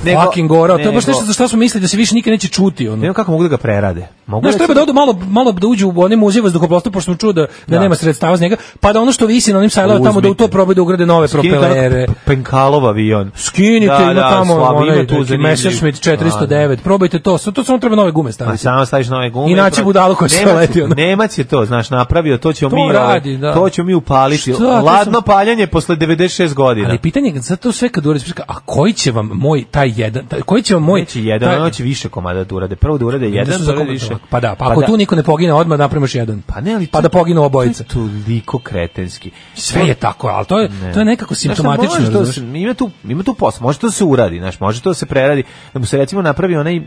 nego- Fucking gora, to je baš nego- nešto za što smo mislili da se više nikad neće čuti, ono. Ne znam kako mogu da ga prerade. Mogu Znaš, da treba se- da odu malo, malo da uđu u onaj muzej vazduhoplovstva, pošto sam čuo da, da, Da. nema sredstava za njega, pa da ono što visi na onim sajlama tamo da u to Uzmite. probaju da ugrade nove Skinite onog propelere. P- Penkalov avion. Skinite, Da, ima da, tamo slabo, ima onaj tu neki zanimljiv. Messerschmitt 409, probajte to, sad to samo treba nove gume Ali staviti. Pa samo staviš nove gume. Inače pro- budalo koje se Nemac- leti, ono. Nemac je to, znaš, napravio, to ćemo To mi, ovaj, radi, da. to ćemo mi upaliti. Šta, to sam- Ladno paljanje posle 96 godina. Ali pitanje je, sad to sve kad uradiš, a koji će vam moj taj jedan, taj, koji će vam moj... Neće jedan, taj- ono će više komada da urade. Prvo da urade Da su jedan, pa za da komad više. ovako. Pa da, pa ako tu niko ne pogine, odmah napravimo još jedan. Pa ne, ali pa to- da poginu to obojice. je Toliko kretenski. Sve je tako, ali to je, to je nekako Znaš šta, simptomatično. može to da razumeš? se- ima tu ima tu posla, može to da se uradi, znaš, može to da se preradi, da mu se recimo napravi onaj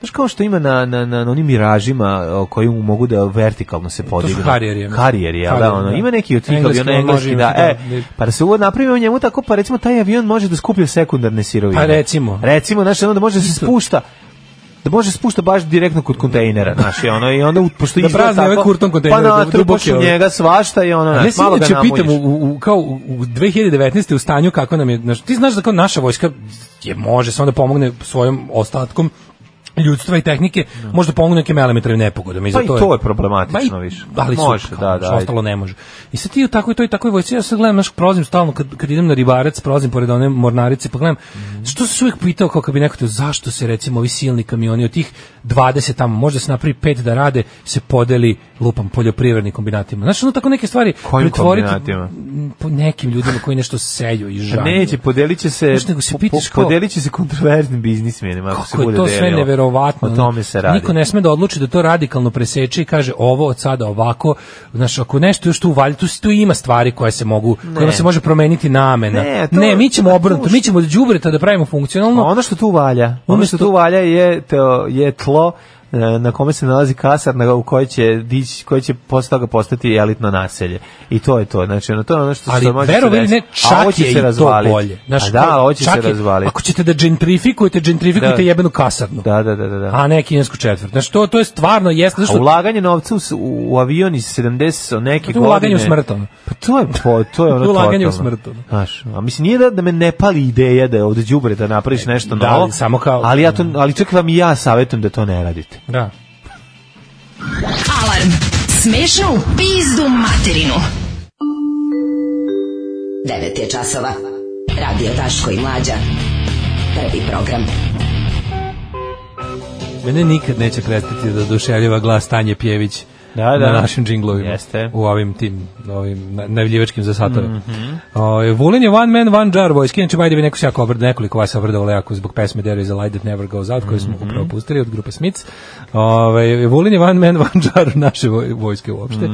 Znaš kao što ima na, na, na na onim miražima o, koji mu mogu da vertikalno se podignu. harijeri, ono. Harijeri, jel da, Harijeri, ono, da. ima neki od tih Engleski, aviona on engleski, može da, imati, e, da, da. pa da se uvod napravi u njemu tako, pa recimo taj avion može da skuplja sekundarne sirovine. Pa recimo. Recimo, znaš, ono da može da se spušta, da može spušta baš direktno kod kontejnera, znaš, i ono, i onda, u- pošto Da izgleda prazni ove tako, kurton kontejnere, pa da- natrupaš duboke u ove. njega svašta i ono, A ne znaš, se malo ga inače namoljiš. pitam u, u, kao u u 2019. u stanju kako nam je, znaš, ti znaš da kao naša vojska je može samo da pomogne svojim ostatkom ljudstva i tehnike, možda pomogne nekim elementarnim nepogodama. i Pa za i to je problematično i- više. Ali može, Može, kao, da, da, da, ajde. ostalo ne može. I sad ti u takvoj toj takvoj vojsci, ja sad gledam, znaš, prolazim stalno, kad, kad idem na ribarac, prolazim pored one mornarice, pa gledam, Mhm. što sam se uvijek pitao, kao kad bi neko te, zašto se recimo ovi silni kamioni od tih 20 tamo, možda se napravi pet da rade, se podeli, lupam, poljoprivrednim kombinatima. Znaš, ono tako neke stvari Kojim pretvoriti kombinatima? Pa m, po nekim ljudima koji nešto seju i žanju. Neće, podelit će se, Znaš, nego se pitaš kao- podelit će se kontroverznim biznismenima. ako se Kako je bude to sve delilo. neverovatno. O tome se radi. Niko ne sme da odluči da to radikalno preseče i kaže ovo od sada ovako. Znaš, ako nešto još tu valja, tu, tu ima stvari koje se mogu, kojima se može promeniti namena. Ne, Ne, to- mi ćemo to- obrnuto, mi ćemo od đubreta da pravimo funkcionalno. A ono što tu valja, ono Umesto- što tu valja je, to, je tlo e, na kome se nalazi kasar na u kojoj će dići koji će posle toga postati elitno naselje i to je to znači ono to je ono što ali se može verovali se ne desiti. A ovo čak će je i se to razvaliti. bolje. A Znaš, da kao, hoće se čak je- razvaliti Ako ćete da gentrifikujete, gentrifikujete Da. jebenu kasarnu. da da da da, da. A ne kinesku četvrt. Znaš, to, to je stvarno jeste. Znaš, A ulaganje novca u, s- u, u avion iz 70 neke To godine. je ulaganje u smrt, ono. Pa to je po, to (laughs) je ono To je ulaganje u totalno. smrt, ono. Znaš, a mislim nije da, da me ne pali ideja da je ovde đubre da napraviš nešto E, da, novo. ali samo kao- Ali ja to ali čak vam i ja savetujem da to ne radite. da. Alarm. Smešno u pizdu materinu. 9 je časova. Radio Daško i Mlađa. Prvi program. Mene nikad neće prestati da oduševljava glas Tanje Pjević Da, da. na našim džinglovima. Jeste. U ovim tim, ovim na- najavljivačkim za satove. Mm Vulin je one man, one jar voice. Inače, by the way, neko se jako obrda, nekoliko vas obrdao jako zbog pesme There is a light that never goes out, koju smo upravo pustili od grupe Smiths. Ove, Vulin je one man, one jar naše voj- vojske uopšte.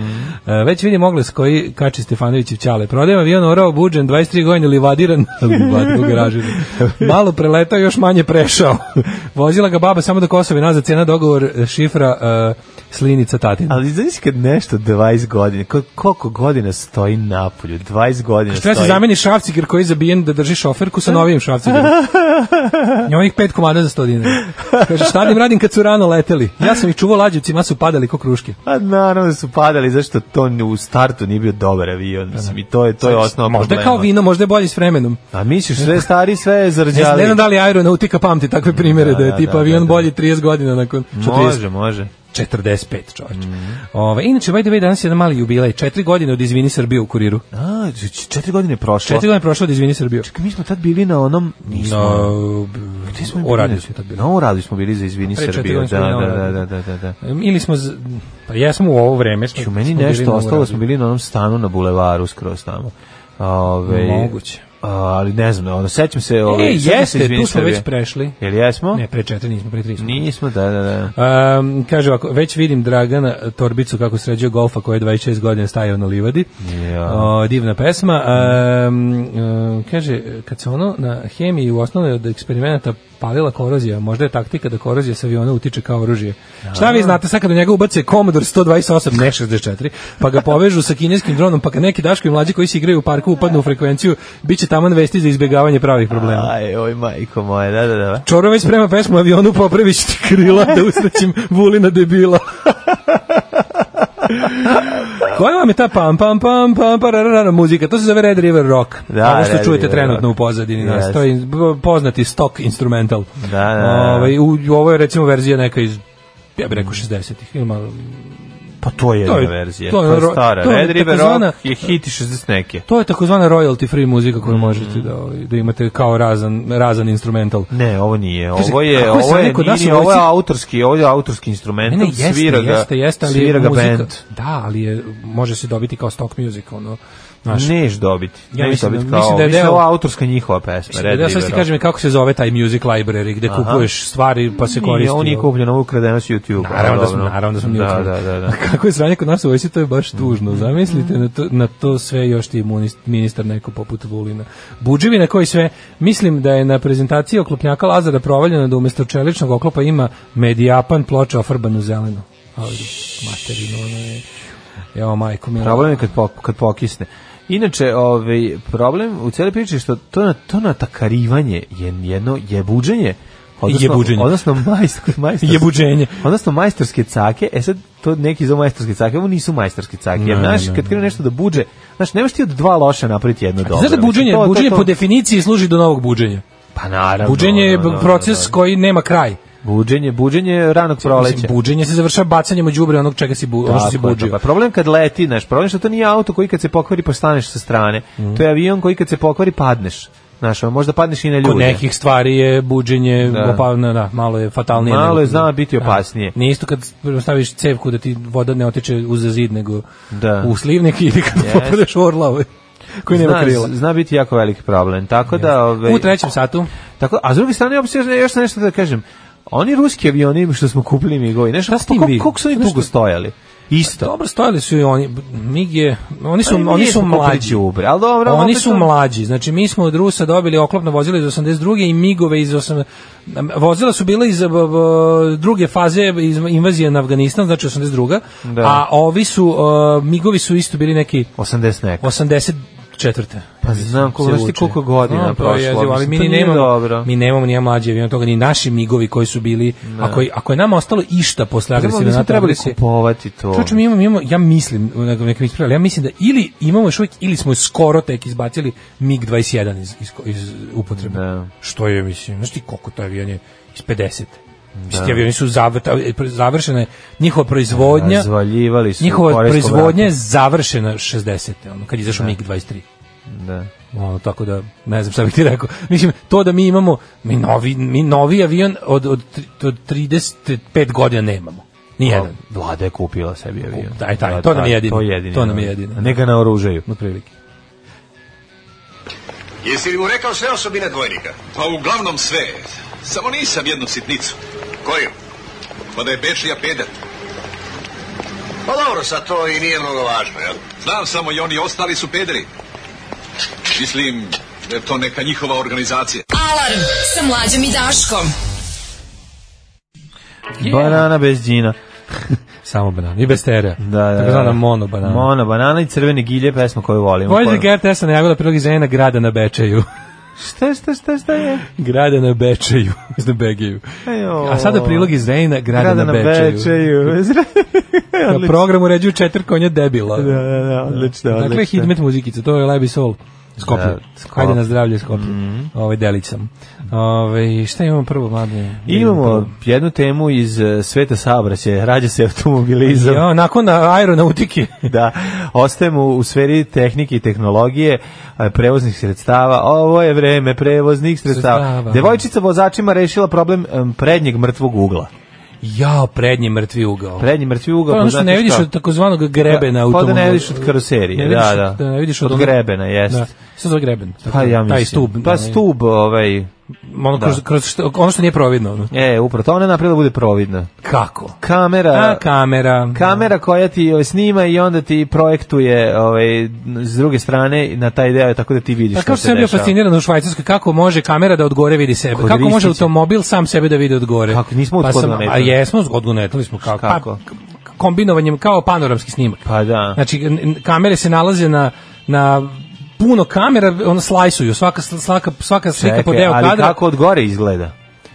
E, već vidim oglas koji kači Stefanovićev ćale. Prodajem avion orao buđen, 23 godine livadiran, (laughs) livadiran u garaži. Malo preletao, još manje prešao. (laughs) Vozila ga baba samo do Kosova i nazad, cena dogovor, e, šifra, e, slinica tatin. Ali znaš kad nešto 20 godina, ko- koliko godina stoji napolju? 20 godina Treba se stoji. zameni šrafciger koji je zabijen da drži šoferku sa novim (laughs) šrafcigerom. Ima ih pet komada za 100 dinara. Kaže, šta da im radim kad su rano leteli? Ja sam ih čuvao lađevcima, su padali ko kruške. Pa naravno da su padali, zašto to ni u startu nije bio dobar avion, mislim, i to je, to je osnova Možda je problema. kao vino, možda je bolje s vremenom. A misliš, sve stari, sve je Ne znam, zarđali. ne znam da li aeronautika pamti takve primere da, Da, je da, tipa da, avion da, da. bolji 30 godina nakon... Što 30? Može, Mhm. može. 45 čovječ. Ove, inače, by the way, danas je jedan mali jubilej. Četiri godine od Izvini Srbiju u kuriru. A, č- č- četiri godine je prošlo. Četiri godine prošlo od Izvini Srbiju. Mi smo tad bili na onom... Nismo. No, Gde smo bili? o radiju smo tad bili. Na ovom radiju smo bili za Izvini Pre četiri Srbiju. godine Da, smo bili na ovom da, da, radiju. da, da, da. Em, Ili smo, z- pa jesmo u ovo vreme. Smo, Ču, meni smo bili nešto na ostalo, da uradu. smo bili na onom stanu na bulevaru skroz tamo. Ove, Moguće. A, ali ne znam, ono, sećam se... Ove, E, sećam se jeste, Izvini tu smo Srbije. već prešli. Jel jesmo? Ne, pre četiri nismo, pre tri smo. Nismo, da, da, da. Um, kaže ovako, već vidim Dragana Torbicu kako sređuje golfa koji je 26 godina stajao na livadi. Ja. O, divna pesma. Um, um, kaže, kad se ono na hemiji u osnovnoj od eksperimenata palila korozija, možda je taktika da korozija sa aviona utiče kao oružje. Šta vi znate sad kad u njega ubace Commodore 128, ne 64, pa ga povežu sa kineskim dronom, pa kad neki daškovi mlađi koji se igraju u parku upadnu u frekvenciju, bit će taman vesti za izbjegavanje pravih problema. Aj, oj, majko moja, da, da, da. Čoro već prema pesmu avionu popravić ti krila da usrećim vulina debila. Koja vam je ta pam pam pam pam pa, pararara muzika? To se zove Red River Rock. Da, Ovo što Red čujete River trenutno Rock. u pozadini nas. Yes. To je poznati stock instrumental. Da, da, da. Ovaj, u, ovo je recimo verzija neka iz ja bih rekao 60-ih ili malo Pa to je jedna To je- verzija, to to je je, ro- stara. to je Red River takozvana- Rock je hit i 60 neke. To je takozvana royalty free muzika Mm. koju možete da, ovaj, da imate kao razan, razan instrumental. Ne, ovo nije. Kaže, Ovo je, kako je ovo sad je, neko od nas nije, u ovo je vojsci- autorski, ovo je autorski instrument, Pa Ne, ne, jeste, svira ga, jeste, jeste, ali je svira ga muzika- band. Da, ali je, može se dobiti kao stock music, ono, znaš. Neš dobiti. Ja Ja Neš mislim da- dobiti kao, mislim da je mislim da je deo- ovo autorska njihova pesma, Red Da, River ono. sad ti Rock. kažem i kako se zove taj music library gde kupuješ stvari pa se Nije, koristi. on nije ovo. kupljen, ovo je ukradeno s YouTube. Naravno da smo, naravno da smo mi Da, da, ukrali. da, da. (laughs) Kako je sranje kod nas u vojsci, to je baš tužno. Zamislite na to, na to sve još ti munist- ministar neko poput Vulina. Budževi na koji sve, mislim da je na prezentaciji oklopnjaka Lazara provaljeno da umjesto čeličnog oklopa ima medijapan ploča ofarbanu zelenu. Ali, materinu, ono je... Evo, majko, mila. Problem je kad, po, kad pokisne. Inače, ovaj, problem u cijeloj priči je što to, na, to natakarivanje je jedno jebuđenje, odnosno, Jebuđenje. odnosno majstor, majstor, Jebuđenje. odnosno majstorske cake, e sad to neki zove majstorske cake, ovo nisu majstorske cake, jer Ne, znaš, ne, kad krene nešto da buđe, znaš, nemaš ti od dva loša napraviti jedno dobro. Znaš da Mislim, buđenje, to- to- buđenje to- po definiciji služi do novog buđenja. Pa naravno. Buđenje je da, da, da, proces da. koji nema kraj. Buđenje, buđenje ranog proleća. Mislim, buđenje se završava bacanjem u đubre onog čega si, bu, ono što si Tako je to. buđio. Pa problem kad leti, znaš, problem je što to nije auto koji kad se pokvari postaneš sa strane. Mhm. To je avion koji kad se pokvari padneš. Znaš, a možda padneš i na ljude. Kod nekih stvari je buđenje Da. opavno, da, malo je fatalnije. Malo nego- je zna biti Da. opasnije. Nije isto kad staviš cevku da ti voda ne otiče uz zid, nego Da. u slivnik ili kad Yes. popadeš u orla ovaj, koji nema zna, krila. zna biti jako veliki problem. Tako da, ovaj, U trećem satu. tako, a s druge strane, opet još, još nešto da kažem. Oni ruski avioni što smo kupili mi goji, nešto, Šta s tim pa, bi? kol- koliko su oni Znaš dugo šta? stojali? Isto. Dobro, stojali su i oni. Mig je, oni su, Ali mi oni nismo su kupili mlađi. đubre, ali dobro, oni opet su to- mlađi. Znači, mi smo od Rusa dobili oklopno vozilo iz 82. i migove iz 8... Vozila su bila iz b, b, druge faze iz invazije na Afganistan, znači 82. Da. A ovi su, uh, migovi su isto bili neki 80 neka. 84. Pa znam, koliko, se znaš ti vuče. koliko godina Znam, to je prošlo. jezivo, ali mislim, mi to ni nije nemamo, dobro. mi nemamo ni jedan mlađi avion toga, ni naši migovi koji su bili, ako, je- ako je nama ostalo išta posle Dobro, agresivne mi smo NATO trebali agresije, kupovati to. Čoče, mi imamo, mi imamo, ja mislim, nego neka mi ispravlja, ali ja mislim da ili imamo još uvijek, ili smo skoro tek izbacili MiG-21 iz, iz, iz upotrebe. Da. Što je, mislim, znaš ti koliko to avion je iz 50. Da. Ti avioni su zavrta- završena, je njihova proizvodnja, Razvaljivali su u njihova Korejskom proizvodnja je ratu. završena 60. Ono, kad je izašao MiG-23. Da. Ono, tako da, ne znam šta bih ti rekao. Mislim, to da mi imamo, mi novi, mi novi avion od, od, tri- od 35 godina nemamo. Nijedan. Pa, Vlada je kupila sebi avion. Taj, taj, to nam je jedino. To je jedino. To nam je jedino. Neka naoružaju. Na prilike. Jesi li mu rekao sve osobine dvojnika? Pa uglavnom sve. Samo nisam jednu sitnicu. Koju? Pa da je Bečija pedat. Pa dobro, sad to i nije mnogo važno, jel? Znam samo i oni ostali su pederi. Mislim da je to neka njihova organizacija. Alarm sa mlađom i Daškom. Banana bez džina. Samo banana. I bez stereo. Da, da, da. Takozvana mono banana. Mono banana i crvene gilje, pesma koju volimo. Vojte Gert Esana Jagoda prilog iz Ena grada na Bečeju. (laughs) Šta, šta, šta, šta je? grada na Bečeju, (laughs) iz Begeju. Ejo. A sada prilog iz Rejna, grada, Grada na na Bečeju. (laughs) Bečeju. Na programu ređuju četiri konja debila. Da, da, da, odlično, Dakle, odlično. Hidmet muzikica, to je Lebi Sol. Skoplje. Da, Mhm. Skoplje. Hajde na zdravlje Skoplje. Ovaj delić sam. Ovaj šta imamo prvo mladine? Imamo jednu temu iz eh, sveta saobraćaja, rađa se automobilizam. Jo, nakon aeronautike. (laughs) (laughs) da, ostajemo u sferi tehnike i tehnologije eh, prevoznih sredstava. Ovo je vreme prevoznih sredstava. Sredstava. Devojčica vozačima rešila problem em, prednjeg mrtvog ugla. Ja, prednji mrtvi ugao. Prednji mrtvi To ugao, je ono što pa znate ne vidiš šta? od takozvanog grebena Pa da automobila. ne vidiš od karoserije, Ne vidiš da, od- da. ne vidiš od, Od onog- grebena, jest. Da. Šta zove greben? Pa ja mislim. Taj stub. Pa onaj- stub, ovaj... Ono, kroz, Da. kroz što, ono što nije providno. ono. E, upravo, to ona napravila da bude providna. Kako? Kamera... A, kamera. kamera koja ti ovaj, snima i onda ti projektuje ovaj, s druge strane na taj deo tako da ti vidiš Pa šta kao što se sam bio dešava. fasciniran u Švajcarskoj, kako može kamera da od gore vidi sebe? Kod Kako može Ristića. automobil sam sebe da vidi od gore? Kako, nismo pa sam, odgodno A letali. jesmo, odgonetali smo kako. Kako? Pa, k- kombinovanjem kao panoramski snimak. Pa da. Znači, n- n- kamere se nalaze na, na puno kamera, ono slajsuju, svaka, sl- svaka, svaka slika po Čekaj, deo ali kadra. kako od gore izgleda?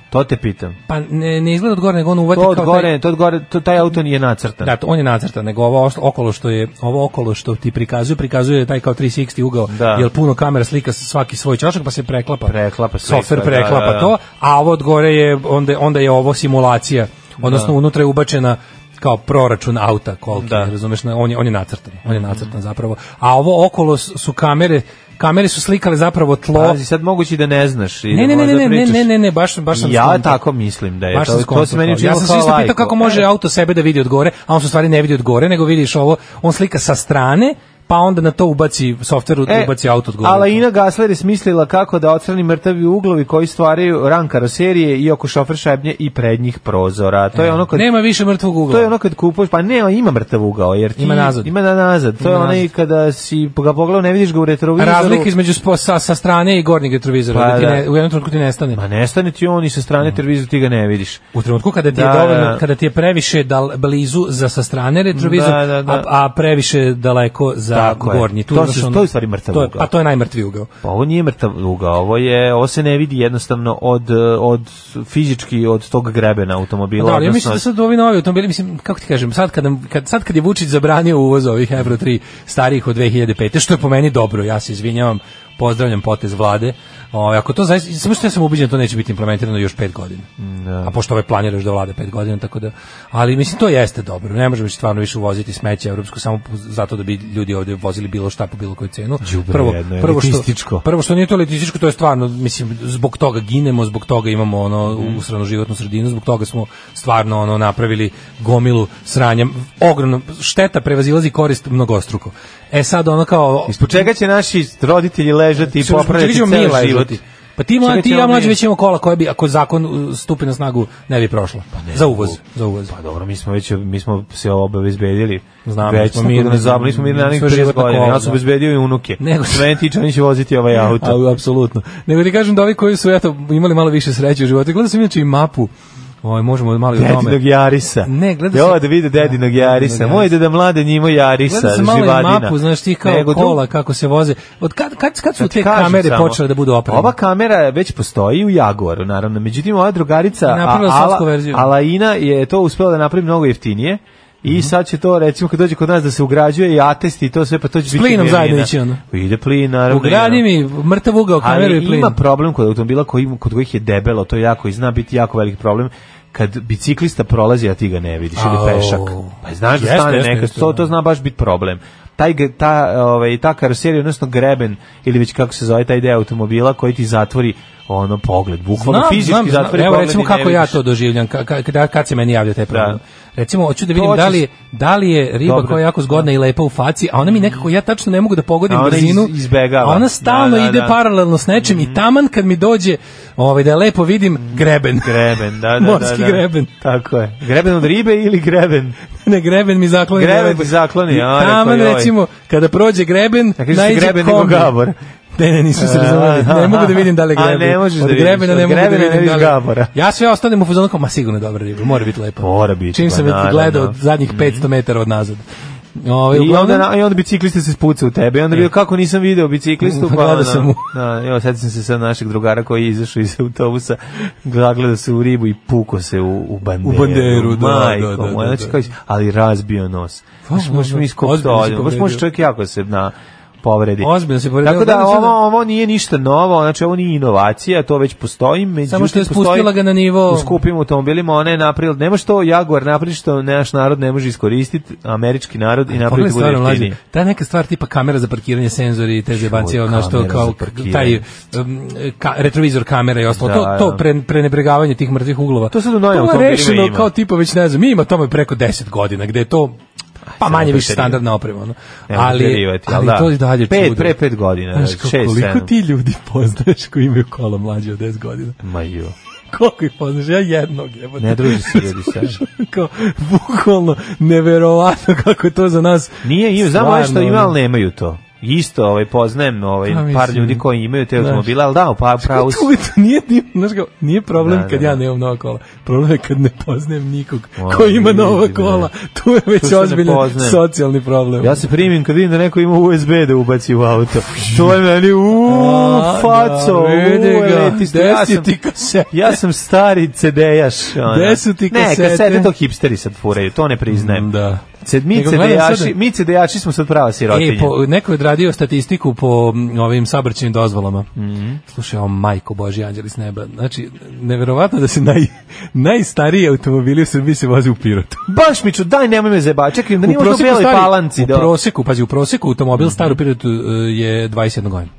To te pitam. Pa ne, ne izgleda od gore, nego ono To uvati od kao taj- gore, to od gore, to, taj auto nije nacrtan. Da, to on je nacrtan, nego ovo oš- okolo što je ovo okolo što ti prikazuje, prikazuje taj kao 360 ugao, Da. jer puno kamera slika svaki svoj čašak pa se preklapa. Preklapa sve, Software sve, da, preklapa da, da. to, a ovo od gore je onda onda je ovo simulacija. Odnosno unutra je ubačena kao proračun auta koliki, Da. razumeš, na- on je on je nacrtan, on je nacrtan zapravo. A ovo okolo s- su kamere, kamere su slikale zapravo tlo. Pazi, sad mogući da ne znaš. i Ne, da ne, ne, možda ne, ne, pričaš. ne, ne, ne, baš, baš sam Ja skonto. tako mislim da je Baš E, to- sam to skonto se meni učinilo Ja sam se kao isto lajku. pitao kako može E. auto sebe da vidi od gore, a on se u stvari ne vidi od gore, nego vidiš ovo, on slika sa strane, pa onda na to ubaci softver, E, ubaci auto od gore. Alaina Gasler je smislila kako da odstrani mrtavi uglovi koji stvaraju ran karoserije i oko šofer šebnje i prednjih prozora. To je ono kad E, Nema više mrtvog ugla. To je ono kad kupuješ, pa ne, ima mrtav ugao, jer ti Ima nazad. Ima na nazad. To Ima je onaj nazad. kada si ga pogledao, ne vidiš ga u retrovizoru. Razlika između spo, sa, sa strane i gornjeg retrovizora, Pa da ti da. ne, u jednom trenutku ti nestane. Ma nestane ti on i sa strane televizora ti ga ne vidiš. Mm. U trenutku kada ti je Da, dovoljno, da. kada ti je previše dal, blizu za sa strane retrovizor, Da, da, da. A, a previše daleko za Tako je. gornji. To znaš su- ono- to je u stvari mrtav to je- ugao. Pa to je najmrtvi ugao. Pa ovo nije mrtav ugao, ovo je, ovo se ne vidi jednostavno od, eh, od fizički od tog grebena automobila. Da, ali ja odnosno mislim da sad ovi novi automobili, mislim, kako ti kažem, sad kad, nam- kad, sad kad je Vučić zabranio uvoz ovih Euro 3 starijih od 2005. što je po meni dobro, ja se izvinjavam, pozdravljam potez vlade, Ovaj, ako to zaista, samo što ja sam ubiđen da to neće biti implementirano još 5 godina. A pošto ove planiraš da vlada 5 godina, tako da, ali mislim to jeste dobro, ne možemo više stvarno više uvoziti smeće evropsko samo po- zato da bi ljudi ovde vozili bilo šta po bilo koju cenu. Đubre jedno, elitističko. što, prvo što nije to elitističko, to je stvarno, mislim, zbog toga ginemo, zbog toga imamo ono Mhm. usranu životnu sredinu, zbog toga smo stvarno ono napravili gomilu sranja. Ogromno, šteta prevazilazi korist mnogostruko. E sad ono kao... Ispod čega će naši roditelji ležati i Čemu- popravljati čemu ćemo mi ceo život? ležati? Pa ti, mla, Čega ti i ćemo ja mi? mlađi već imamo kola koja bi, ako zakon uh, stupi na snagu, ne bi prošla. za uvoz. Za uvoz. Pa dobro, mi smo već mi smo se obezbedili. Znamo, već smo smo mi mirni, na zabranili mi smo mi na sve njih 30 život na godina. kolo, Ja sam da. obezbedio i unuke. Nego- Sve tiče neće voziti ovaj auto. (laughs) A, apsolutno. Nego ti kažem da ovi koji su eto, imali malo više sreće u životu, gledao sam inače i mapu, Oj, možemo malo i o tome. Dedinog Jarisa. Ne, gleda Jo, se- da vide dedinog Da, Jarisa. dedinog Moj Jarisa. deda mlade njimo Jarisa, Gleda sam malo i živadina. mapu, znaš ti kao Nego dru- kola kako se voze. Od kad, kad, kad su Da ti te kažem kamere samo, počele da budu opremljene? Ova kamera već postoji u Jaguaru, naravno. Međutim, ova drugarica Napravila a- srpsku verziju. Alaina je to uspela da napravi mnogo jeftinije. I Mhm. sad će to, recimo, kad dođe kod nas da se ugrađuje i atest i to sve, pa to će biti... plinom milina. zajedno ići, ono. Ide plin, naravno. Ugradi i ono. mi mrtav ugao kameru i Ali plin. ima problem kod automobila koji, kod kojih je debelo, to je jako i zna biti jako veliki problem kad biciklista prolazi, a ti ga ne vidiš, Au. ili pešak. Pa znaš da Jeste, stane jeste, neka, jeste, to, da. to zna baš biti problem. Taj, ge- ta, ovaj, ta karoserija, odnosno greben, ili već kako se zove taj deo automobila koji ti zatvori ono pogled, bukvalno fizički zatvori Evo pogled recimo i ne kako ja vidiš. to doživljam, ka, ka, kada- kad se meni javlja taj problem. Da. Recimo, hoću da vidim To da ćeš- li, je, da li je riba Dobro. Mm. koja je jako zgodna i lepa u faci, a ona mi nekako, ja tačno ne mogu da pogodim A ona iz- brzinu. izbegava. a ona stalno Da, Mm. da, ide da. paralelno s nečim i taman kad mi dođe ovaj, da je lepo vidim, greben. Mm. Greben, da, da, (laughs) Morski da, da. greben. Tako je. Greben od ribe ili greben? ne, greben mi zakloni. Greben lepo. ti zakloni, I a, Taman, rekao je, oj. recimo, kada prođe greben, Dakle, što najde greben nego kombi. gabor. Ne, ne, nisu se A, razumeli. aha. Ne mogu da vidim da li je A, greben. ne možeš Od da vidiš, grebena ne od mogu da grebena ne vidim da vidiš li- gabora. Ja sve ostanem u fazonu kao, ma sigurno je dobra riba, mora biti lepa. Mora biti, Čim sam pa je naravno. Mhm. gledao od zadnjih 500 metara od nazad. Ove, I uglavnom- onda, na- i onda biciklista se spuca u tebe. I onda bio, kako nisam video (laughs) biciklistu, pa Gledao ono, sam mu. Da, evo, sad sam se sad našeg drugara koji je izašao iz autobusa, zagledao se u ribu i puko se u, u banderu. U banderu, da, Majko da, da, da, moja, znači, da. kao iz- ali razbio nos. Znaš, da, možeš da, mi iskopiti ozbiljno si olje, možeš povredio. možeš čovjek jako se na povredi. Ozbiljno se povredio. Tako da Gledam sad ovo, ovo nije ništa novo, znači ovo nije inovacija, to već postoji, međutim Samo što je postoji spustila ga na nivo- u skupim automobilima, ona je napravila, ne može to Jaguar napraviti što naš narod ne može iskoristiti, američki narod i Pogledaj napraviti bude stvarno mlađe, jeftiniji. ta neka stvar tipa kamera za parkiranje, senzori i te zebancije, Joj, ono što kamera kao za parkiranje. taj um, ka, retrovizor kamera i ostalo, Da, to, to da. pre, prenebregavanje tih mrtvih uglova. To sad u novim je automobilima rešeno ima. kao tipa već ne znam, ima tome preko 10 godina gde je to pa samo manje više preterivati. standardna oprema. Ono. Nemoj Ali, preterivati, ali ali da. to i dalje Pet- čudo. pre pet godina, Znaš, šest, kao, koliko sedam. ti ljudi poznaš koji imaju kola mlađe od 10 godina? (laughs) Ma jo. Koliko ih poznaš? Ja jednog jebote. Ne druži se (laughs) ljudi sa. Kao, bukvalno, neverovatno kako je to za nas. Nije, i znam Stvarno, ovaj što ima, ono. ali nemaju to. Isto, ovaj poznajem, ovaj Pa, par mislim. ljudi koji imaju te Znaš. automobile, al da, pa pravo. si. (laughs) To, to nije, nije, znaš kao, nije problem Da, da, kad da. ja nemam nova kola. Problem je kad ne poznajem nikog O, ko ima vidi, nova da. kola. Tu je To već se ne ozbiljan poznaje. socijalni problem. Ja se primim kad vidim da neko ima USB da ubaci u auto. To je meni u A, faco. da, vidi u, ga. leti ste. Ja Desi sam- ti kasete. Ja sam stari CD-jaš. ono. Desu ti Ne, kasete. kasete to hipsteri sad furaju, to ne priznajem. Da. Ced, mi Nego gledam CD-jaši, sada- mi CD-jaši smo sad prava sirotinja. E, po, neko je odradio statistiku po m, ovim sabrćenim dozvolama. Mhm. Slušaj, o majko Boži, anđeli s neba. Znači, neverovatno da se naj, najstariji automobili u Srbiji se voze u Pirotu. Baš mi ću, daj nemoj me zeba, čekaj, da Pa nije možda u Beloj stari- palanci. u da- Mhm. proseku, pazi, u proseku automobil star u Pirotu e, je 21 godina.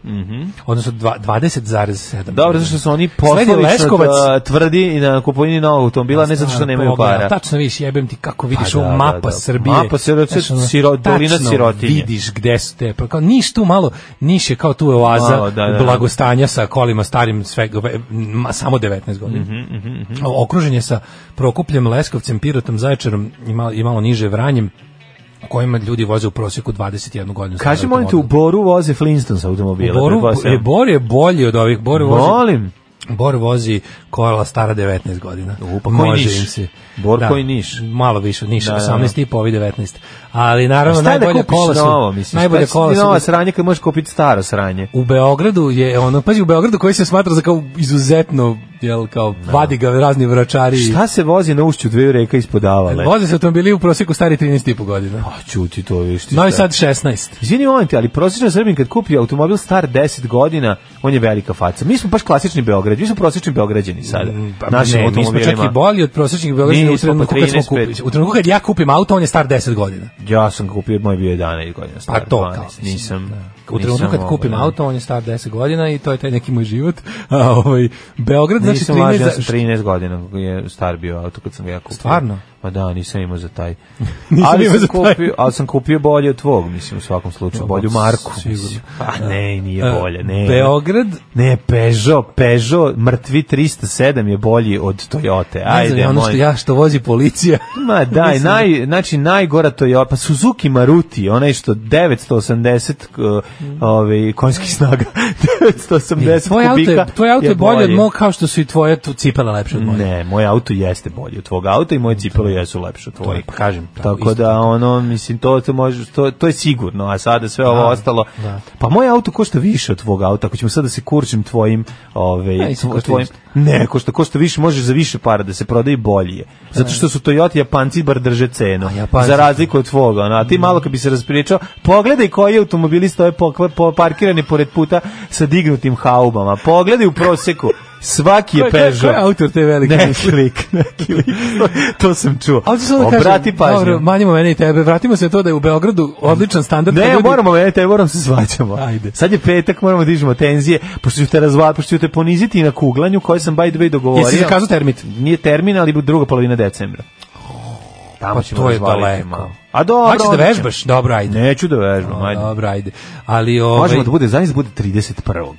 Odnosno dva- 20,7. Dobro, zato što su oni Sledi posledično Leskovac. da tvrdi i na kupovini novog automobila, ne zato što Stvarno, nemaju pogledaj, para. Tačno vidiš, jebem ti kako vidiš Pa ovu da, mapa da, da. Srbije. Mapa sirote- Znaš, ono, siro- dolina tačno sirotinje. vidiš gde su te. Pa kao Niš tu malo, Niš je kao tu oaza Malo, da, da, da. blagostanja sa kolima starim svega, ve- ma, samo 19 godina. Mhm, O- Okružen je sa Prokupljem, Leskovcem, Pirotom, Zaječarom i malo, i malo niže Vranjem u kojima ljudi voze u prosjeku 21 godinu. stare Kaži, molim te, u automobile. Boru voze Flintstones automobile. Boru, pretpostavljam. e, Bor je bolji od ovih. Bor vozi, ono. Molim. Bor vozi kola stara 19 godina. U, pa koji Može Niš? im se. Bor koji Niš? Malo više od Niša, Da, da, da. 18 i po, ovi 19. Ali naravno Šta je da najbolje kupiš kola su novo, misliš? najbolje šta će ti kola su nova sranje kad možeš kupiti staro sranje. u Beogradu je ono, pazi u Beogradu koji se smatra za kao izuzetno jel kao vadi ga razni vračari. Šta se vozi na ušću dveju reka ispod avale? Voze se automobili u prosjeku stari 13 i po godina. Pa čuti to, viš ti Novi šta. Sad 16. Izvini, molim te, ali prosječan Srbin kad kupi automobil star 10 godina, on je velika faca. Mi smo baš klasični Beograđani, mi smo prosječni Beograđani sada. našim Mm, pa, ne, mi smo čak automobilima. i bolji od prosječnih Beograđana u Nismo, trenutku pa kad smo 13, kupili. 15. U trenutku kad ja kupim auto, on je star 10 godina. Ja sam kupio, moj bio 11 godina Pa star. to 12, kao, mislim, nisam. U trenutku nisam ovaj- kad ovo, kupim da. auto, on je star 10 godina i to je taj neki moj život. A ovaj Beograd znači Nisam lažio, ja sam 13 za- 13 godina je star bio auto kad sam ga ja kupio. Stvarno? Pa da, nisam imao za (laughs) taj. Nisam ali imao sam za taj. Kupio, ali sam kupio bolje od tvog, mislim, u svakom slučaju. Bolju marku. sigurno. E, mislim. Pa ne, nije bolje. Ne, Beograd Ne, Peugeot, Peugeot, mrtvi 307 je bolji od Toyote. ne Ajde, znam, ono što molim. ja što vozi policija. (laughs) Ma daj, Mislim- naj, znači najgora to je, pa Suzuki Maruti, onaj što 980 uh, ovaj, konjskih snaga, (laughs) 980 Mm. Tvoj auto kubika je, tvoj auto je bolje od mog kao što su i tvoje tu cipele lepše od moje. Ne, moje auto jeste bolje od tvog auta i moje cipele jesu lepše od tvojih. pa kažem, tako, Tako isto da ono mislim to to može to, to je sigurno, a sada sve ovo ostalo. Pa moj auto košta više od tvog auta, ako ćemo sada se kurčim tvojim, ovaj Ne, mislim, tvo- košta tvojim. isto. Ne, košta košta više, možeš za više para da se prodaje i bolje. Zato što su Toyota Japanci bar drže cenu. Pa Japanci- Mm. Za razliku od tvoga, ono, a ti malo kad bi se raspričao, pogledaj koji automobili stoje po, po- parkirani pored puta sa dignutim haubama. Pogledaj u proseku. Svaki je Ko je- ko je- Peugeot. ko je autor te velike Neki misli? lik, neki lik. To sam čuo. Ali ću samo da kažem, Obrati pažnju. Dobro, manjimo mene i tebe. Vratimo se na to da je u Beogradu odličan standard. Ne, kad ljudi- moramo, ne, te moramo se svađamo. Ajde. Sad je petak, moramo da dižemo tenzije, pošto ću te razva, pošto ću te poniziti na kuglanju koje sam by the way dogovorio. Jesi zakazao termit? Nije termin, ali bu- druga polovina decembra. Tamo Pa ćemo to je razvaliti daleko. malo. A dobro. Hoćeš da odlično. vežbaš? Dobro, ajde. Ovaj- Neću da vežbam, ajde. Dobro, ajde. Ali ovaj Možemo da bude, zanis bude 31.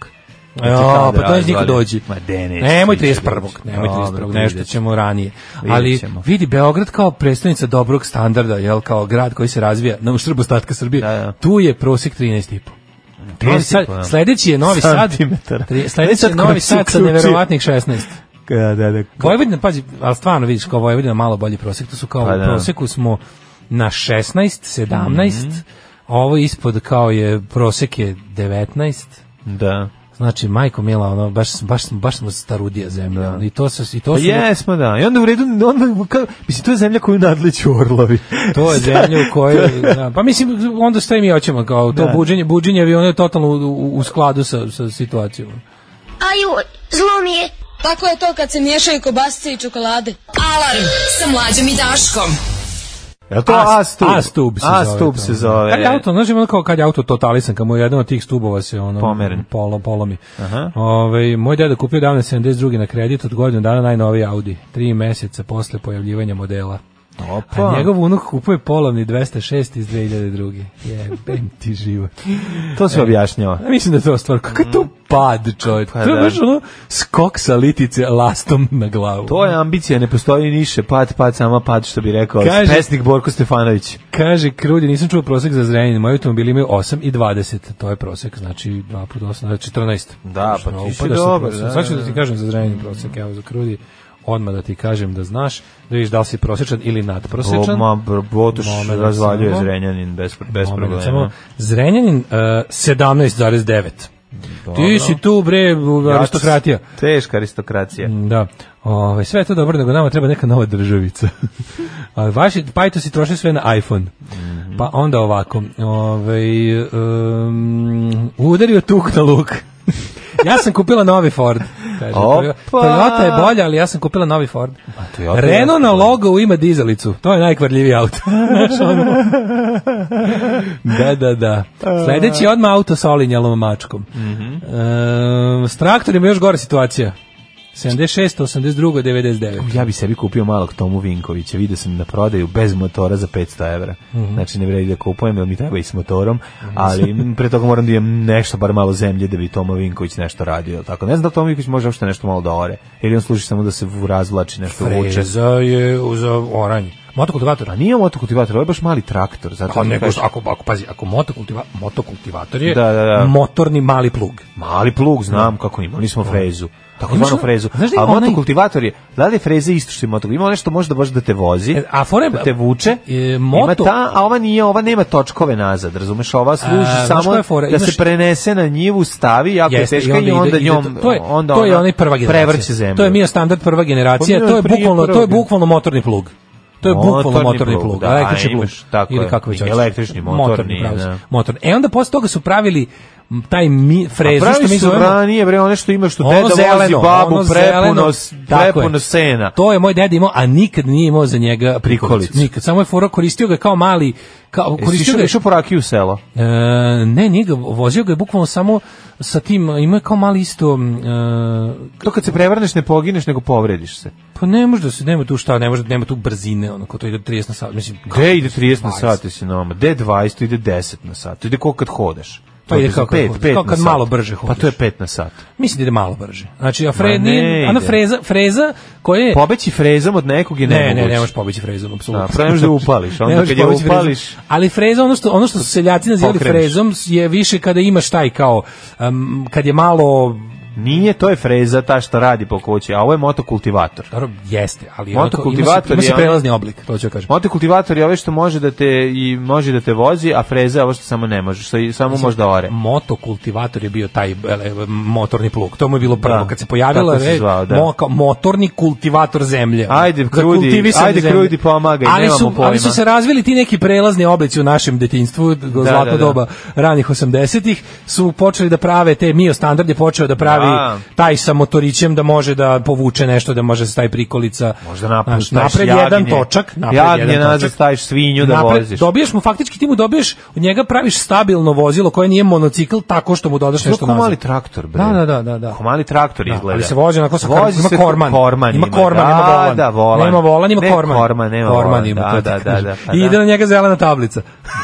Znači, Da će Jo, tada pa to neće niko razvalim. dođi. Ma de, neće, Nemoj neće 31. doći. Nemoj Dobro, 31. Nešto vidjet ćemo ranije. Vidjet Ali ćemo. vidi, Beograd kao predstavnica dobrog standarda, jel, kao grad koji se razvija na uštrb ostatka Srbije, tu je prosjek 13,5. 13,5, Sad- da. Sledeći je Novi Sad. Santimetara. Tri- Ne, Sledeći sad je ko Novi se Sad sa uključio? neverovatnih 16. Da, da, da. Vojvodina, pazi, ali stvarno vidiš kao Vojvodina malo bolji prosek, to su kao Pa u da. proseku smo na 16, 17, Mhm. a ovo ispod kao je prosek je 19. Da. Znači, majko mila, ono, baš, baš, baš smo starudija zemlja. ono, I to, se, i to Pa su... jesmo, da. I onda u redu, onda, kao, mislim, to je zemlja koju nadliću orlovi. To (laughs) je Šta? zemlja u kojoj... da, pa mislim, onda što i mi hoćemo, kao to Da. buđenje, buđenje aviona je totalno u, u- u skladu sa, sa situacijom. Aju, zlo mi je. Tako je to kad se miješaju kobasice i čokolade. Alarm sa mlađom i Daškom. (laughs) Jel to A- A-stub? A-stub se zove A-stub to. se zove. Kad je auto, znaš ono kao kad je auto totalisan, kad mu je jedan od tih stubova se ono... Pomeren. Polo, polomi. Aha. Ove, moj deda kupio davne 72. na kredit, od godinu dana najnoviji Audi. Tri meseca posle pojavljivanja modela. Opa. A Pa njegov unuk kupuje polovni 206 iz 2002. Jebem ti život. To se E, objašnjava. ja mislim da je to stvar, kakav je to pad, čovječ. Mm. Pa to je da. baš ono skok sa litice lastom na glavu. To je ambicija, ne postoji niše, pad, pad, sama pad, što bi rekao Kaže- pesnik Borko Stefanović. Kaže, krudi, nisam čuo prosek za zrenjanin. Moji automobili imaju 8 i 20. To je prosek, znači 2 put 8, znači 14. Da, pa Znači, ti si upadaš sa dobar, prosekom. da, Sad ću da, da ti da. kažem za zrenjanin prosek, evo za krudi. Odmah da ti kažem da znaš, da vidiš da li si prosečan ili nadprosečan. O, ma, br- Botoš Momenat razvaljuje samo. Zrenjanin bez, bez Moment, problema. Samo, Zrenjanin uh, 17,9. Ti Dobro. si tu, bre, u- Ja, aristokratija. Teška aristokracija. Da. Ove, sve je to dobro, nego nama treba neka nova državica. (laughs) A vaši pajtosi troše sve na iPhone. Pa onda ovako. Ovaj um, udario tuk na luk. (laughs) ja sam kupila novi Ford. Kaže, Opa! Toyota je bolja, ali ja sam kupila novi Ford. Toyota je- Renault na logo ima dizalicu. To je najkvarljiviji auto. (laughs) Znaš, ono. da, da, (laughs) da. Sledeći je odmah auto sa olinjalom mačkom. Ehm, s traktorima još gore situacija. 76, 82, 99. Ja bi sebi kupio malog Tomu Vinkovića, vidio sam na prodaju bez motora za 500 evra. Znači ne vredi da kupujem, jer mi treba i s motorom, ali m, pre toga moram da imam nešto, bar malo zemlje, da bi Toma Vinković nešto radio. jel Tako. Ne znam da li Toma Vinković može uopšte nešto malo da ore, ili on služi samo da se vu- razvlači, nešto vuče. Freza je uz oranj. Motokultivator. A nije motokultivator, ovo je baš mali traktor. Zato Ako, mi Pa nego, kažeš- što- ako, ako, pazi, ako motokultiva, motokultivator je Da, da, da. motorni mali plug. Mali plug, znam kako ima, nismo frezu. Tako Imaš zvanu ono- frezu. znaš da ima A onaj- motokultivator je, da li je freza isto što je motokultivator? Ima nešto možda baš da te vozi, E, a fore- da te vuče. e, Ima moto- ta, a ova nije, ova nema točkove nazad, razumeš? Ova služi A, znaš koja samo je fora? da Imaš- se prenese na njivu, stavi, jako je Jeste, teška i onda ide- ide njom, to, to je, onda to je ona onaj prva generacija. Prevrće zemlju. To je mio standard prva generacija, Pa to je nije prije bukvalno, to je prva. bukvalno motorni plug. To je bukvalno Motorni motorni plug, plug, da, električni plug. imaš, tako ili je. kako već I hoćeš. električni, motorni, pravo si. da. Motorni. E onda posle toga su pravili m, taj mi, frezu A što e, mi pravi su zovemo ono ranije, bre, one što ima što deda vozi babu prepuno, s- prepuno sena. To je moj deda imao, a nikad nije imao za njega prikolicu. Prikolicu. E, Nikad, samo je fora koristio ga kao mali, kao, Jesi koristio išao- ga išao po rakiju u selo? E, ne, nije ga, vozio ga je bukvalno samo sa tim, ima je kao mali isto, m, e, To kad se prevrneš ne pogineš, nego povrediš se. pa ne može da se, nema tu šta, ne može, nema tu brzine, ono, ko to ide 30 na sat, mislim, kako Gde ide 30 na 20? sat, si nama? Gde 20, to ide 10 na sat. To ide koliko kad hodaš. Pa To ide je za kako kad pet, hodaš, pet kao na kad sat. malo brže hodaš. Pa to je 5 na sat. mislim da ide malo brže. Znači, a Fred Ma ne nije, ona ide. freza, freza koja je... Pobeći frezom od nekog je E. Ne, nemoguće. ne, ne možeš pobeći frezom, apsolutno. Da, prvo ne možeš da je upališ, onda Ne možeš kad je pobeći frezom. upališ- Ali freza, ono što, ono što su seljaci nazivali Pokreneš. frezom, je više kada imaš taj kao, em, kad je malo Nije, to je freza ta što radi po kući, a ovo je motokultivator. Dobro, jeste, ali onako, ima, se, Motokultivator ima je ono- se on- prelazni oblik, to ću kažem. Motokultivator je ovo što može da te i može da te vozi, a freza je ovo što samo ne može, što i samo može da ore. motokultivator je bio taj ele, motorni plug. To mu je bilo prvo Da, kad se pojavila tako se re, zvao, da. mo- kao motorni kultivator zemlje. Ajde, Za krudi, kultivisanje ajde, zemlje. krudi, pomagaj, ali nemamo su, Ali pojma. su se razvili ti neki prelazni oblici u našem detinjstvu, da, zlatno da, da. doba ranih 80-ih, su počeli da prave te mio standard je počeo da pravi stavi Da. taj sa motorićem da može da povuče nešto, da može da stavi prikolica. Možda napuštaš Znaš, napred jagnje. jedan točak, napred Jagnje jedan nazad točak. staviš svinju da Napred- voziš. Dobiješ mu Pa faktički ti mu dobiješ od njega praviš stabilno vozilo koje nije monocikl tako što mu dodaš To nešto ko nazad. mali traktor, bre. Da, da, da, da, da. Ko mali traktor Da, izgleda. ali se vozi onako sa kar- Vozi ima se- korman. korman Ima korman, da, nema volan. Da, volan. Nema volan, ima ne, korman. Korman, nema Korman volan. ima, da, to da, ti da, kažem. da. pa I ide na njega zelena tablica.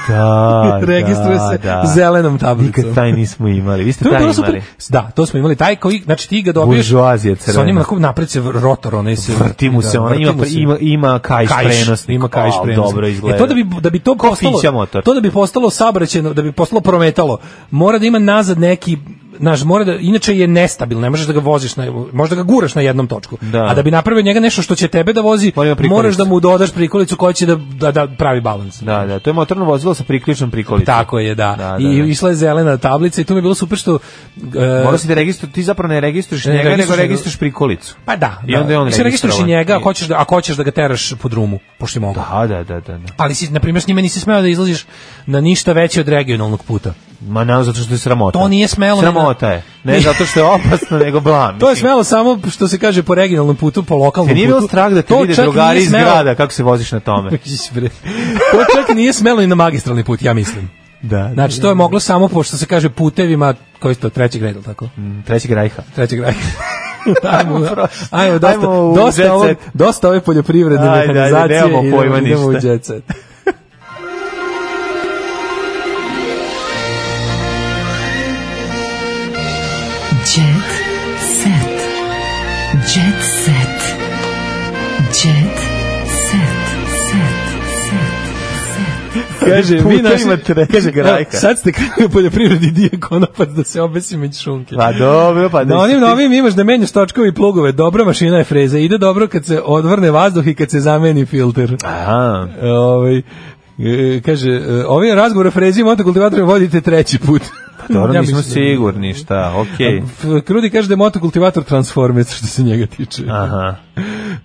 Da, (laughs) Registruje da, se da. zelenom tablicom. Nikad taj nismo imali. Vi ste To je taj bilo imali. super. Da, to smo imali taj koji, znači ti ga dobiješ. Buržoazija Sa crvena. onim onako napred se rotor, onaj se Vrti mu se, da, ona vrti ima, mu se. ima, ima kajš, prenosnik. Ima kajš Al, prenosnik. Dobro izgleda. E, to da bi da bi to Ko fića postalo motor. to da bi postalo saobraćajno, da bi postalo prometalo, mora da ima nazad neki Znaš, mora da, inače je nestabilno, ne možeš da ga voziš, na, možda ga guraš na jednom točku. Da. A da bi napravio od njega nešto što će tebe da vozi, Mora ima prikolicu. moraš da mu dodaš prikolicu koja će da, da, da pravi balans. Da, da, to je motorno vozilo sa priključnom prikolicom. Tako je, da. da, I da. išla je zelena tablica i tu mi je bilo super što... e, Moraš da registruješ, ti zapravo ne registruješ Ne, njega, nego registruješ njega. registruješ prikolicu. Pa da. I onda je on Mislim, registruješ i registrovan. njega, ako hoćeš da, ako hoćeš da ga teraš pod rumu, pošto je mogu. Da, da, da, da. da. Ali si, na primjer, s njima nisi smeo da izlaziš na ništa veće od regionalnog puta. Ma ne, zato što je sramota. To nije smelo ni na- Sramota je. Ne zato što je (laughs) opasno, nego blam. To je smelo samo, što se kaže, po regionalnom putu, po lokalnom Ti putu. nije bilo strah da te To vide čak drugari nije iz smelo- grada kako se voziš na (laughs) tome. Bre. to čak nije smelo ni na magistralni put, ja mislim. Da. Znači, to je moglo samo, pošto se kaže, putevima, koji su to, trećeg reda, jel tako? Mm, Trećeg rajha. Trećeg (laughs) reda. Ajmo, ajmo, dosta, Ajmo u jet dosta, ovog- set. dosta ove poljoprivredne Ajde, ajde, mehanizacije. nemamo idemo- pojma idemo u ništa. jet (laughs) set. Jet set. Jet set. Jet set. Set. Kaže, vi Putevima naši, trećeg kaže, evo, rajka. sad ste krenuli u poljoprivredi dio konopac da se obesi među šunke. Pa dobro, pa Na da onim si ti- novim imaš da menjaš točkove i plugove, dobra mašina je freza, ide dobro kad se odvrne vazduh i kad se zameni filter. Aha. Ovaj, e, kaže, e, ovaj razgovor o frezi i motokultivatorima vodite treći put. Pa Dobro, Ja nismo mislim- sigurni šta, okej. F- Krudi kaže da je motokultivator transformec, što se njega tiče. Aha.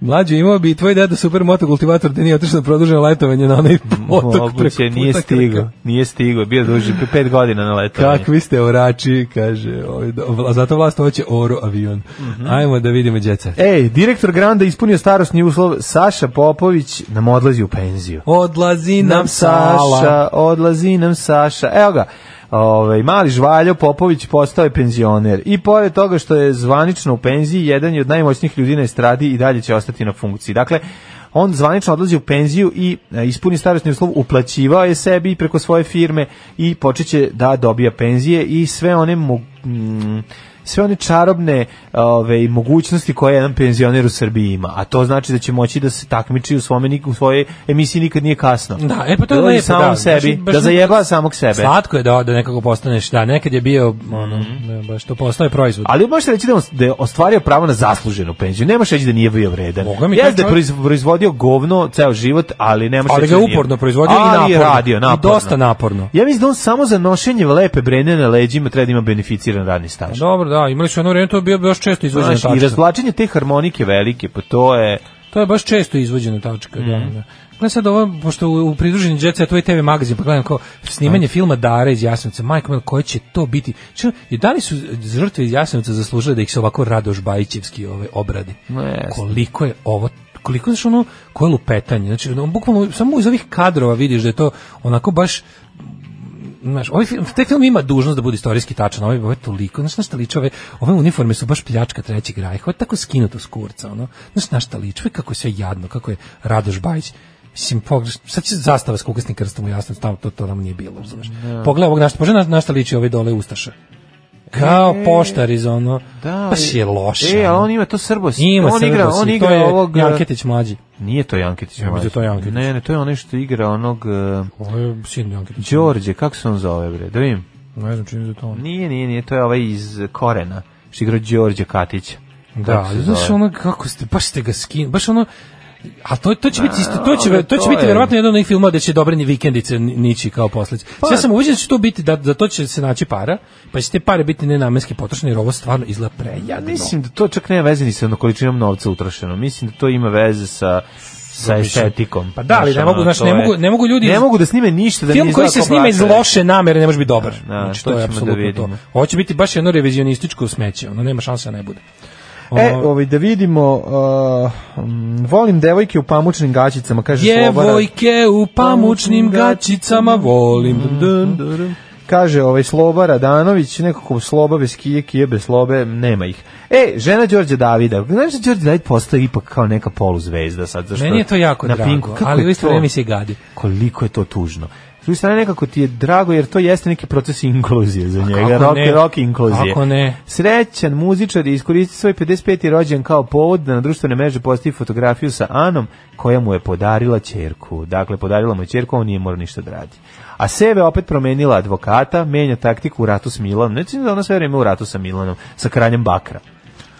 Mlađe, imao bi i tvoj deda super motokultivator da nije otišao na produženo letovanje na onaj otok preko Moguće, nije puta Krka. stigo. Nije stigo, bio duži, pre pet godina na letovanje. Kakvi ste orači, kaže. Ovaj, do- vla- zato vlast hoće oro avion. Mhm. Ajmo da vidimo djeca. Ej, direktor Granda ispunio starosni uslov, Saša Popović nam odlazi u penziju. Odlazi nam nam sala. Saša, odlazi nam Saša. Evo ga, ovaj, mali žvaljo Popović postao je penzioner i pored toga što je zvanično u penziji, jedan je od najmoćnijih ljudi na estradi i dalje će ostati na funkciji. Dakle, on zvanično odlazi u penziju i e, ispuni starosni uslov, uplaćivao je sebi preko svoje firme i počeće da dobija penzije i sve one mo- mm, sve one čarobne ove, mogućnosti koje jedan penzioner u Srbiji ima, a to znači da će moći da se takmiči u, svome, nik- u svojoj emisiji nikad nije kasno. Da, e pa to je Da dođe lepo, samom da. znači, sebi, Baš- baš- da zajeba samog sebe. Slatko je da, da nekako postaneš, da, nekad je bio, ono, ne, baš to postaje proizvod. Mhm. Ali možeš reći da je on- da je ostvario pravo na zasluženu penziju. Nemaš reći da nije bio vredan. Boga mi, Jeste da taj je čovjek- proiz- proizvodio govno ceo život, ali nemaš ali reći ga da nije. uporno proizvodio i Ali naporno. je radio, naporno. I dosta naporno. Ja mislim da on samo za nošenje lepe brene na leđima treba da ima beneficiran radni staž. Dobro, da, imali su jedno vrijeme, to je bio baš često izvođena Znaš, I tačka. razvlačenje te harmonike velike, pa to je... To je baš često izvođena tačka, Mhm. da, da. Gle sad ovo, pošto u, u pridruženju Jet Set, to je TV magazin, pa gledam kao snimanje filma Dare iz Jasenovca, majko mila, koje će to biti? Čo, i da li su žrtve iz Jasenovca zaslužile da ih se ovako Radoš Bajićevski ove, obradi? No, jeste. koliko je ovo koliko je ono koje lupetanje znači ono, bukvalno samo iz ovih kadrova vidiš da je to onako baš znaš, ovaj film, taj film ima dužnost da bude istorijski tačan, ovaj, ovaj toliko, znaš, na šta liče ove, ove uniforme su baš pljačka trećeg rajha, ovo je tako skinuto s kurca, ono, znaš, na šta liče, ovo je kako je sve jadno, kako je Radoš Bajić, mislim, pogreš, sad će zastava s kukasnim krstom u jasnom stavu, to, to nam nije bilo, znaš, pogledaj ovog, našta, može na, na šta liči ove dole Ustaša, kao poštar iz ono, E, Da, baš je loše. E, ali ono. on ima to srbos. Ima on igra, on igra to je ovog... e, Janketić mlađi. Nije to Janketić. Ja mislim da je to mlađi. Janketić. Ne, ne, to je onaj što igra onog... Uh, Ovo je sin Janketić. Đorđe, kako se on zove, bre? Da vidim. Ne znam čini da je to on. Nije, nije, nije, to je ovaj iz Korena, što igra Đorđe Katić. Da, ali znaš ono kako ste, baš ste ga skin, baš ono A to, to će biti isto, to će, ali to će to biti je- verovatno jedan od onih filmova da će dobre ni vikendice ni- nići kao posledica. Pa- ja sam ubeđen da će to biti, da, da to će se naći para, pa će te pare biti nenamenski potrošene, jer ovo stvarno izgleda prejadno. Mislim da to čak nema veze ni sa ono količinom novca utrošeno. Mislim da to ima veze sa sa estetikom. Pa da, ali ne ono, mogu, znaš, to ne je- mogu, ne mogu ljudi... Ne mogu da snime ništa da Film nije koji se izgleda kao snima iz blata. loše namere ne može biti dobar. Da, da, znači, to to, je ćemo da apsolutno to. vidimo. Ovo će biti baš jedno revizionističko smeće, ono nema šanse da ne bude. E, Ono- ovaj, da vidimo, uh, mm, volim devojke u pamučnim gaćicama, kaže Slobara. Djevojke u pamučnim gaćicama volim. Dun, dun, dun. Kaže ovaj Slobara Danović, nekako sloba bez kije, kije bez slobe, nema ih. E, žena Đorđe Davida. Znaš da Đorđe David postoji ipak kao neka poluzvezda sad? Zašto? Meni je to jako na drago, Pinku, kako ali je u isto to? vreme mi se gadi. Koliko je to tužno. S druge strane, nekako ti je drago, jer to jeste neki proces inkluzije za njega. kako Rock, ne? rock inkluzije. Kako ne? Srećan muzičar je iskoristio svoj 55. rođen kao povod da na društvene mreže postavi fotografiju sa Anom koja mu je podarila čerku. Dakle, podarila mu je čerku, on nije morao ništa da radi. A sebe opet promenila advokata, menja taktiku u ratu s Milanom. Ne čini da ona sve vreme u ratu sa Milanom, sa kranjem bakra.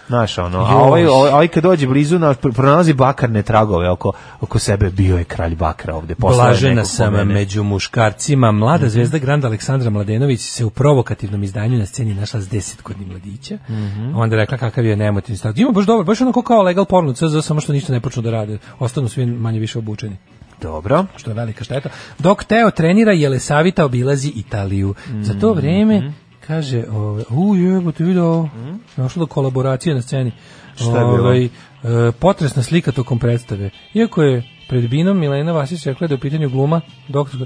Znaš, ono, a ovaj, ovaj, ovaj kad dođe blizu, naš, pr- pronalazi bakarne tragove oko, oko sebe, bio je kralj bakra ovde. poslao je Blažena nekog po sam mene. među muškarcima. Mhm. Mlada zvezda Granda Aleksandra Mladenović se u provokativnom izdanju na sceni našla s desetkodnim mladića. Mhm. Onda je rekla kakav je nemotivni stav. Ima baš dobro, baš onako kao legal porno CZ, samo što ništa ne počnu da rade. Ostanu svi manje više obučeni. Dobro. Što je velika šteta. Dok Teo trenira, Jelesavita obilazi Italiju. Za to vreme, Mhm. kaže, ove, u jebo ti video, došlo do kolaboracije na sceni. Šta je bilo? Ovaj, e, potresna slika tokom predstave. Iako je pred binom Milena Vasić rekla da je u pitanju gluma doktor,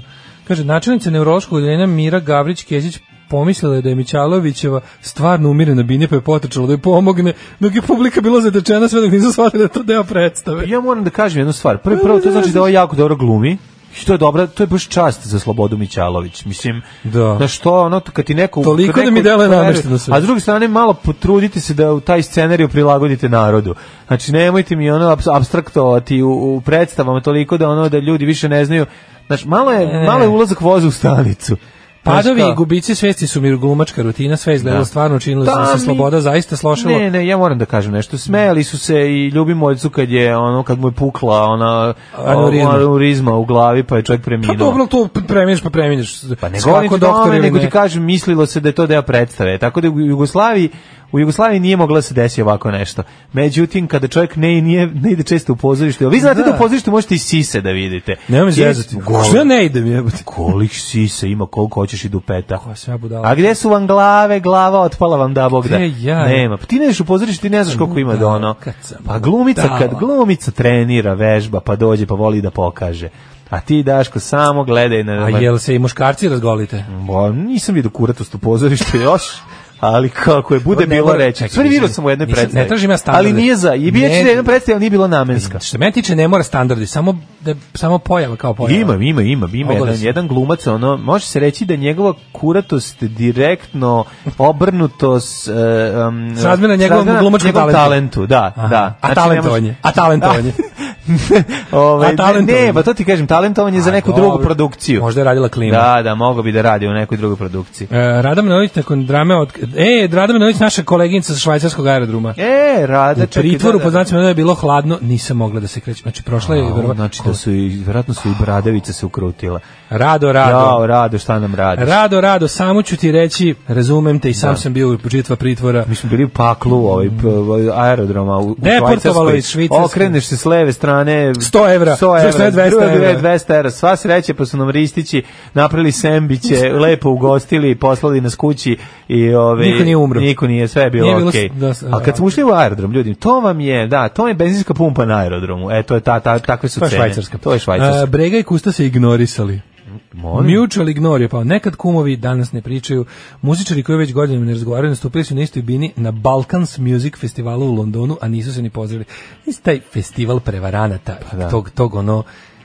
kaže, načelnica neurološkog odeljenja Mira Gavrić-Kezić pomislila je da je Mićalovićeva stvarno umire na bini pa je potrčala da je pomogne dok je publika bila zatečena sve dok nisu shvatili da je to deo predstave. Ja moram da kažem jednu stvar. Prvi prvo to znači da ovo jako dobro glumi. I to je dobra, to je baš čast za Slobodu Mićalović. Mislim, Da. na što ono kad ti neko Toliko kad da neko- mi deluje namešteno sve. A s druge strane malo potrudite se da u taj scenariju prilagodite narodu. Znači nemojte mi ono abs- abstraktovati u, u predstavama toliko da ono da ljudi više ne znaju. Znači malo je Ne. malo je ulazak voza u stanicu. Znaš Padovi kao? i gubici svesti su mi glumačka rutina, sve izgledalo Da. stvarno, činilo Da, se mi- sloboda zaista slošilo. Ne, ne, ja moram da kažem nešto. Smejali su se i ljubimojcu kad je ono kad mu je pukla ona Aneurizma. aneurizma u glavi pa je čovjek preminuo. Pa dobro, ali to premiješ pa premiješ. Pa ne S govorim kako ti doktor, ili nego ne. ti kažem, mislilo se da je to deo predstave. Tako da u Jugoslaviji U Jugoslaviji nije moglo da se desi ovako nešto. Međutim, kada čovjek ne, nije, ne ide često u pozorište, a vi znate da, Da. u pozorištu možete i sise da vidite. Nemam Ti- izvezati. Gol- Što ja ne idem jebati? Kolih sise ima, koliko hoćeš i dupeta. Koja sve budala. A gde su vam glave, glava otpala vam da Bog da. Gde ja? Nema. Pa ti ne ideš u pozorište, ti ne znaš koliko ima do ono. Kad sam Pa glumica budala. kad glumica trenira, vežba, pa dođe, pa voli da pokaže. A ti Daško samo gledaj na A jel se i muškarci razgolite? Ba, nisam vidio kuratost u pozorištu još, ali kako je bude Ne bilo mora- reći. čekaj, Sve vidio izvini, sam u jednoj nisam- predstavi. ne tražim ja standarde. Ali nije za, i bio Ne. je jedna predstava, ali nije bila namenska. Što se mene tiče ne mora standardi, samo da samo pojava kao pojava. Ima, ima, ima, ima Ogoljen jedan, sam. jedan glumac, ono, može se reći da je njegova kuratost direktno obrnuto s... e, um, Srazmjerno njegovom srazmjerna glumačkom njegovom talentu. talentu. Da, Aha. da. Znači, A ne talentovan je, može- a talentovan je. Ovaj, A talentovan ne, je. ne, pa to ti kažem, talentovan je za A, (laughs) neku dobro. drugu produkciju. Možda je radila klima. Da, da, mogao bi da radi u nekoj drugoj produkciji. E, Rada Menović nakon drame od... E, Rada Menović, naša koleginica sa švajcarskog aerodruma. E, rada, U čekaj, pritvoru, da, da. po znacima da je bilo hladno, nisam mogla da se krećem. Znači, prošla je A, verovatno- znači da su i vjerojatno su i bradavice se ukrutile. Rado, rado. Jao, rado, šta nam radiš? Rado, rado, samo ću ti reći, razumem te i sam Da. sam bio u žitva pritvora. Mi smo bili u paklu ovaj, p- ovaj, aerodroma u, u Mm. Deportovalo Švajcarskoj. iz Švicarske. Okreneš se s leve strane. 100 evra, 100 zašto ne evra, 200 druga evra? je 200 evra. Sva sreće, pa su nam ristići napravili (laughs) sembiće, lepo ugostili, poslali nas kući i ove, Niko nije umro. Niko nije, sve je bilo, Nije bilo s- okej. da, s- A kad smo ušli u aerodrom, ljudi, to vam je, da, to je benzinska pumpa na aerodromu. E, to je ta, ta, takve su To je cene. švajcarska. E, To je A, švajcarska. Brega i Kusta se ignorisali. Molim? Mutual ignore je pao. Nekad kumovi danas ne pričaju. Muzičari koji već godinama ne razgovaraju nastupili su na istoj bini na Balkans Music festivalu u Londonu, a nisu se ni pozdravili. Mislim, taj festival prevaranata, Pa da. tog, tog ono,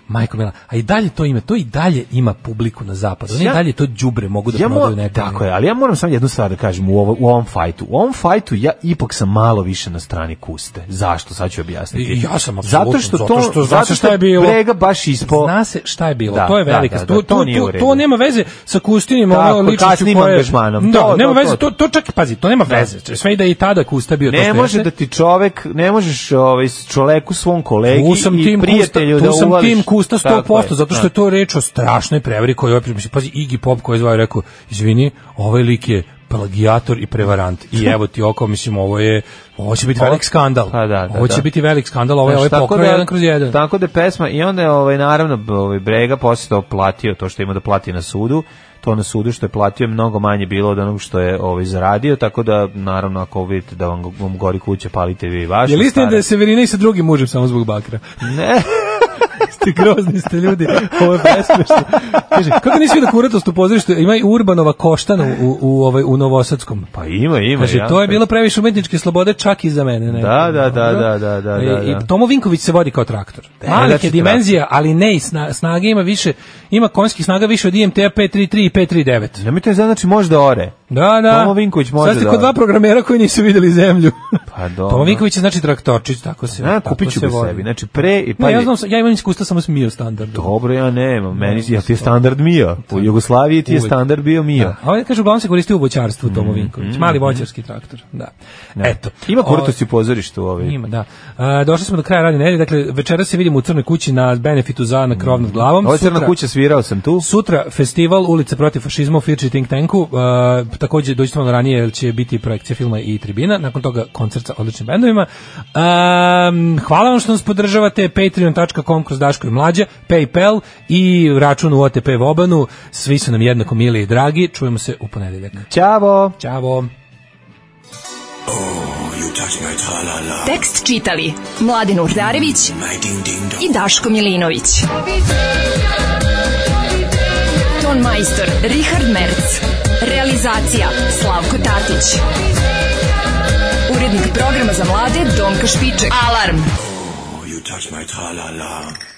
Majko Mila, a i dalje to ima, to i dalje ima publiku na zapadu. Oni i Ja- dalje to đubre mogu da ja mo- prodaju nekome. Tako je, ali ja moram samo jednu stvar da kažem u, ovo, u ovom fajtu. U ovom fajtu ja ipak sam malo više na strani kuste. Zašto? Sad ću objasniti. I- ja sam apsolutno, zato što to, zato što zna se šta je bilo. Brega baš ispo... Zna se šta je bilo, Da, to je da, velika. da, stvar. da, to, to, to nije u to, redu. nema veze sa Kustinim, ono Tako, ličnošću kasnim koje- angažmanom. Da, To, nema to, veze, to. to, to čak, pazi, to nema veze. Sve i da je i tada Kusta bio to Ne što može jeste. da ti čovek, ne možeš ovaj, čoveku svom kolegi Tu sam i tim kusta, prijatelju tu da sam uvališ. tim kusta 100%, Tako je, zato što da. je to reč o strašnoj prevari koju je ovaj, mislim, pazi, Iggy Pop koji je zvao i rekao, izvini, ovaj lik je plagijator i prevarant. (laughs) I evo ti oko, mislim, ovo je, ovo će biti velik skandal. Pa da, da, ovo će da. biti velik skandal, ovo je ovaj Znaš, tako pokrao jedan kroz jedan. Tako da pesma, i onda je ovaj, naravno ovaj, Brega posle to platio, to što ima da plati na sudu, to na sudu što je platio je mnogo manje bilo od onog što je ovaj, zaradio, tako da naravno ako vidite da vam, vam gori kuća, palite vi i vaše. Je li istina stare. da je Severina i sa drugim mužem samo zbog bakra? Ne. (laughs) ste grozni ste ljudi, ovo je besmešno. Kaže, kako nisi vidio kuratost u pozorištu? Ima i Urbanova koštan u, u, u, ovaj, u Novosadskom. Pa ima, ima. Kaže, ja. to je bilo previše umetničke slobode čak i za mene. Ne? E, Da, da, da, da, da, da, I, da. I Tomo Vinković se vodi kao traktor. E, Malik znači je dimenzija, ali ne i sna, snage ima više, ima konjskih snaga više od IMT-a 533 i 539. Nemojte to znači može da ore. Da, da. Tomo Vinković može Sad ste da kod ore. dva programera koji nisu videli zemlju. Pa dobro. (laughs) Tomo Vinković je znači traktorčić, tako se. A, tako kupit ću se ga vodi. sebi. Znači, pre i pa Ne, ja, je- znam, ja imam iskustva samo s Mio standardom. Dobro, ja nemam. Meni ja ti je standard mio. U Jugoslaviji ti je Uvek. standard bio mio. A ovdje kaže uglavnom se koristi u voćarstvu Tomo Mhm, Vinković, mali voćarski traktor. Da. Eto. Ima Ovo- kurtosti u pozorištu ovaj. ovi. Ima, da. A, došli smo do kraja radne nedelje, dakle večeras se vidimo u Crnoj kući na benefitu za na krov nad glavom. Ovo je Crna Sutra- kuća, svirao sam tu. Sutra festival Ulica protiv fašizma u Firči Think Tanku. A, takođe dođite malo ranije jer će biti projekcija filma i tribina. Nakon toga koncert sa odličnim bendovima. A, m, hvala vam što nas podržavate. Patreon.com kroz Daško i Mlađa, Paypal i račun u OTP Vobanu. Svi su nam jednako mili i dragi. Čujemo se u ponedeljak. Ćavo! Ćavo! Tekst čitali Mladin Urdarević i Daško Milinović. Ton majstor Richard Merc. Realizacija Slavko Tatić. Urednik programa za mlade Donka Špiček. Alarm! You touch my tra-la-la.